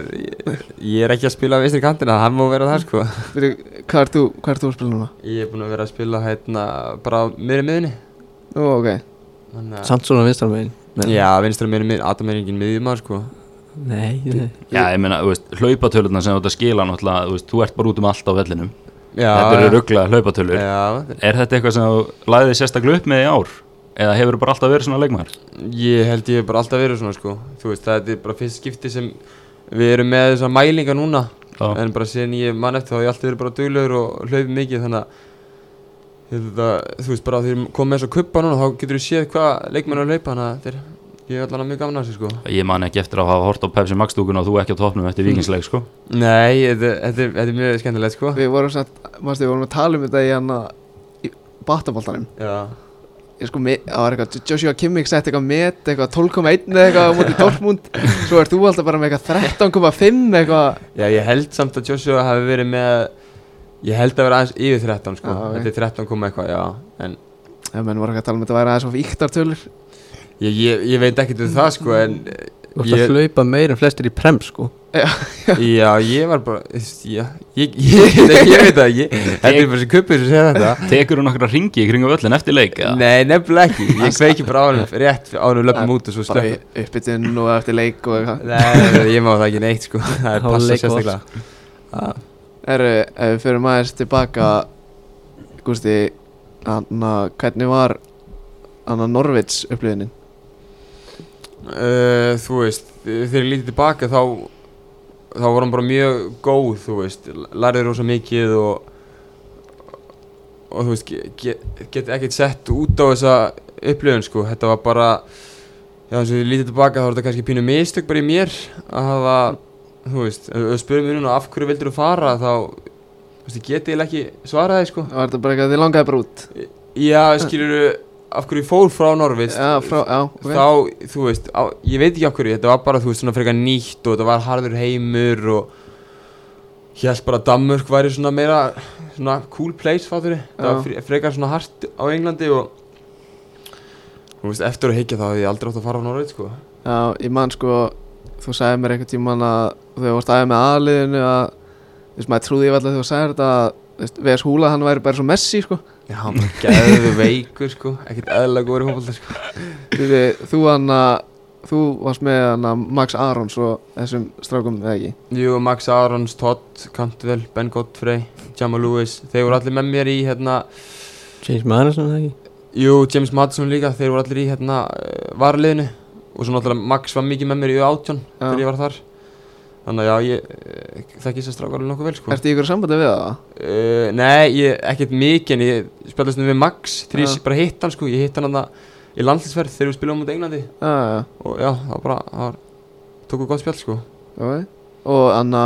[SPEAKER 4] ég, ég er ekki að spila vinstri kantina, hann má vera það sko
[SPEAKER 1] Byrju, Hvað ert þú, hvað ert þú að spila núna?
[SPEAKER 4] Ég er búinn að vera að spila hérna bara miðri miðunni
[SPEAKER 1] Nú, ok
[SPEAKER 4] Þannig að-
[SPEAKER 5] Samt svona vinstra megin
[SPEAKER 4] Já, vinstra miðri miðunni, Adam er engin miðjumar sko
[SPEAKER 5] Nei, nei
[SPEAKER 2] Já, ég meina, þú veist, hlaupatölunar sem þú ert að skila náttúrulega, þú veist, þú ert bara út um allt á vellinum
[SPEAKER 4] Já,
[SPEAKER 2] Þetta eru rugglaða hlaupatölur
[SPEAKER 4] Já, þetta er-
[SPEAKER 2] Er þetta eitthvað sem þú lagði sérstaklega upp með í ár? Eða hefur þú bara alltaf verið svona leikmaður?
[SPEAKER 4] ég held ég hef bara alltaf verið svona sko Þú veist, það er bara fyrst skipti sem við erum með þessar mælingar núna
[SPEAKER 2] Já,
[SPEAKER 4] En bara síðan ég mann eftir þá hef ég alltaf verið bara duglegur og hlaupið mikið þannig að þetta, Þú veist bara þegar komið með þess að kuppa núna þá getur þú séð hvað leikmenn er að hlaupa Þannig að þetta er, ég er allan mjög gaman að þessu sko
[SPEAKER 2] ég man ekki eftir að hafa hort á Pepsi Max-dúkun og þú ekki á topnum eftir vikingsleik, sko
[SPEAKER 4] Nei, þetta, þetta, er- þetta er mjög skemmtilegt sko
[SPEAKER 1] Við vorum satt, mástu, við vorum að tala um þetta í hann í bataboltanum
[SPEAKER 4] Já
[SPEAKER 1] Ég sko, me- það var eitthvað, Joshua Kimmich sett eitthvað met, eitthvað 12,1 eða eitthvað á móti Dortmund Svo ert þú alltaf bara með eitthvað 13,5 eitthvað
[SPEAKER 4] Já, ég held samt að Joshua hafi verið með Ég held að vera aðeins yfir 13 sko
[SPEAKER 1] Já, ok.
[SPEAKER 4] Þetta er 13 koma eitthvað, já En
[SPEAKER 1] Já, menn voru eitthvað að tala um þetta væri aðeins of íktartölur
[SPEAKER 4] ég, ég, ég veit ekkert um það sko En
[SPEAKER 5] Þú ert
[SPEAKER 4] ég,
[SPEAKER 5] að hlaupa meir en flestir í prem sko
[SPEAKER 4] já, ég var bara þess- Já, ég, ég, ég, ég veit það ég, Þetta er bara sem kuppið sem segir þetta
[SPEAKER 2] Tekur þú nokkra ringi í kringu völlin eftir leik? eða?
[SPEAKER 4] Nei, nefnilega ekki Ég kveiki bara á honum rétt á honum löpum út og svo
[SPEAKER 1] Bara í
[SPEAKER 4] slöpp
[SPEAKER 1] uppbytun og eftir leik og eitthvað
[SPEAKER 4] Nei, nei, nei, ég má það ekki neitt sko Það er passa
[SPEAKER 5] Hálfleik og allt.
[SPEAKER 4] sérstaklega
[SPEAKER 1] Herru, ef við förum aðeins tilbaka Gústi Anna, hvernig var Anna Norvits upplifunin?
[SPEAKER 4] Uh, þú veist, þegar ég lítið tilbaka þá þá var hann bara mjög góð, þú veist, lærði rosa mikið og og þú veist, ge- ge- get ekkert sett út á þessa upplöfun sko, þetta var bara já, eins og ég lítið tilbaka þá var þetta kannski pínu mistök bara í mér að hafa, þú veist, ef þú spurði mér núna af hverju vildur þú fara þá þú veist, ég geti eiginlega ekki svaraði sko
[SPEAKER 1] Var þetta bara eitthvað þið langaði bara út?
[SPEAKER 4] já, skilur af hverju ég fór frá Norvist
[SPEAKER 1] Já, frá, já, ok
[SPEAKER 4] þá, þú veist, á, ég veit ekki af hverju, þetta var bara, þú veist, svona frekar nýtt og þetta var harður heimur og held bara að Danmörk væri svona meira, svona cool place, fattur þetta var
[SPEAKER 1] Já.
[SPEAKER 4] fre- frekar svona hart á Englandi og þú veist, eftir að higgja þá hefði ég aldrei átt að fara á Norrið, sko
[SPEAKER 1] Já, ég man sko Þú sagði mér einhvern tímann að Þegar þú varst aðeins með aðliðinu að Þú veist, maður trúði ég alltaf þegar þú sagði þetta að Þú veist, Vegas Húla, hann væri bara svo Messi, sko
[SPEAKER 4] Já, hann bara geðu veikur, sko, ekkert eðla góður í fólkvölda, sko
[SPEAKER 1] Þú, veist, þú hann Þú varst með hann Max Arons og þessum strákum, eða ekki?
[SPEAKER 4] Jú, Max Arons, Todd, Cantwell, Ben Godfrey, Jamal Lewis, þeir voru allir með mér í, hérna,
[SPEAKER 5] James Madison, það ekki?
[SPEAKER 4] Jú, James Madison líka, þeir voru allir í hérna uh, varliðinu og svo náttúrulega Max var mikið með mér í átjón þegar
[SPEAKER 1] Já.
[SPEAKER 4] ég var þar þannig að já, ég eh, þekki þess að stráka alveg nokkuð vel sko.
[SPEAKER 1] Ertu í ykkur sambandi við það?
[SPEAKER 4] Uh, nei, ég, ekkert mikið en ég spjallast um við Max þegar
[SPEAKER 1] Já.
[SPEAKER 4] ég bara hitt hann sko, ég hitt hann þarna í landslýsferð þegar við spilum út Englandi
[SPEAKER 1] Já, já,
[SPEAKER 4] og já, það var bara, það var, tók við gott spjall sko
[SPEAKER 1] já Og anna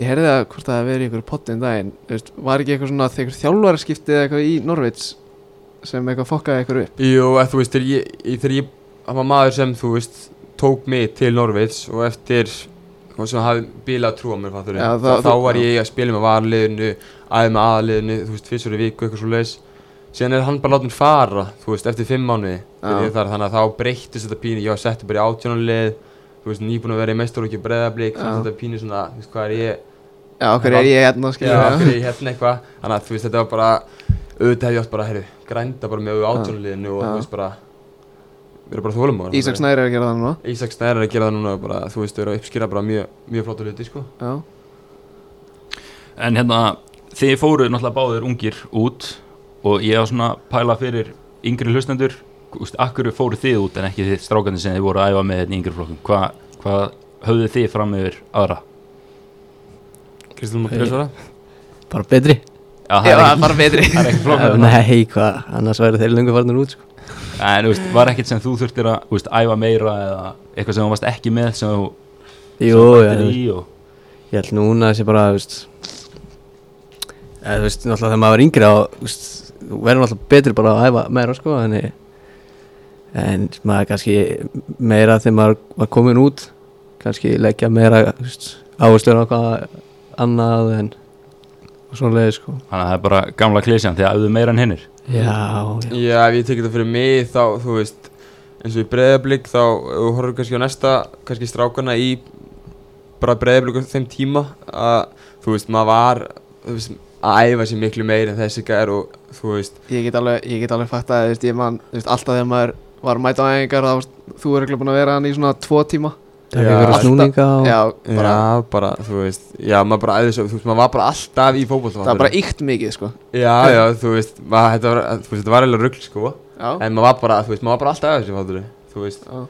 [SPEAKER 1] Ég heyrði að hvort það hefði verið í ykkur pottin daginn þú veist, Var ekki eitthvað svona þegar þjálfarskipti eða eitthvað í Norvits sem eitthvað fokkaði ykkur upp
[SPEAKER 4] Jú, eða þú veist, þegar ég, ég, þegar ég það var maður sem, þú veist, tók mig til Norveits og eftir og sem hafði bílað trú á mér, fattur
[SPEAKER 1] Já,
[SPEAKER 4] þá,
[SPEAKER 1] það-
[SPEAKER 4] þá
[SPEAKER 1] þú-
[SPEAKER 4] var
[SPEAKER 1] já.
[SPEAKER 4] ég að spila með varliðinu aðeins með aðliðinu, þú veist, fyrst í viku eitthvað svo leis síðan er hann bara látið fara, þú veist, eftir fimm mánuði þegar
[SPEAKER 1] Já.
[SPEAKER 4] ég þar, þannig að þá breyttist þetta pínu ég var settur bara í átjónulegð þú veist, nýbúin að vera í meistarlokki breðablík
[SPEAKER 1] Já.
[SPEAKER 4] þetta pínu svona, þú veist, hvað er ég
[SPEAKER 1] Já, okkur er ég hérna
[SPEAKER 4] Já, af
[SPEAKER 1] skilja
[SPEAKER 4] hverju ég hérna eitthvað Þannig að þú veist þetta var bara auðvitað hef ég átt bara, heyrðu, grænda bara með átjónuleginu og
[SPEAKER 1] Já.
[SPEAKER 4] þú veist bara vera bara þólum á það
[SPEAKER 1] Ísak Snæri er að gera það núna
[SPEAKER 4] Ísak Snær er að gera það núna og bara, þú veist, þau eru að uppskýra bara mjög, mjög flottu hluti, sko
[SPEAKER 1] Já,
[SPEAKER 2] En hérna, þið fóruð náttúrulega báðir ungir út og ég var svona að pæla fyrir yngri hlustendur Úst, akkur fóruð þið út en ekki þið strákandi sem þið voru að æfa með þetta í yngri flokkum Hva, hvað höfðu þið fram yfir aðra?
[SPEAKER 4] Kristín
[SPEAKER 5] Már Pétursson, bara betri
[SPEAKER 2] Já, það
[SPEAKER 1] Já,
[SPEAKER 2] er
[SPEAKER 1] það er
[SPEAKER 2] ekki,
[SPEAKER 1] bara betri
[SPEAKER 2] það er ekki flokkur
[SPEAKER 5] Nei, hvað, annars væri þeir lengur farnir út sko.
[SPEAKER 2] En úst, var ekkert sem þú þurftir að úst, æfa meira eða eitthvað sem þú varst ekki með sem þú
[SPEAKER 5] Jú, já,
[SPEAKER 2] bættir
[SPEAKER 5] þú
[SPEAKER 2] í og,
[SPEAKER 5] Ég held núna að sé bara, þú veist eða, Þú veist, náttúrulega þegar maður er yngri þá, þú veist, þú verður náttúrulega betri bara að æfa meira, sko Þannig En maður kannski meira þegar maður var komin út Kannski leggja meira, þú veist Áherslur á hvað annað en Og svoleiði, sko
[SPEAKER 2] Þannig að það er bara gamla klísjan því að æfðu meira en hinnir
[SPEAKER 5] Já, já,
[SPEAKER 4] Já, ef ég tekið það fyrir mig, þá, þú veist eins og í breðablík, þá ef þú horfum kannski á næsta, kannski strákana í bara breðablík á þeim tíma að, þú veist, maður var þú veist, að æfa sér miklu meir en þessi gær og, þú veist,
[SPEAKER 1] Ég get alveg, ég get alveg fatt að, þú veist, ég man, þú veist, alltaf þegar maður var að mæta á engar, þá, varst- þú er ekki búin að vera hann í svona tvo tíma.
[SPEAKER 5] það er
[SPEAKER 4] Já,
[SPEAKER 5] verið
[SPEAKER 1] alltaf-
[SPEAKER 5] snúninga og
[SPEAKER 1] Já, bara,
[SPEAKER 4] Já, bara, þú veist, já, maður bara æði svo, þú veist, maður var bara alltaf í fótbollvallarinu.
[SPEAKER 1] það er bara ykt mikið, sko.
[SPEAKER 4] Já, já, þú veist, maður, þetta var, þú veist, þetta var eiginlega rugl, sko,
[SPEAKER 1] Já,
[SPEAKER 4] en maður var bara, þú veist, maður var bara alltaf í þessu fótbollvallarinu, þú veist,
[SPEAKER 1] já,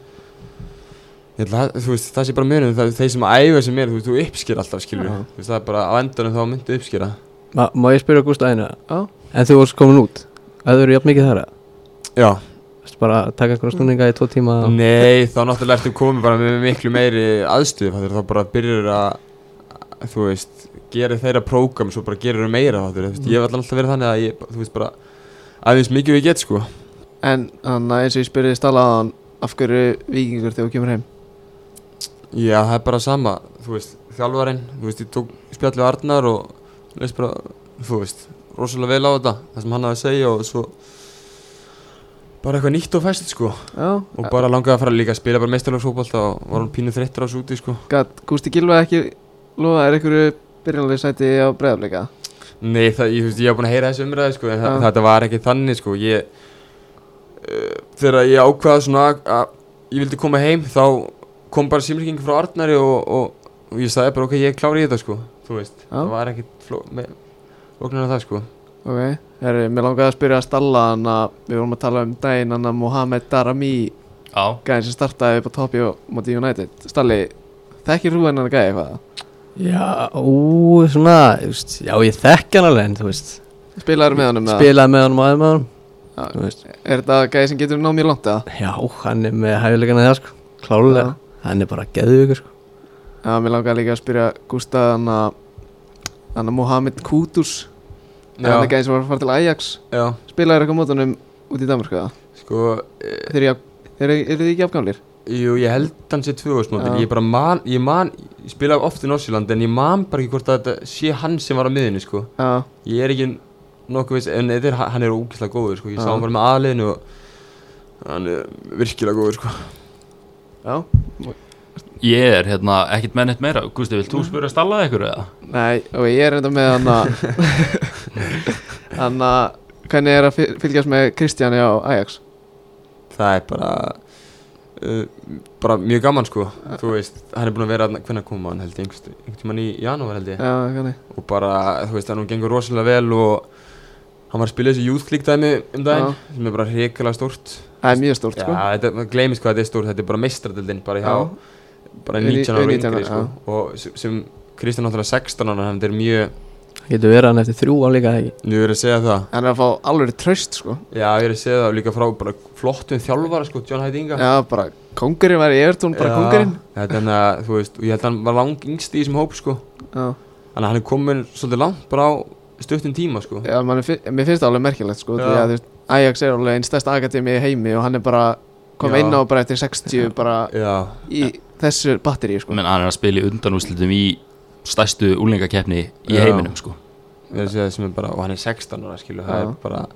[SPEAKER 4] ég ætla að, þú veist, það sé bara munum, það þeir sem að æfa sem mér, þú veist, þú uppskýr alltaf, skilur,
[SPEAKER 1] Já.
[SPEAKER 4] þú veist, það er bara, á endanum þá myndu uppskýra.
[SPEAKER 5] Má, má ég spyrja Gústa einu
[SPEAKER 1] já,
[SPEAKER 5] En þú varst komin út Það eru jafn mikið þar að
[SPEAKER 4] Já,
[SPEAKER 5] Þú veist, bara að taka einhverja snúninga í tvo tíma og-
[SPEAKER 4] nei, þá náttúrulega ertu komið bara með miklu meiri aðstöðu, fattur, þá bara byrjur að, þú veist, gera þeirra prógram, svo bara gerir þau meira, fattur, þú veist, ég hef alltaf verið þannig að ég, þú veist, bara, aðeins mikið og ég get, sko.
[SPEAKER 1] En, þannig að eins og ég spurði Stalaðan, af hverju vikingur þegar þú kemur heim?
[SPEAKER 4] Já, það er bara sama, þú veist, þjálfarinn, þú veist, ég tók spjallið Arnar og leist bara, þú veist, rosalega vel á þetta, það sem hann hafði að segja og svo bara eitthvað nýtt og fæst, sko,
[SPEAKER 1] Já,
[SPEAKER 4] og bara langaði að fara líka að spila bara meistarlagsfókbalta og var hann pínu þreyttur á þessu úti, sko.
[SPEAKER 1] gæt, Gústi Gilva ekki lofa er einhverju byrjanlega sæti á bregðarleika?
[SPEAKER 4] Nei, það, ég, þú veist, ég hef búin að heyra þessu umræði, sko, en það,
[SPEAKER 1] Já.
[SPEAKER 4] þetta var ekki þannig, sko, ég, uh, þegar ég ákvaða svona að- að ég vildi koma heim, þá kom bara símriking frá Arnari og, og, og ég sagði bara, ok, ég klári í þetta, sko, þú veist,
[SPEAKER 1] Já.
[SPEAKER 4] það var ekkit fló, með, lóknar að það, sko.
[SPEAKER 1] Ok, herri, mér langaði að spyrja Stalaðan að við vorum að tala um daginn hann að Mohamed Darami,
[SPEAKER 2] Já,
[SPEAKER 1] gæðin sem startaði upp á topi og móti United. Stalli, þekkir þú hennan gæði eitthvað?
[SPEAKER 5] Já, ú, svona, þú veist, já ég þekk hann alveg en þú veist,
[SPEAKER 1] Spilaður með honum? eða?
[SPEAKER 5] spilaði með honum og aðeins með honum,
[SPEAKER 1] Já.
[SPEAKER 5] þú veist,
[SPEAKER 1] Er þetta gæði sem getur náð mjög langt eða?
[SPEAKER 5] já, hann er með hæfileikana það sko, klálega, hann er bara geðvíkur sko.
[SPEAKER 1] Já, mér langar líka að spyrja Gústa hann að hann að Mohamed Kudus hann er gæði sem var að fara til Ajax
[SPEAKER 4] já,
[SPEAKER 1] spilaður eitthvað mótunum út í Danmarku eða?
[SPEAKER 4] sko,
[SPEAKER 1] Þeir eru er, er þið ekki afgamlir?
[SPEAKER 4] jú, ég held hann sé tvö
[SPEAKER 1] Já.
[SPEAKER 4] ásmóti, ég bara man, ég man, ég spilaði oft í Norsjöland, en ég man bara ekki hvort að þetta sé hann sem var á miðinu, sko.
[SPEAKER 1] Já,
[SPEAKER 4] Ég er ekki nokkuð viss, en þetta er, hann er ógeðslega góður, sko, ég
[SPEAKER 1] Já.
[SPEAKER 4] sá hann bara með aðliðinu og hann er virkilega góður, sko.
[SPEAKER 1] já
[SPEAKER 2] ég er hérna ekkert með neitt meira Gústi, vilt
[SPEAKER 1] Mm.
[SPEAKER 2] þú spyrja að stalla ykkur eða?
[SPEAKER 1] Nei, og ég er enda með hann að hann að hvernig er að fyl- fylgjast með Kristjáni á Ajax?
[SPEAKER 4] Það er bara, uh, bara mjög gaman, sko, þú veist, hann er búin að vera, hvernig kom hann, held ég, einhvers- einhvern tímann í janúar, held ég.
[SPEAKER 1] Já, hvernig?
[SPEAKER 4] og bara, þú veist, hann gengur rosalega vel og Hann var að spila þessu Youth League dæmi um daginn
[SPEAKER 1] Já.
[SPEAKER 4] sem er bara hrikalega stórt
[SPEAKER 1] það er mjög stórt
[SPEAKER 4] Já,
[SPEAKER 1] sko
[SPEAKER 4] þetta, maður gleymist hvað þetta er stórt, þetta er bara meistradildin bara hjá,
[SPEAKER 1] Já.
[SPEAKER 4] bara
[SPEAKER 1] Uni-
[SPEAKER 4] 19 ára og
[SPEAKER 1] 19 ára,
[SPEAKER 4] yngri sko og sem- sem Kristján náttúrulega 16 ára, þannig þetta er mjög,
[SPEAKER 5] Getur verið hann eftir þrjú án líka eða ekki
[SPEAKER 4] nú er að segja það
[SPEAKER 1] hann er að fá alveg tröst sko
[SPEAKER 4] Já, ég er að segja það líka frá bara flottum þjálfara sko, John Hætti Inga
[SPEAKER 1] já bara kongurinn var í Evertún bara kongurinn
[SPEAKER 4] Þetta er þannig að, þú veist, og ég held að hann var lang yngst í þessum hóp sko
[SPEAKER 1] já,
[SPEAKER 4] Þannig að hann er komin svolítið langt bara á stuttum tíma sko
[SPEAKER 1] já man, mér finnst það alveg merkilegt sko
[SPEAKER 4] Já.
[SPEAKER 1] því að þú veist, Ajax er alveg einn stærsta akademi í heimi og hann er bara kom
[SPEAKER 4] Já.
[SPEAKER 1] inn á bara eftir 60 bara
[SPEAKER 4] Já,
[SPEAKER 1] í þessu batteri sko
[SPEAKER 2] menn hann er að spila í undanúslitum í stærstu úlingakeppni í
[SPEAKER 4] Já.
[SPEAKER 2] heiminum sko.
[SPEAKER 4] ég er að segja það sem er bara, og hann er 16 ára skilu, það
[SPEAKER 1] Já.
[SPEAKER 4] er bara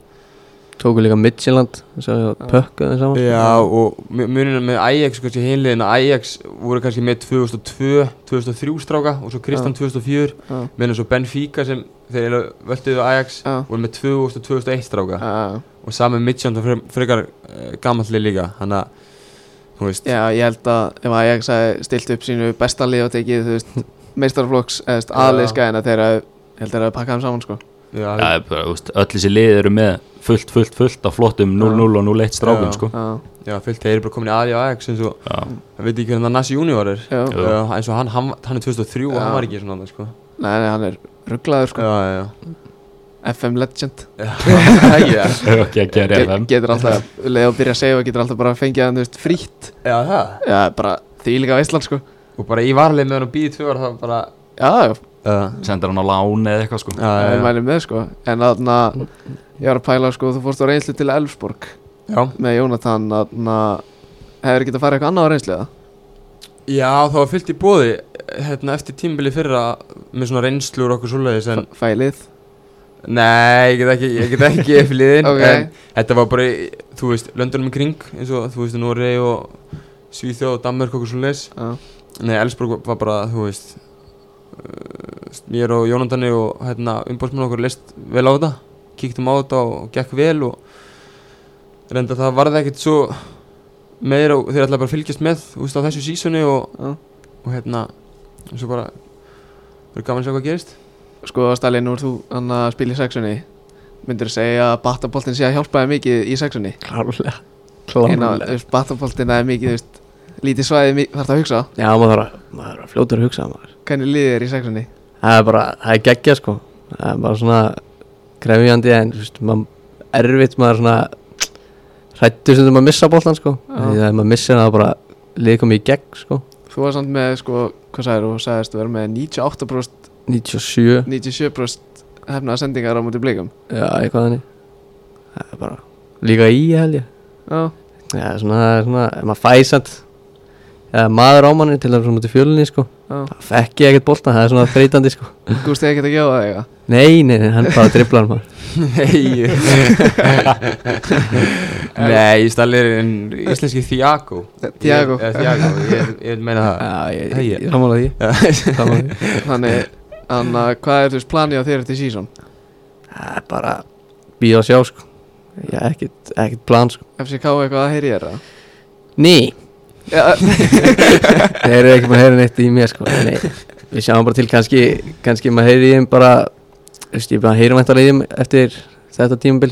[SPEAKER 5] Tóku líka Midtjylland Pökkuðu þeim saman sko.
[SPEAKER 4] Já, og mu- munurinn með Ajax, sko, kannski hinliðin Ajax voru kannski með 2002, 2003 stráka og svo Kristján 2004
[SPEAKER 1] Já.
[SPEAKER 4] meðan svo Benfica sem þeir eiginlega völduðu Ajax
[SPEAKER 1] Já.
[SPEAKER 4] voru með 2000 og 2001 stráka
[SPEAKER 1] já,
[SPEAKER 4] og saman með Midtján það fre- frekar uh, gamalli líka þannig að, þú veist
[SPEAKER 1] já ég held að ef Ajax hefði stilt upp sínu besta lið og tekið þú veist meistarflokks
[SPEAKER 4] Já.
[SPEAKER 1] aðleyska en að þeirra ég held að þeirra pakkaðum saman sko
[SPEAKER 4] já,
[SPEAKER 2] ja, bara, úst, öll þessi lið eru með fullt, fullt, fullt af flottum 0-0 og 0-1 strákum
[SPEAKER 4] Já.
[SPEAKER 2] sko.
[SPEAKER 1] já,
[SPEAKER 4] já, fyllt þeir eru bara komin í aðri á Ajax eins og,
[SPEAKER 2] Já.
[SPEAKER 4] ég veit ekki hvernig það Nassi Junior er
[SPEAKER 1] já.
[SPEAKER 2] Jú.
[SPEAKER 4] Já, eins og hann, hann, hann er 2003 og
[SPEAKER 1] Já.
[SPEAKER 4] hann var ekki svona annað, sko.
[SPEAKER 1] Nei, nei, hann er rugglaður sko
[SPEAKER 4] Já, já, já.
[SPEAKER 1] FM legend
[SPEAKER 4] Já,
[SPEAKER 2] okay,
[SPEAKER 1] Ge-
[SPEAKER 2] gerir FM
[SPEAKER 1] getur alltaf, leið og byrja að segja getur alltaf bara að fengja hann, þú veist, frítt
[SPEAKER 4] já, það.
[SPEAKER 1] já, bara því líka veistlan sko
[SPEAKER 4] Og bara í varlega með hann og býði tvö ára, það var bara...
[SPEAKER 1] já, já,
[SPEAKER 4] Já,
[SPEAKER 2] sendir hann á lán eða eitthvað sko.
[SPEAKER 4] já,
[SPEAKER 1] ég
[SPEAKER 4] já,
[SPEAKER 1] mæli með sko en þarna, ég var að pæla sko þú fórst á reynslu til Elfsborg
[SPEAKER 4] já.
[SPEAKER 1] með Jónatan, þarna hefur getað farið eitthvað annað á reynslu eða?
[SPEAKER 4] Já, það var fyllt í bóði hérna, eftir tímbili fyrra með svona reynslur og okkur svoleiðis en
[SPEAKER 1] F- fælið,
[SPEAKER 4] Nei, ég get ekki, ég get ekki eftir liðin
[SPEAKER 1] Ok.
[SPEAKER 4] en þetta var bara, í, þú veist, löndunum í kring eins og, þú veist, Nóri og Svíþjóð og Danmörk og okkur svoleiðis
[SPEAKER 1] já,
[SPEAKER 4] Nei, Elsborg var bara, þú veist uh, mér og Jónandani og hérna, umbóðsmann okkur leist vel á þetta kíktum á þetta og gekk vel og reynda það varði ekkert svo meira og þeir ætlaði bara að fylgjast með, þú veist, á þessu sísunni og
[SPEAKER 1] já.
[SPEAKER 4] og hérna og svo bara verður gaman að sjá hvað gerist
[SPEAKER 1] sko Stali, nú er þú hann að spila í sexunni myndur segja að battaboltin sé að hjálpa þér mikið í sexunni
[SPEAKER 5] Klárlega
[SPEAKER 1] eina,
[SPEAKER 5] Klárlega
[SPEAKER 1] þú veist, battaboltin það er mikið, þú veist lítið svæði mi- þarf það að hugsa á.
[SPEAKER 5] Já, maður þarf að, maður þarf að fljóta að hugsa maður.
[SPEAKER 1] hvernig liðið er í sexunni
[SPEAKER 5] Það er bara, það er geggja sko Það er bara svona krefjandi en þú veist, maður erfitt maður svona hrættur sem þú maður missa bóltan sko
[SPEAKER 1] Já.
[SPEAKER 5] Því að ef maður missa það er bara liðkomi í gegn sko
[SPEAKER 1] Þú var samt með, sko, hvað sagðir þú, sagðist þú verið með 98%,
[SPEAKER 5] 97
[SPEAKER 1] 97% hefnaða sendingar á móti blíkum
[SPEAKER 5] Já, eitthvað þannig Það er bara líka í held ég
[SPEAKER 1] Já,
[SPEAKER 5] Já, svona, það er svona, ef maður fæsand Já, maður ámanni til að svona til fjölinni sko
[SPEAKER 1] já,
[SPEAKER 5] Það fekk ég ekkert bóltan, það er svona þreytandi sko
[SPEAKER 1] gústi ekkert að gefa það eiga
[SPEAKER 5] Nei, nei, nei, hann bara driblar maður
[SPEAKER 4] Nei Nei, Stalli er en íslenski Thiago
[SPEAKER 1] Thiago.
[SPEAKER 4] Ég- eh, Thiago, ég, ég vil meina það
[SPEAKER 5] Já, ég,
[SPEAKER 4] Hey,
[SPEAKER 5] ég,
[SPEAKER 4] ég-
[SPEAKER 5] ég sammála því Sammála því.
[SPEAKER 1] Þannig, þannig, hvað er þú veist planið á þér eftir sísón?
[SPEAKER 5] Það er bara býð og sjá sko Ég er ekkert, ekkert plan sko
[SPEAKER 1] FCK eitthvað að heyri þér það?
[SPEAKER 5] Ný,
[SPEAKER 1] Já,
[SPEAKER 5] þeir eru ekki búin að heyra neitt í mér sko Nei, við sjáum bara til kannski kannski maður heyri í þeim bara þú veist, ég bara heyri væntanlega í þeim eftir þetta tímabil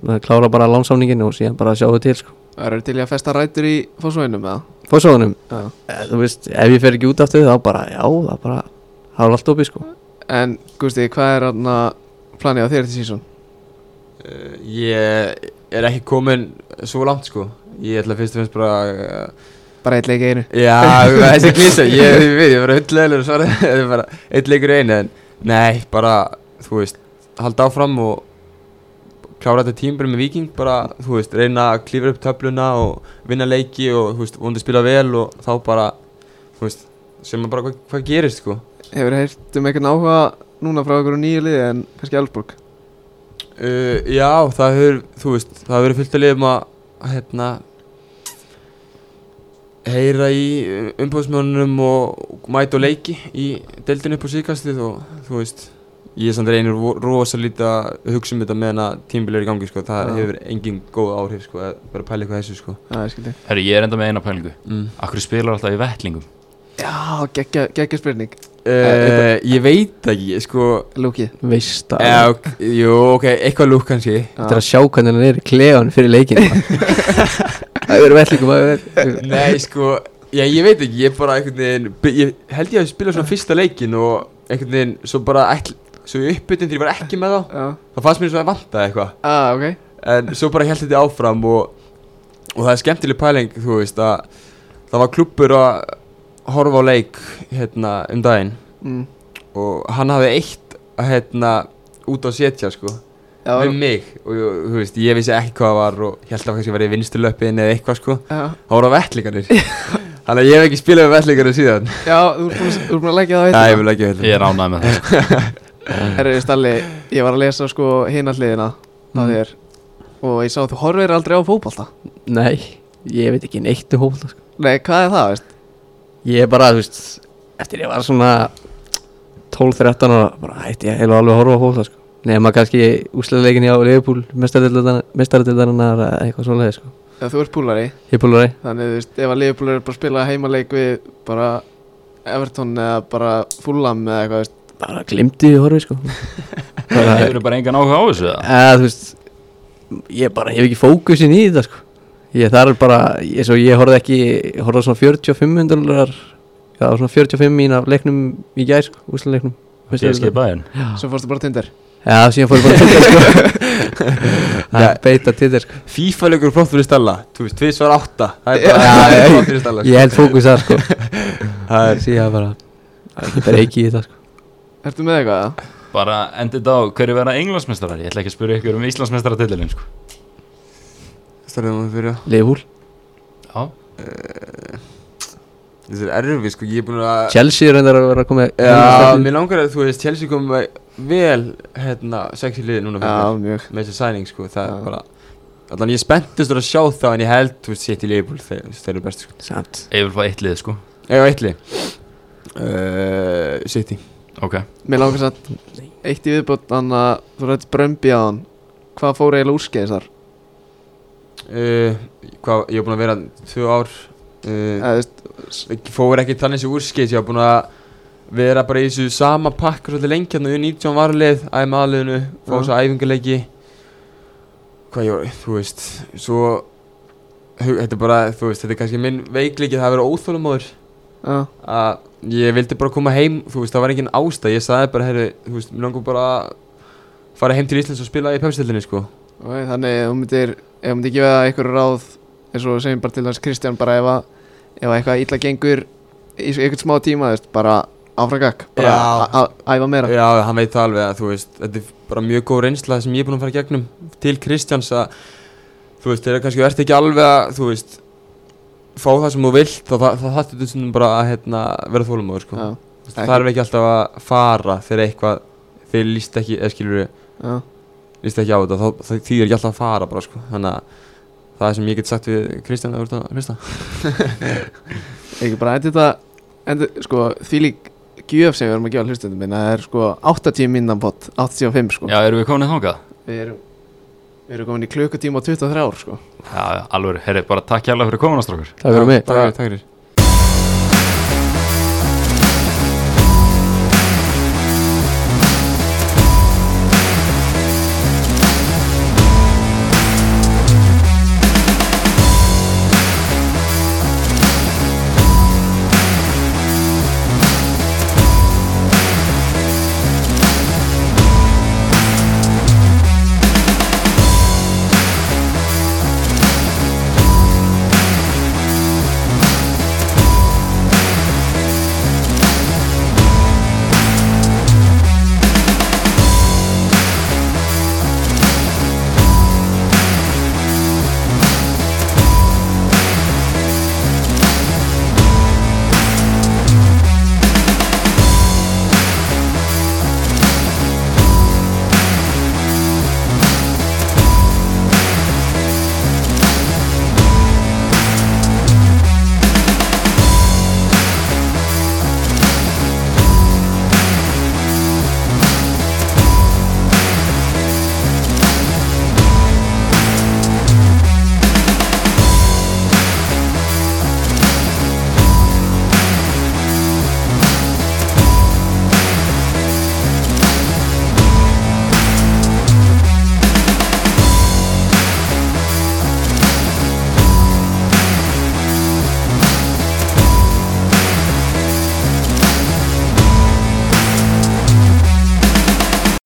[SPEAKER 5] maður klára bara lánsamningin og síðan bara sjáum við til sko
[SPEAKER 1] verður til í að festa rætur í fósvöginum eða?
[SPEAKER 5] Fórsóðunum,
[SPEAKER 1] Já
[SPEAKER 5] Eh, þú veist, ef ég fer ekki út aftur þá bara, já, það bara það er allt opið sko
[SPEAKER 1] En, gústi, hvað er hann planið á þér eftir sísón?
[SPEAKER 4] Eh, Ég er ekki komin svo langt sko Ég ætla fyrst og finnst bara eh,
[SPEAKER 1] Bara eitt leik í einu
[SPEAKER 4] Já, þessi klísa, ég, ég veit, ég er bara hundlegilegur að svara Þetta er bara eitt leikur í einu en Nei, bara, þú veist, halda áfram og klára þetta tímbil með Viking bara, þú veist, reyna að klífa upp töfluna og vinna leiki og, þú veist, vondi spila vel og þá bara, þú veist, sem að bara hvað, hvað gerist, sko
[SPEAKER 1] Hefur heyrt um eitthvað náhuga núna frá einhverju nýju liði en kannski Elfsborg?
[SPEAKER 4] Uh, já, það hefur, þú veist, það hefur verið fullt að liðum að, hérna, heyra í umbóðsmjónunum og mæta og leiki í deildinu upp á síðkastið og, þú veist, ég er samt reynir vo- rosa lítið að hugsa um þetta meðan að tímbil er í gangi, sko, það
[SPEAKER 1] Já.
[SPEAKER 4] hefur engin góð áhrif, sko, að vera að pæla eitthvað þessu, sko.
[SPEAKER 1] Já, ég skildi
[SPEAKER 2] Herru, ég er enda með eina pælingu
[SPEAKER 4] Mm.
[SPEAKER 2] Akkur spilar alltaf í vettlingum
[SPEAKER 1] Já, geggja geggja spurning
[SPEAKER 4] uh, Ég veit ekki, sko
[SPEAKER 1] Lúkið
[SPEAKER 5] veist að
[SPEAKER 4] Já, ok, jú, ok, eitthvað lúk kannski
[SPEAKER 5] Þetta er að sjá hvernig hann er í klefan fyrir leikin Það eru vellingum að
[SPEAKER 4] Nei, sko, já, ég veit ekki, ég bara einhvern veginn by- Ég held ég að spila svona fyrsta leikin og einhvern veginn svo bara ætl, Svo í uppbytun þegar ég var ekki með þá
[SPEAKER 1] Já,
[SPEAKER 4] Það fannst mér svona að vanta eitthvað
[SPEAKER 1] ah, ok
[SPEAKER 4] En svo bara held þetta áfram og, og það er skemmtileg pæling, þú veist að Það var klubbur að horfa á leik hérna um daginn
[SPEAKER 1] mm.
[SPEAKER 4] Og hann hafði eitt hérna út á setja, sko
[SPEAKER 1] Já,
[SPEAKER 4] Við mig og ég- þú veist, ég vissi ekki hvað það var og held að kannski verið í vinstulöppin eða eitthvað, sko
[SPEAKER 1] já,
[SPEAKER 4] Það voru á vettlingarnir Þannig að ég hef ekki spilað með vettlingarnir síðan
[SPEAKER 1] já þú ert búin að- þú ert búin að leggja það
[SPEAKER 4] Já,
[SPEAKER 1] á hérna.
[SPEAKER 4] ég vil ekki
[SPEAKER 2] Ég er ánægð með það sko.
[SPEAKER 1] eitt Herri, Stalli, ég var að lesa sko hina hliðina á
[SPEAKER 5] Mm.
[SPEAKER 1] þér Og ég sá að þú horfir aldrei á fótbolta
[SPEAKER 5] Nei, ég veit ekki neitt um hófla sko.
[SPEAKER 1] Nei, hvað er það, veist?
[SPEAKER 5] Ég er bara, þú veist Eftir ég var svona 12-13 ára bara hætti ég heila alveg að horfa á hófla sko. Nefna kannski úsleðleikin hjá Leifupúl Mestaröldarnar eða eitthvað svoleiði sko.
[SPEAKER 1] Já, þú ert púlari
[SPEAKER 5] Hippúlari
[SPEAKER 1] Þannig, þú veist, ef að Liverpool er bara að spila heimaleik við bara Everton eða bara Fulham eða eitthvað, veist
[SPEAKER 5] bara glimti því horfi sko.
[SPEAKER 2] Það hefur bara engan áhuga á þessu eða?
[SPEAKER 5] að þú veist ég bara hef ekki fókusin í þetta sko ég þarf bara, ég, svo ég horfði ekki ég horfði á svona 45 hundurar já, svona 45 mín af leiknum í gær, sko, úsleiknum
[SPEAKER 2] DSG bæinn
[SPEAKER 1] Svo fórstu bara á Tinder
[SPEAKER 5] já, síðan fór ég bara að titta sko að beita titta sko
[SPEAKER 4] FIFA-leikur flott fyrir Stella Þú veist, tvið svar átta Það er
[SPEAKER 5] Já,
[SPEAKER 4] bara
[SPEAKER 5] já,
[SPEAKER 4] flott fyrir Stella
[SPEAKER 5] ég held fókus þar sko
[SPEAKER 4] Það er
[SPEAKER 5] síðan bara, það er ekki bara ekki í þetta sko
[SPEAKER 1] Ertu með eitthvað, eða?
[SPEAKER 2] Bara endið á hverju verða englandsmestrar Ég ætla ekki að spyrja ykkur um Íslandsmestaratitilin sko.
[SPEAKER 4] Stærðum að fyrir
[SPEAKER 5] Leifúl,
[SPEAKER 2] Já,
[SPEAKER 4] Þetta er erfið, sko, ég er búin að
[SPEAKER 5] Chelsea reyndar að vera að koma
[SPEAKER 4] Já, mér langar að þú veist, Chelsea kom með vel, hérna, sexi liði núna
[SPEAKER 1] Já,
[SPEAKER 4] fyrir
[SPEAKER 1] mjög
[SPEAKER 4] mér Með þessi sæning, sko, það
[SPEAKER 1] Já.
[SPEAKER 4] er bara Þannig ég er spenntustur að sjá það en ég held, þú veist, sitt í Leifbúl, þeir þeir eru bestu, sko
[SPEAKER 5] samt,
[SPEAKER 2] ég vil fá eitt lið sko
[SPEAKER 4] Ég var eitli Uh, City
[SPEAKER 2] Ok,
[SPEAKER 1] Mér langar satt eitt í viðbútt Þannig að þú rætt brömbi á hann Hvað fór eiginlega úrskeiðis þar?
[SPEAKER 4] uh, hvað, Ég var búin að vera tvö ár uh,
[SPEAKER 1] Eða, þú veist,
[SPEAKER 4] Ekki- fór ekki þannig sér úrskis ég var búinn að vera bara í þessu sama pakk svolítið lengi hérna í 19 varlið æfum aðliðinu, fá
[SPEAKER 1] Já.
[SPEAKER 4] þessu æfingarleiki hvað ég var, þú veist svo hu- þetta er bara, þú veist, þetta er kannski minn veikleiki það að vera óþólumóður
[SPEAKER 1] já,
[SPEAKER 4] að ég vildi bara koma heim þú veist, það var engin ástæð, ég sagði bara herri, þú veist, mér langar bara að fara heim til Íslands og spila í pepsildinni, sko
[SPEAKER 1] ok, Þannig ef þú myndir Ef þú myndir gefa einhverju ráð eins og við segjum bara til hans Kristján bara ef að ef að eitthvað illa gengur í svo- einhvern smá tíma þú veist, bara áfragak bara
[SPEAKER 4] Já.
[SPEAKER 1] að- að- æfa meira
[SPEAKER 4] Já, hann veit það alveg að þú veist Þetta er bara mjög góð reynsla sem ég er búinn að fara í gegnum Til Kristjáns að Þú veist, þeirra kannski ert ekki alveg að Þú veist Fá það sem þú vilt þá það þarf þetta sem bara að hérna, vera þólumóður sko.
[SPEAKER 1] já,
[SPEAKER 4] Þú veist, Það er ekki alltaf að fara Þegar eitthvað Þeir líst ekki, eða skilur
[SPEAKER 1] já,
[SPEAKER 4] Líst ekki á þetta þá, þá, Því er ekki alltaf að fara bara sko. Þannig að það sem ég get sagt við Kristján að þú ert að hlusta
[SPEAKER 1] ekki bara endi þetta endi, sko, því lík gjöf sem við erum að gefa hlustundum minna það er sko 80 minnan pott 85 sko
[SPEAKER 2] já, erum við komin þangað?
[SPEAKER 1] við erum við erum komin í klukkutíma og 23 ár sko
[SPEAKER 2] Já, já, alveg, herri, bara takk hjálpa fyrir kominastrókur
[SPEAKER 5] það verður mig
[SPEAKER 4] Takk fyrir, takk fyrir